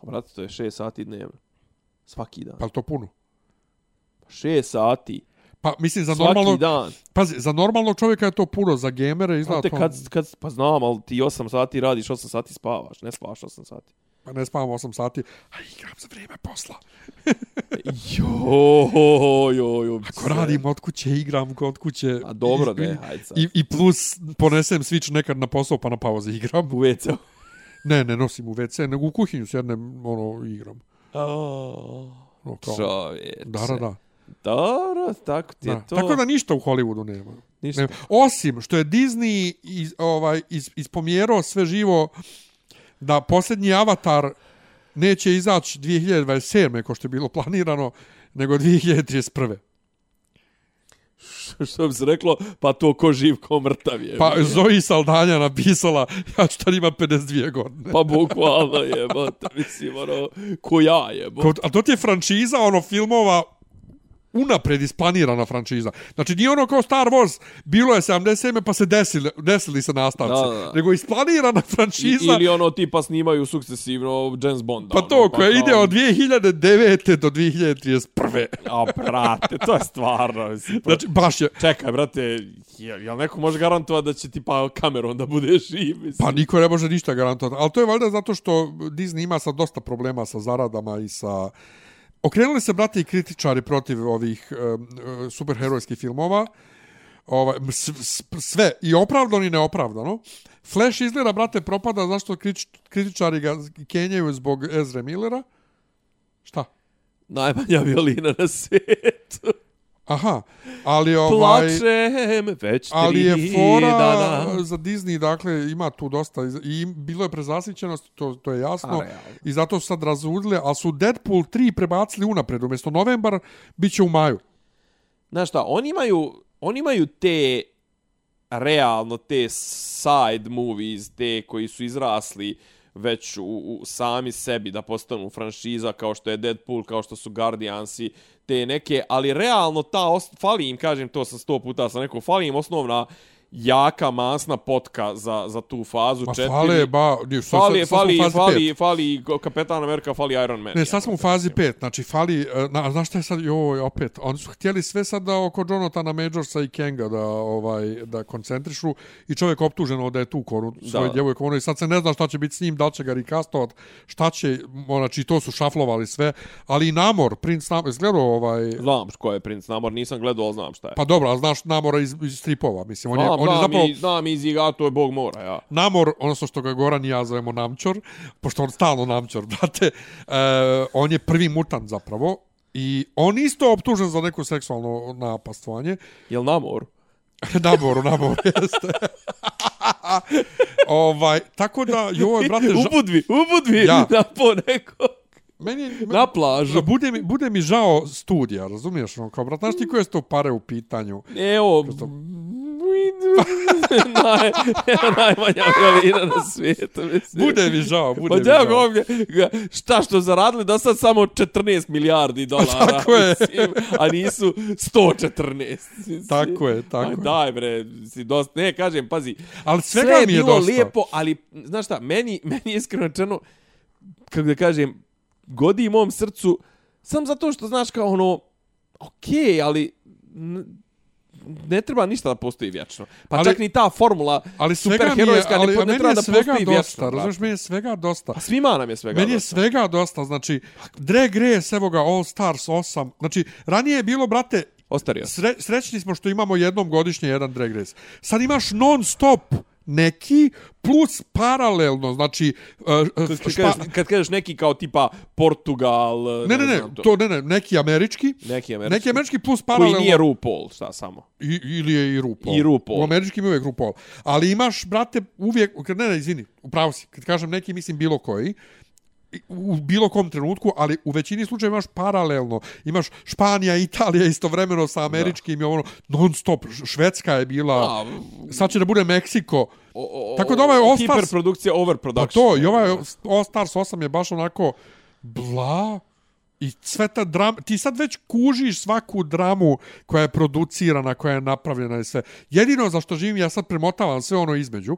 Pa, brate, to je 6 sati dnevno. Svaki dan.
pa je li to puno?
6 sati.
Pa mislim za
Svaki
normalno,
dan.
pazi, za normalnog čovjeka je to puno, za gemere izgleda
Znate,
to.
kad, kad, pa znam, ali ti 8 sati radiš, 8 sati spavaš, ne spavaš 8 sati.
Pa ne spavam 8 sati, a igram za vrijeme posla.
Jo, jo, jo, jo.
Ko radim od kuće, igram kod kuće.
A dobro,
I-
ne, hajde sad.
I, I plus ponesem switch nekad na posao pa na pauze igram.
U WC.
Ne, ne nosim u WC, nego u kuhinju sjednem, ono, igram. No, kao.
Čovječe.
Da, da, da.
Dobro, tako ti je
da.
to.
Tako da ništa u Hollywoodu nema.
Ništa.
Ne, osim što je Disney iz, ovaj, iz, ispomjerao sve živo da posljednji avatar neće izaći 2027. ko što je bilo planirano, nego 2031.
što bi se reklo, pa to ko živ, ko mrtav je.
Pa Zoe Saldanja napisala, ja ću tad ima 52 godine.
pa bukvalno je, bote, mislim, ono, ko ja je, bote.
Kao, a to ti je franšiza, ono, filmova unapred isplanirana franšiza. Znači, nije ono kao Star Wars, bilo je 77, pa se desili, desili se nastavci.
Da, da, da.
Nego isplanirana
I,
franšiza,
ili ono tipa snimaju sukcesivno James Bonda.
pa to,
ono,
koja
kao-
ide od 2009. do 2031.
A, brate, to je stvarno, mislim. Znači,
Znači, baš je,
Čekaj, brate, jel, jel neko može garantovati da će tipa Cameron da bude živ? Mislim?
pa niko ne može ništa garantovati. Ali to je valjda zato što Disney ima sad dosta problema sa zaradama i sa... Okrenuli se, brate, i kritičari protiv ovih um, e, superherojskih filmova. ovaj, s- s- sve, i opravdano i neopravdano. Flash izgleda, brate, propada zašto kritič, kritičari ga kenjaju zbog Ezre Millera. Šta?
Najmanja violina na svijetu.
Aha, ali ovaj...
Plačem već tri
Ali je fora
dana.
za Disney, dakle, ima tu dosta iz- i bilo je prezasićenost, to, to je jasno,
A, realno.
i zato su sad razudili, ali su Deadpool 3 prebacili unapred, umjesto novembar, bit će u maju.
Znaš šta, oni imaju, oni imaju te realno te side movies, te koji su izrasli već u, u sami sebi da postanu franšiza kao što je Deadpool, kao što su Guardiansi, te neke, ali realno ta os, fali im, kažem to sam sto puta sam rekao, fali im osnovna jaka masna potka za, za tu fazu
Ma
četiri.
Pa fale, ba, nije, sad,
fali,
sad, sad smo u
fali,
fazi
fali,
pet.
fali, Kapetan Amerika, fali Iron Man.
Ne, sad smo u fazi 5, znači fali, e, na, a znaš šta je sad, joj, opet, oni su htjeli sve sad da oko Jonathana Majorsa i Kenga da, ovaj, da koncentrišu i čovjek optuženo da je tu koru svoje
Da.
djevojke, ono i sad se ne zna šta će biti s njim, da li će ga rikastovat, šta će, znači to su šaflovali sve, ali i Namor, princ Namor, izgledao ovaj,
Znam ko je Prince Namor, nisam gledao, ali znam šta je.
pa dobro, ali znaš Namora iz, iz stripova, mislim, on je,
Znam,
on je
znam,
zapravo...
i, znam iz igra, to je bog mora, ja.
Namor, odnosno što ga Goran i ja zovemo Namčor, pošto on stalno Namčor, brate, e, on je prvi mutant zapravo i on isto optužen za neko seksualno napastvanje.
Jel namor?
Namoru, Namor jeste. ovaj, tako da, joj, brate, ža,
Ubudvi, ubudvi
Ja.
na ponekog.
meni, je-
Na plažu.
ža, bude, mi, bude mi žao studija, razumiješ? Ono, kao, brat, znaš ti koje su to pare u pitanju?
Evo, E, Naj, evo najmanja violina na svijetu, mislim.
Bude mi žao, bude
Pa
mi
da,
žao.
ovdje, ga- šta što zaradili do sad samo 14 milijardi dolara.
Tako je.
Mislim, a nisu 114. mislim.
Tako je,
Aj,
tako je.
daj bre, si dosta, ne kažem, pazi,
Ali svega
sve je
mi je
bilo
dosta.
lijepo, ali znaš šta, meni, meni je iskreno rečeno, kako da kažem, godi mom srcu, sam zato što znaš kao ono, okej, ali n- ne treba ništa da postoji vječno. Pa
Ali-
ali, čak ni ta formula
Ali svega mi je,
superherojska
ali,
ne,
a
po- ne
meni
treba
je
da
svega
postoji
dosta,
vječno. brate.
razumiješ, meni je svega dosta.
Pa svima nam je svega
Meni je
dosta.
svega dosta, znači, Drag Race, evo ga, All Stars 8, znači, ranije je bilo, brate,
Ostario sam.
sre, srećni smo što imamo jednom godišnje jedan Drag Race. Sad imaš non stop neki, plus paralelno, znači, uh, uh,
Kad
špa,
kažeš, kad kažeš neki kao tipa Portugal,
ne, ne, ne,
znam
to, ne, ne, neki američki,
neki američki,
neki američki plus
koji
paralelno,
nije RuPaul, šta samo.
I, ili je i RuPaul.
I RuPaul.
U američkim je uvijek RuPaul. Ali imaš, brate, uvijek, ne, ne, izvini, upravo si, kad kažem neki, mislim bilo koji, u bilo kom trenutku, ali u većini slučajeva imaš paralelno. Imaš Španija, Italija istovremeno sa američkim da. i ono non stop. Š- Švedska je bila,
A,
sad će da bude Meksiko.
o, o,
Tako da ovaj All Stars-
Hiperprodukcija,
Pa
overproduction.
to, i ovaj All Stars 8 je baš onako bla i sve ta drama, ti sad već kužiš svaku dramu koja je producirana, koja je napravljena i sve. Jedino za što živim, ja sad premotavam sve ono između,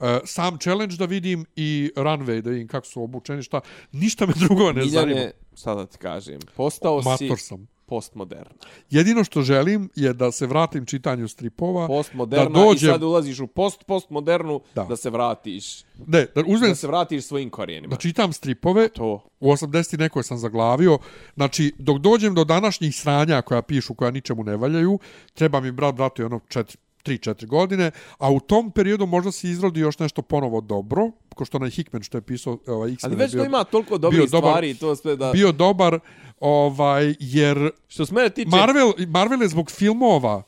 e, sam challenge da vidim i runway da vidim kako su obučeni, šta, ništa me drugo ne zanima.
Miljane, šta da ti kažem, postao si
Mator sam.
postmodern.
Jedino što želim je da se vratim čitanju stripova,
Postmoderna
da dođem,
i sad ulaziš u post-postmodernu
Da.
da. da se vratiš.
ne, da uzmem,
Da se vratiš svojim korijenima.
da čitam stripove,
To.
u 80 nekoj sam zaglavio. Znači, dok dođem do današnjih sranja koja pišu, koja ničemu ne valjaju, treba mi brat, bratu, ono, 4, 3-4 godine, a u tom periodu možda se izrodi još nešto ponovo dobro, ko što onaj Hickman što je pisao ovaj, X-Men
Ali
je
već
bio,
to ima toliko
bio
dobrih
dobar-
stvari i to sve da...
bio dobar, ovaj, jer
Što se mene tiče...
Marvel, Marvel je zbog filmova,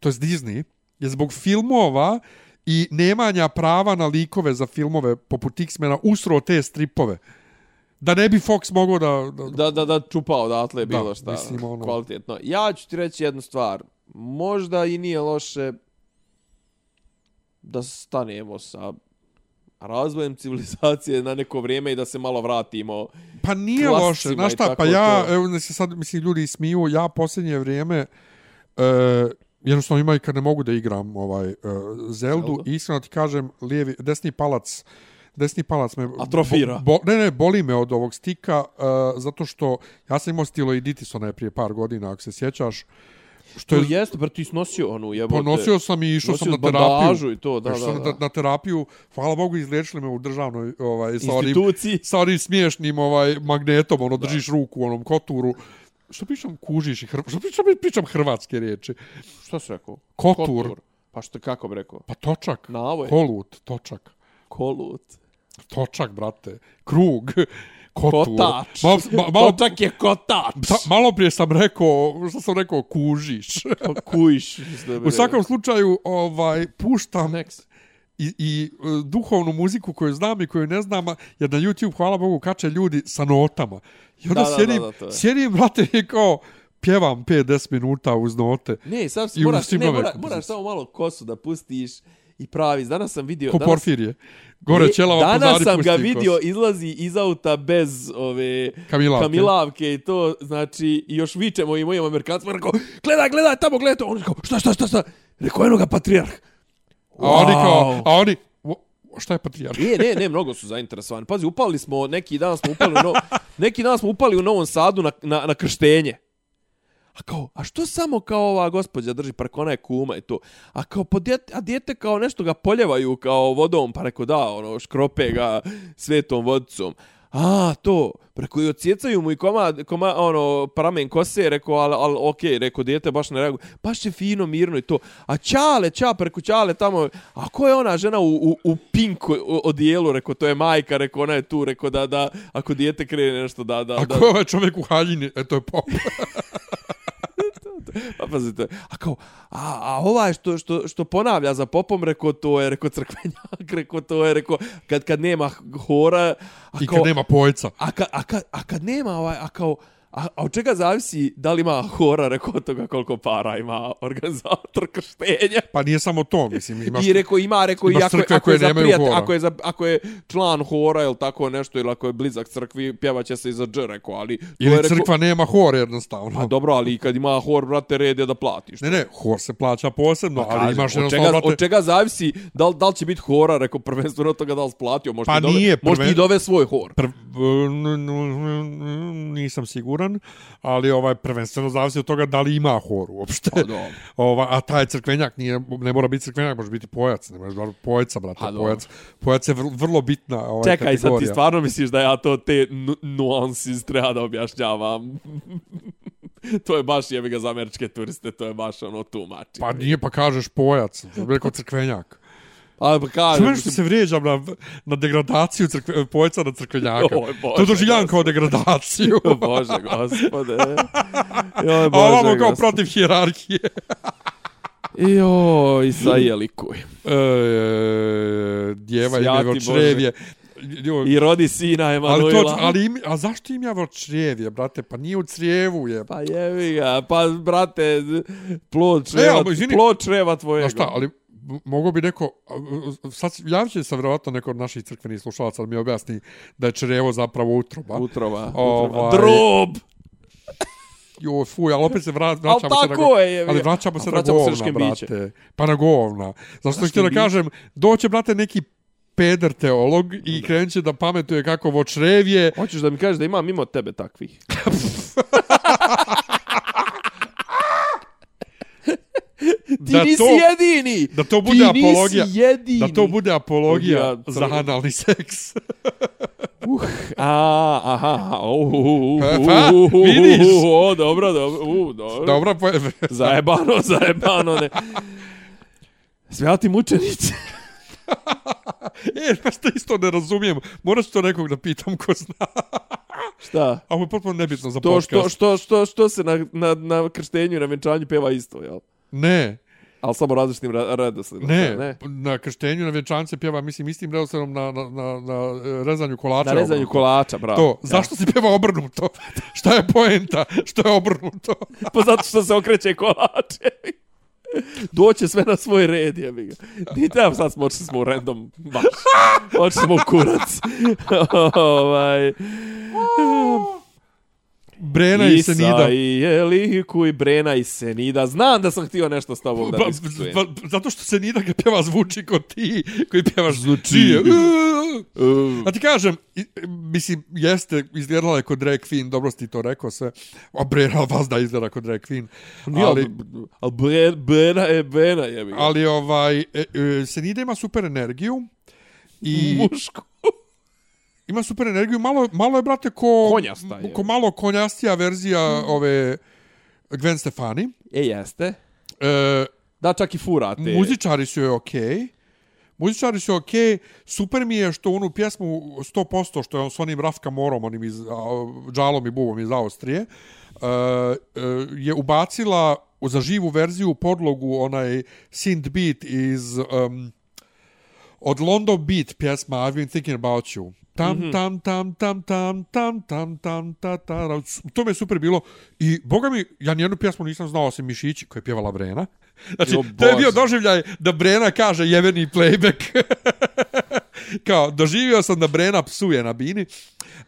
to je Disney, je zbog filmova i nemanja prava na likove za filmove poput X-mena usro te stripove. Da ne bi Fox mogao da, da,
da, da, da čupa odatle
Da,
bilo šta
mislim, ono-
kvalitetno. Ja ću ti reći jednu stvar. Možda i nije loše da stanemo sa razvojem civilizacije na neko vrijeme i da se malo vratimo.
Pa nije
klasicima
loše, znaš
i
šta,
tako
pa ja,
to.
evo, ne se sad, mislim, ljudi i smiju, ja posljednje vrijeme, e, jednostavno ima i kad ne mogu da igram ovaj, e, Zeldu,
Zeldu?
i iskreno ti kažem, lijevi, desni palac, desni palac me...
Atrofira.
Bo, bo, ne, ne, boli me od ovog stika, e, zato što ja sam imao stiloiditis onaj prije par godina, ako se sjećaš, što
To
je,
jeste, bre, ti snosio onu jebote.
ponosio sam i išao sam
nosio
na
bandažu
terapiju.
i to, da,
Išao
da,
sam na,
da.
na terapiju, hvala Bogu, izliječili me u državnoj, ovaj, sa onim
Instituciji.
sa onim smiješnim ovaj magnetom, ono držiš ruku u onom koturu. Što pričam kužiš i hrv... što pričam, pričam hrvatske riječi.
Što si rekao?
Kotur.
Pa što, kako bi rekao?
Pa točak,
Navoj.
kolut, točak.
Kolut.
Točak, brate. Krug, kotur.
Kotač.
Malo, ma, malo,
Kotak je kotač.
ta, malo prije sam rekao, što sam rekao, kužiš.
Pa kujiš. mislim da bi
U svakom slučaju, ovaj,
rekao.
puštam
Next.
i, i e, duhovnu muziku koju znam i koju ne znam, a- jer na YouTube, hvala Bogu, kače ljudi sa notama. I onda
Da, da,
sjedim,
da, da, to je.
sjedim, brate, i kao, pjevam 5-10 minuta uz note.
Ne, sam se
I
moraš,
unosim
ne,
nove
mora,
kompozicije.
moraš samo malo kosu da pustiš i pravi. Danas sam vidio...
Ko
danas,
Porfirije. Gore
E,
ćelava po
Danas
zari
sam ga
pusti i
vidio,
kos.
izlazi iz auta bez ove
Kamilavke.
kamilavke i to, znači, i još vičemo i mojim amerikancima, rekao, gledaj, gledaj, tamo, gledaj to. On rekao, šta, šta, šta, šta? Rekao, eno ga patrijarh.
A oni kao, a oni, "Wo- šta je patrijarh?
E, Ne, ne, ne, mnogo su zainteresovani. Pazi, upali smo, neki dan smo upali u, no, neki dan smo upali u Novom Sadu na, na, na krštenje. A kao, a što samo kao ova gospođa drži, pa rekao, ona je kuma i to. A kao, po djete, a djete kao nešto ga poljevaju kao vodom, pa rekao, da, ono, škrope ga svetom vodicom. A, to, Pa rekao, i odsjecaju mu i komad, koma, ono, pramen kose, rekao, al, al, okej, rekao, djete baš ne reaguje, baš je fino, mirno i to. A Ćale, Ća, pa rekao, Ćale tamo, a ko je ona žena u, u, u pink odijelu, rekao, to je majka, rekao, ona je tu, rekao, da, da, ako dijete krene nešto, da, da,
A
da.
ko je ovaj čovjek u haljini? E, to je pop.
Pa pazite, a kao, a, a ovaj što, što, što ponavlja za popom, rekao to je, rekao crkvenjak, rekao to je, rekao, kad, kad nema hora, a
I
kao,
kad nema pojca.
a, ka, a, ka, a kad nema ovaj, a kao, A, a od čega zavisi da li ima hora, rekao od toga koliko para ima organizator krštenja.
Pa nije samo to, mislim, imaš...
I rekao ima, rekao i
imaš
ako, je-
crkve
ako je
koje
za
nemaju
prijat,
hora.
ako je, za, ako je član hora ili tako nešto, ili ako je blizak crkvi, pjevaće se iza dž, rekao, ali... to je
Ili
rekao-
crkva nema hore jednostavno.
Pa dobro, ali i kad ima hor, brate, red je da platiš.
Ne, ne, hor se plaća posebno, ali
Pa Kažem,
imaš
od
jednostavno,
čega,
brate...
od čega zavisi da li, da li će biti hora, rekao prvenstveno od toga da li splatio, možda
Pa
i dove,
nije,
možda
prven-
i dove svoj hor.
Prv, n- n- n- nisam siguran, ali ovaj prvenstveno zavisi od toga da li ima hor uopšte.
Pa dobro.
Ova, a taj crkvenjak nije, ne mora biti crkvenjak, može biti pojac, ne može biti pojaca, brate,
Pa dobro.
pojac. Pojac je vrlo, vrlo bitna ovaj,
Čekaj, sad ti
kategorija.
stvarno misliš da ja to te nu- nuansis treba da objašnjavam? to je baš jebi ga za američke turiste, to je baš ono tumači.
Pa nije, pa kažeš pojac, rekao crkvenjak.
A, pa kažem,
Čuješ što se vrijeđam na, na degradaciju crkve, pojaca na crkvenjaka.
Oj, Bože,
to doživljam kao degradaciju.
O Bože, gospode. Joj,
A
Bože,
ovamo kao
gospode.
protiv hijerarhije.
Joj, sajeli kuj.
e, djeva i E,
Svjati
njevo črevje. Joj,
I rodi sina
ali, to,
Emanuela.
ali im, a zašto im javo črijevje, brate? Pa nije u crijevu je.
Pa jevi ga, pa brate, plod čreva,
E, ali izvini.
plod čreva tvojega.
Pa šta, ali m- mogao bi neko, a, a, sad javit će se vjerovatno neko od naših crkvenih slušalaca da mi objasni da je črevo zapravo utroba.
Utrova, utrova.
Ovaj-
Drob!
Jo, fuj, ali opet se vrat,
Ali
vraćamo se na
tako
govna.
je, jevi
Ali
ga.
vraćamo se
Ali
na
vraćamo se na
govna,
škembiće.
brate. Pa na govna. Zašto sam htio da
škembiće.
kažem, doće, brate, neki peder teolog i krenut će da pametuje kako vočrevje.
Hoćeš da mi kažeš da ima mimo tebe takvih? Ti
Da
nisi
to-
jedini!
Da to bude
Ti
apologija.
nisi jedini!
Da to bude apologija
Apologija
za
crnog.
analni seks.
Uh, a, aha, uh, uh, uh,
Pa,
uh,
pa,
uh, uh,
vidiš?
uh, o, dobro, dobro, uh, dobro.
Dobro, pa- po...
Zajebano, zajebano, ne. Svjati mučenici.
e, znaš što isto ne razumijem. Moraš to nekog da pitam ko zna.
Šta?
A ovo je potpuno nebitno za
To
podcast.
što, što, što, što se na, na, na krštenju i na venčanju peva isto, jel?
Ne,
Ali samo različitim ra- redosledom.
ne,
ne.
na krštenju, na vjenčance pjeva, mislim, istim redosledom na, na, na, na e, rezanju kolača.
Na rezanju
obrnuto.
kolača, bravo.
To, zašto se pjeva obrnuto? Šta je poenta? Što je obrnuto?
Pa zato što se okreće kolač. jebi ga. Doće sve na svoj red, jebi ga. Ni tamo sad smo, očili smo u random baš. Očili smo u kurac. ovaj.
Brena i
Isa
Senida.
i Eliku i Brena i Senida. Znam da sam htio nešto s tobom
Pa,
da diskutujem.
pa, zato što Senida kad pjeva zvuči kod ti koji pjevaš zvuči.
Uh,
A ti kažem, i- mislim, jeste, izgledala je kod drag queen, dobro si ti to rekao sve. A Brena vas da izgleda kod drag queen.
ali,
Ali,
ali Bre, Brena je Brena, jebi ga.
ali ovaj, e, e, Senida ima super energiju. I
Muško.
ima super energiju, malo, malo je, brate, ko...
Konjasta je. Mm.
Ko malo konjastija verzija ove Gwen Stefani.
E, jeste.
E,
Da, čak i fura te.
Muzičari su joj okej. Muzičari su okej. Super mi je što onu pjesmu 100% što je on s onim Rafka Morom, onim iz, a, Džalom i Bubom iz Austrije, uh, je ubacila u- za živu verziju u podlogu onaj synth beat iz um, od London Beat pjesma I've been thinking about you. Tam, mm
Mhm.
-hmm. tam, tam, tam, tam, tam, tam, tam, ta, ta, ra- s- to mi je super bilo. I, boga mi, ja nijednu pjesmu nisam znao osim Mišići, koja je pjevala Brena. Znači,
Jo,
to je bio
Bože.
doživljaj da Brena kaže jeveni playback. Kao, doživio sam da Brena psuje na bini,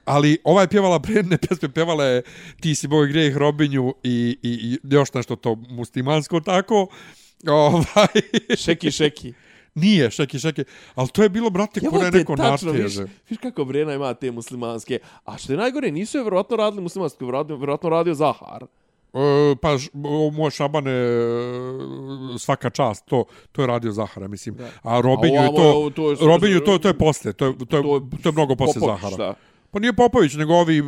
ali ova je pjevala Brenine pjesme, pjevala je Ti si moj grijeh Robinju i, i, i još nešto to muslimansko tako. Ovaj,
Šeki, šeki.
nije, šeki, šeki. Ali to je bilo, brate,
Ja
kuna je
te
neko
tačno, viš,
naštježe.
viš kako Brena ima te muslimanske. A što je najgore, nisu je vjerojatno radili muslimanske, vjerojatno, vjerojatno radio Zahar.
E, pa š- o, moj Šabane e, svaka čast to to je radio Zahara mislim da. a Robinju
A
je
ovamo je ovo,
to,
to je-
Robinju to to je posle to je to je, to je mnogo posle
Popović,
Zahara
da.
pa nije Popović nego ovi e,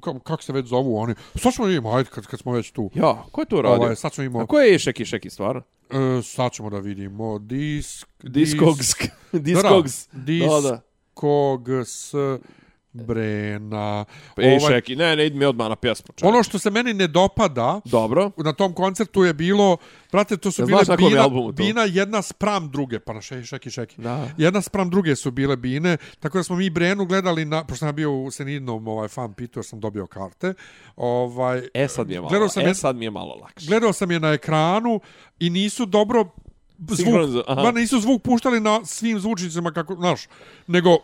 k- kako se već zovu oni sad ćemo im ajde kad, kad smo već tu
Ja, ko je to radio?
Ovaj, sad ćemo imao-
A ko je Šeki, šeki stvarno?
e, sad ćemo da vidimo disk
Discogs. Discogs.
da,
Da, da.
da. Diskogs Brena
E,
Ovaj,
Šeki, ne, ne, idi mi odmah na pjesmu. Čak.
ono što se meni ne dopada
Dobro.
na tom koncertu je bilo, brate, to su
Znaš
bile
na kom je
bina,
albumu to?
bina jedna spram druge, pa na šeki, šeki, šeki.
Da.
Jedna spram druge su bile bine, tako da smo mi Brenu gledali, na, pošto sam ja bio u Senidnom ovaj, fan pitu, jer sam dobio karte, ovaj,
E, sad mi je malo,
Gledao sam
e,
jed-
sad mi je malo lakše.
gledao sam je na ekranu i nisu dobro
Sinhronizo-
zvuk,
aha.
ba, nisu zvuk puštali na svim zvučnicima kako, znaš, nego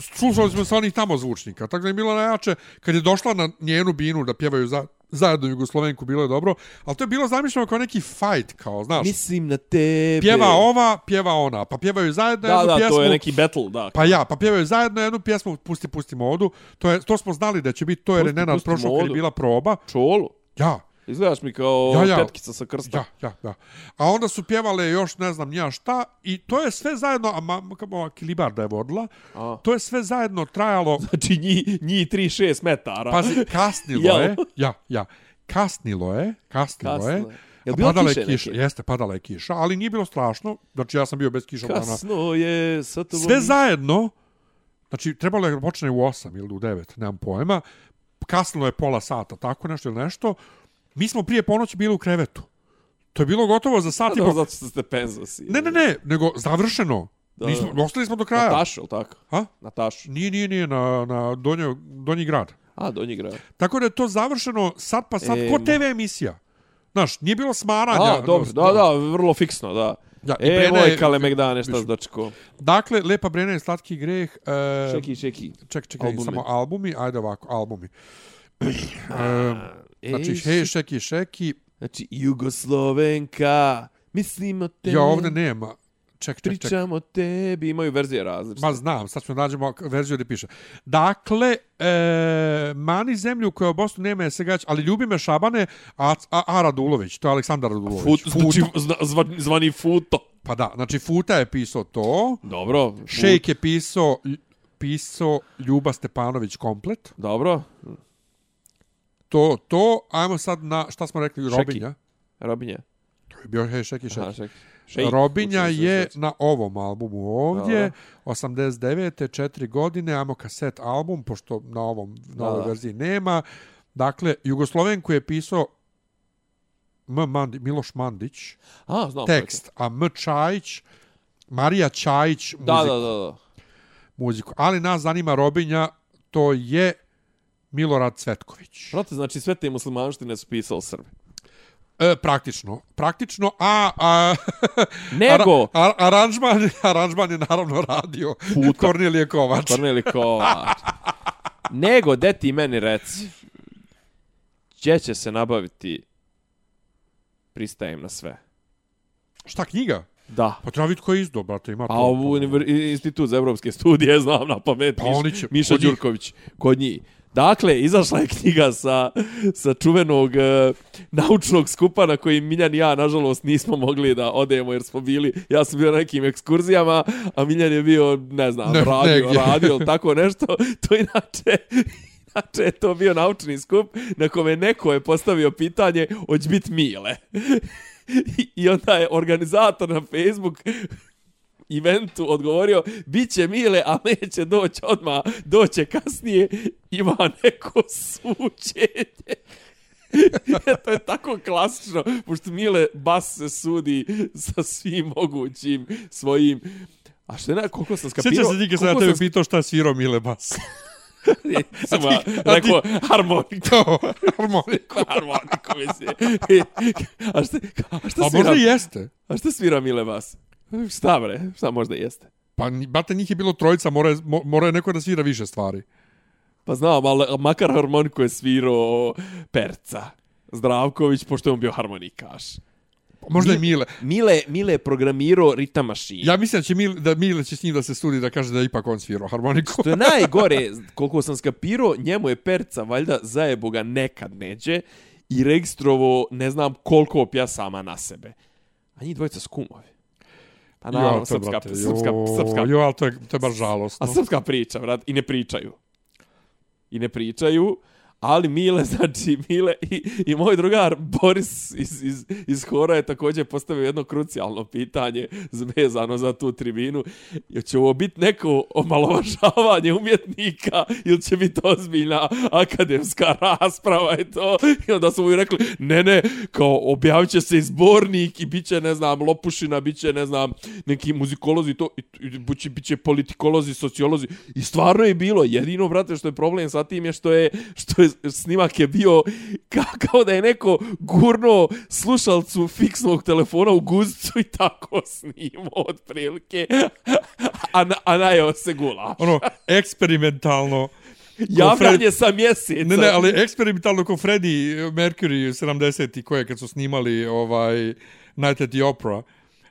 slušali smo sa onih tamo zvučnika. Tako da je bilo najjače, kad je došla na njenu binu da pjevaju za, zajedno Jugoslovenku, bilo je dobro, ali to je bilo zamišljeno kao neki fight, kao, znaš,
Mislim na tebe.
pjeva ova, pjeva ona, pa pjevaju zajedno
Da,
jednu
da,
pjesmu,
to je neki battle, da.
pa ja, pa pjevaju zajedno jednu pjesmu, pusti, pusti modu, to, je, to smo znali da će biti to jer je
Pusti,
Nenad
pusti
prošao kad je
modu.
bila proba,
Čolu.
ja,
Izgledaš mi kao
Ja, ja.
tetkica sa krsta.
Ja, ja, ja. A onda su pjevale još ne znam nija šta i to je sve zajedno, a mama, ova Kilibarda je vodila,
A.
to je sve zajedno trajalo,
Znači njih, njih 3-6 metara.
pazi, kasnilo
Jel?
je, ja, ja, kasnilo je, kasnilo,
Kasno
je,
je. Jel
a
bilo
padala
kiše
je kiša,
neke?
jeste, padala je kiša, ali nije bilo strašno, znači ja sam bio bez kiša dana.
Kasno je, sa tobom...
Sve zajedno, znači trebalo je da počne u 8 ili u 9, nemam pojma, kasnilo je pola sata, tako nešto ili nešto, mi smo prije ponoći bili u krevetu. To je bilo gotovo za sat i
Dobro,
po
zato što ste penzosi.
Ne, ne, ne, nego završeno.
Da, Pa
Nismo, ostali smo do kraja.
Natašu, ili tako?
Ha?
Natašu.
Nije, nije, nije, na, na donjo, donji grad.
A, donji grad.
Tako da je to završeno sad pa sad,
E,
ko
ma-
TV emisija? Znaš, nije bilo smaranja.
A, dobro, da, da, vrlo fiksno, da.
Da, i
e,
Brena
moj
je-
kale megdane, šta
viš-
s dačko?
Dakle, Lepa Brena je slatki greh. E,
Čeki, čeki.
Ček, čekaj,
Albumi.
samo albumi, ajde ovako, albumi.
E,
Znači, hej, šeki, šeki,
Znači, Jugoslovenka, mislim o tebi,
ja ovdje nema. Ček, ček, ček.
pričam o tebi, imaju verzije različite.
Ma znam, sad ćemo nađemo k- verziju gdje piše. Dakle, e, mani zemlju koja u Bosnu nema je segać, ali ljubi me Šabane, a, a, a Radulović, to je Aleksandar Radulović.
Fut, znači, zna, zva, zvani Futo.
Pa da, znači Futa je pisao to,
Dobro. fut-
Šejk je pisao, pisao Ljuba Stepanović komplet,
Dobro.
to, to, ajmo sad na, šta smo rekli,
Šeki.
Robinja.
Robinja.
To je bio hej, šeki, šeki.
Aha, ček. Šejk.
Robinja
Učim se
je
šejk.
na ovom albumu ovdje, 89. četiri godine, amo kaset album, pošto na, ovom, na
Da,
ovoj
da.
verziji nema. Dakle, Jugoslovenku je pisao M. Mandi, Miloš Mandić,
A, znam.
tekst, a M. Čajić, Marija Čajić,
ko
muziku.
je to. Da, da, da, da.
muziku. Ali nas zanima Robinja, to je Milorad Cvetković.
Prate, znači sve te muslimanštine su pisali Srbi.
E, praktično. Praktično, a... a
Nego,
Ara, a- aranžman, aranžman je naravno radio
Puta.
Kornelije Kovač.
Korneli Kovač. Nego, de ti meni reci, gdje će se nabaviti pristajem na sve.
Šta knjiga?
Da.
Pa treba vidjeti ko je izdao, brate, ima to.
A u univer- Institut za evropske studije znam na pamet.
Pa
Miš-
oni će-
Miša
kod njih.
Đurković, kod njih. Dakle, izašla je knjiga sa, sa čuvenog e, naučnog skupa na koji Miljan i ja, nažalost, nismo mogli da odemo jer smo bili, ja sam bio na nekim ekskurzijama, a Miljan je bio, ne znam,
Ne-
radio,
negdje.
radio ili tako nešto. To inače, Znači, je to bio naučni skup na kome neko je postavio pitanje hoće bit Mile. I- I onda je organizator na Facebook eventu odgovorio biće Mile, a neće doći odmah, doće kasnije, ima neko suđenje. E, to je tako klasično, pošto Mile Bas se sudi sa svim mogućim svojim A što je, na- koliko sam skapirao...
Sjećam se Dike, sam ja
koliko
tebe
sam
pitao šta je svirao Mile Bas.
sam ja rekao harmoniku,
to, harmoniku.
harmoniku mislim. E, A šta, a šta
A
svira,
Pa možda i jeste.
a šta svira Mile Vas? Šta bre, šta možda jeste?
Pa, ni- brate, njih je bilo trojica, mora je, mo- mora je neko da svira više stvari.
Pa znam, ali makar harmoniku je svirao Perca. Zdravković, pošto je on bio harmonikaš.
Pa Možda je Mile.
Mile, Mile je programirao ritam mašinu.
Ja mislim da će Mile, da Mile će s njim da se studi da kaže da je ipak on svirao harmoniku.
To je najgore, koliko sam skapirao, njemu je Perca valjda zajebo ga nekad neđe i registrovo ne znam koliko pjasama na sebe. A njih dvojica su kumovi. Pa naravno,
Jo, to,
srpska,
brate,
srpska,
jo,
srpska,
Jo, ali to je, to je baš žalostno.
a srpska priča, vrat, i ne pričaju. I ne pričaju, ali Mile, znači, Mile i, i moj drugar Boris iz, iz, iz Hora je također postavio jedno krucijalno pitanje vezano za tu tribinu. Je će ovo biti neko omalovažavanje umjetnika ili će biti ozbiljna akademska rasprava i to? I onda su mu rekli, ne, ne, kao objavit će se i zbornik i bit će, ne znam, lopušina, bit će, ne znam, neki muzikolozi i to, i, i, bit, će, bit će politikolozi, sociolozi. I stvarno je bilo, jedino, brate, što je problem sa tim je što je, što je snimak je bio kao, kao da je neko gurno slušalcu fiksnog telefona u guzicu i tako snimao otprilike, a, na, a najeo se gula.
Ono, eksperimentalno.
Javljanje sa mjeseca.
Ne, ne, ali eksperimentalno ko Freddie Mercury 70 i koje kad su snimali ovaj Night at the Opera.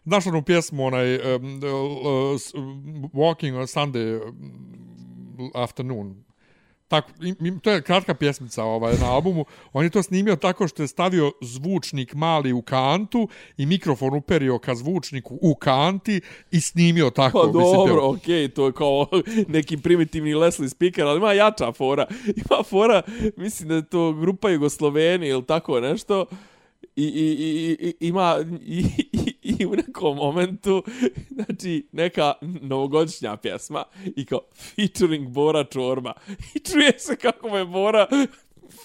Znaš onu pjesmu onaj um, uh, s- Walking on Sunday um, afternoon. Tako, im, im, to je kratka pjesmica ovaj, na albumu. On je to snimio tako što je stavio zvučnik mali u kantu i mikrofon uperio ka zvučniku u kanti i snimio tako.
Pa
mislim, pjeva.
dobro, okej, to je kao neki primitivni Leslie speaker, ali ima jača fora. Ima fora, mislim da je to grupa Jugosloveni ili tako nešto. I, i, i, i- i ima i, i, i u nekom momentu znači neka novogodišnja pjesma i kao featuring Bora Čorba i čuje se kako me Bora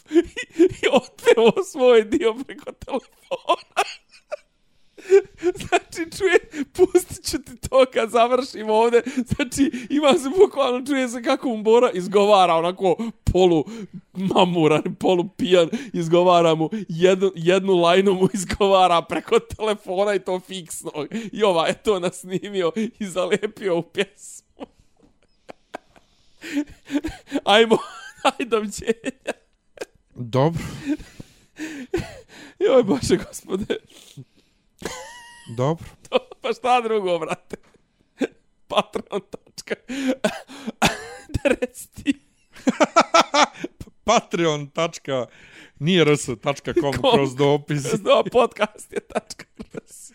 i otpevo svoj dio preko telefona Znači, čuje, pustit ću ti to kad završim ovde. Znači, ima se bukvalno, čuje se kako mu Bora izgovara, onako polu mamuran, polu pijan, izgovara mu, jednu, jednu lajnu mu izgovara preko telefona i to fiksno. I ova je to nasnimio i zalepio u pjesmu. Ajmo, aj doviđenja.
Dobro,
Joj, bože, gospode.
dobro.
To, pa šta drugo, brate? Patreon tačka. da reci ti.
Patreon tačka, nije rs, tačka com, kroz dopis.
Zna, podcast je tačka. rs.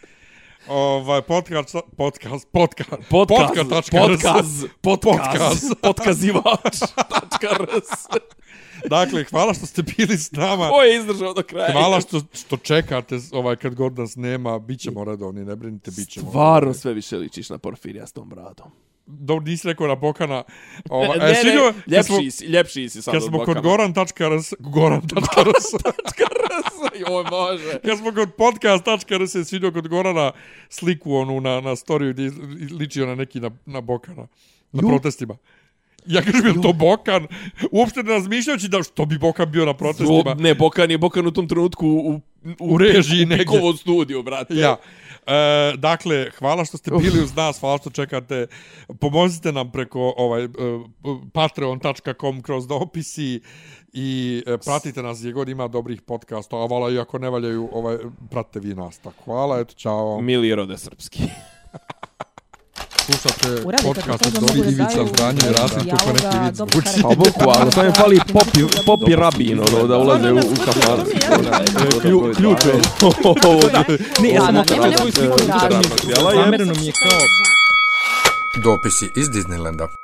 Ovaj, podcast, podcast, podcast, podcast, tačka rs.
podcast, podcast,
Podcast.
podkazivač, tačka rs.
Dakle, hvala što ste bili s nama.
Ko je izdržao do kraja?
Hvala što, što čekate ovaj, kad god nas nema, bit ćemo redovni, ne brinite, bit ćemo.
Stvarno sve više ličiš na Porfirija s tom bradom.
Dobro, nisi rekao na Bokana. Ova,
Ne,
e,
ne,
svidio, kad smo,
ljepši si, ljepši si sad
kad
od
smo
Bokana.
kod goran.rs, goran.rs,
Tačka rs, joj bože.
kad smo kod podcast.rs, se svidio kod Gorana sliku onu na, na storiju gdje iz- liči ona neki na, na Bokana, na protestima. Ja kažem, je to Bokan? Uopšte ne razmišljajući da što bi Bokan bio na protestima.
O, ne, Bokan je Bokan u tom trenutku u,
U režiji negdje.
Pikovom studiju, brate.
Ja. E, dakle, hvala što ste bili uz nas, hvala što čekate. Pomozite nam preko ovaj e, patreon.com kroz dopisi i e, pratite nas gdje god ima dobrih podcasta, a vala i ako ne valjaju, ovaj, pratite vi nas. Tako, hvala, eto, čao.
Mili rode srpski.
Slušate
Uradi kad
e, podcast od
toga
Dobri
mogu da
Ivica,
daju
Zdanje, Rasim, to
dijaloga,
neki vic
dobrih
zvuči.
karaktera.
Pa boku, ali sam im fali popi, popi rabin, ono, da ulaze u, u kafanu. Klju, ključ je. Ovo, da.
Ne, ja sam
Ладно,
okrenuo
Pa nema
svoju
nikakvog
sliku.
razloga.
Zamereno mi je kao
Dopisi iz Disneylanda.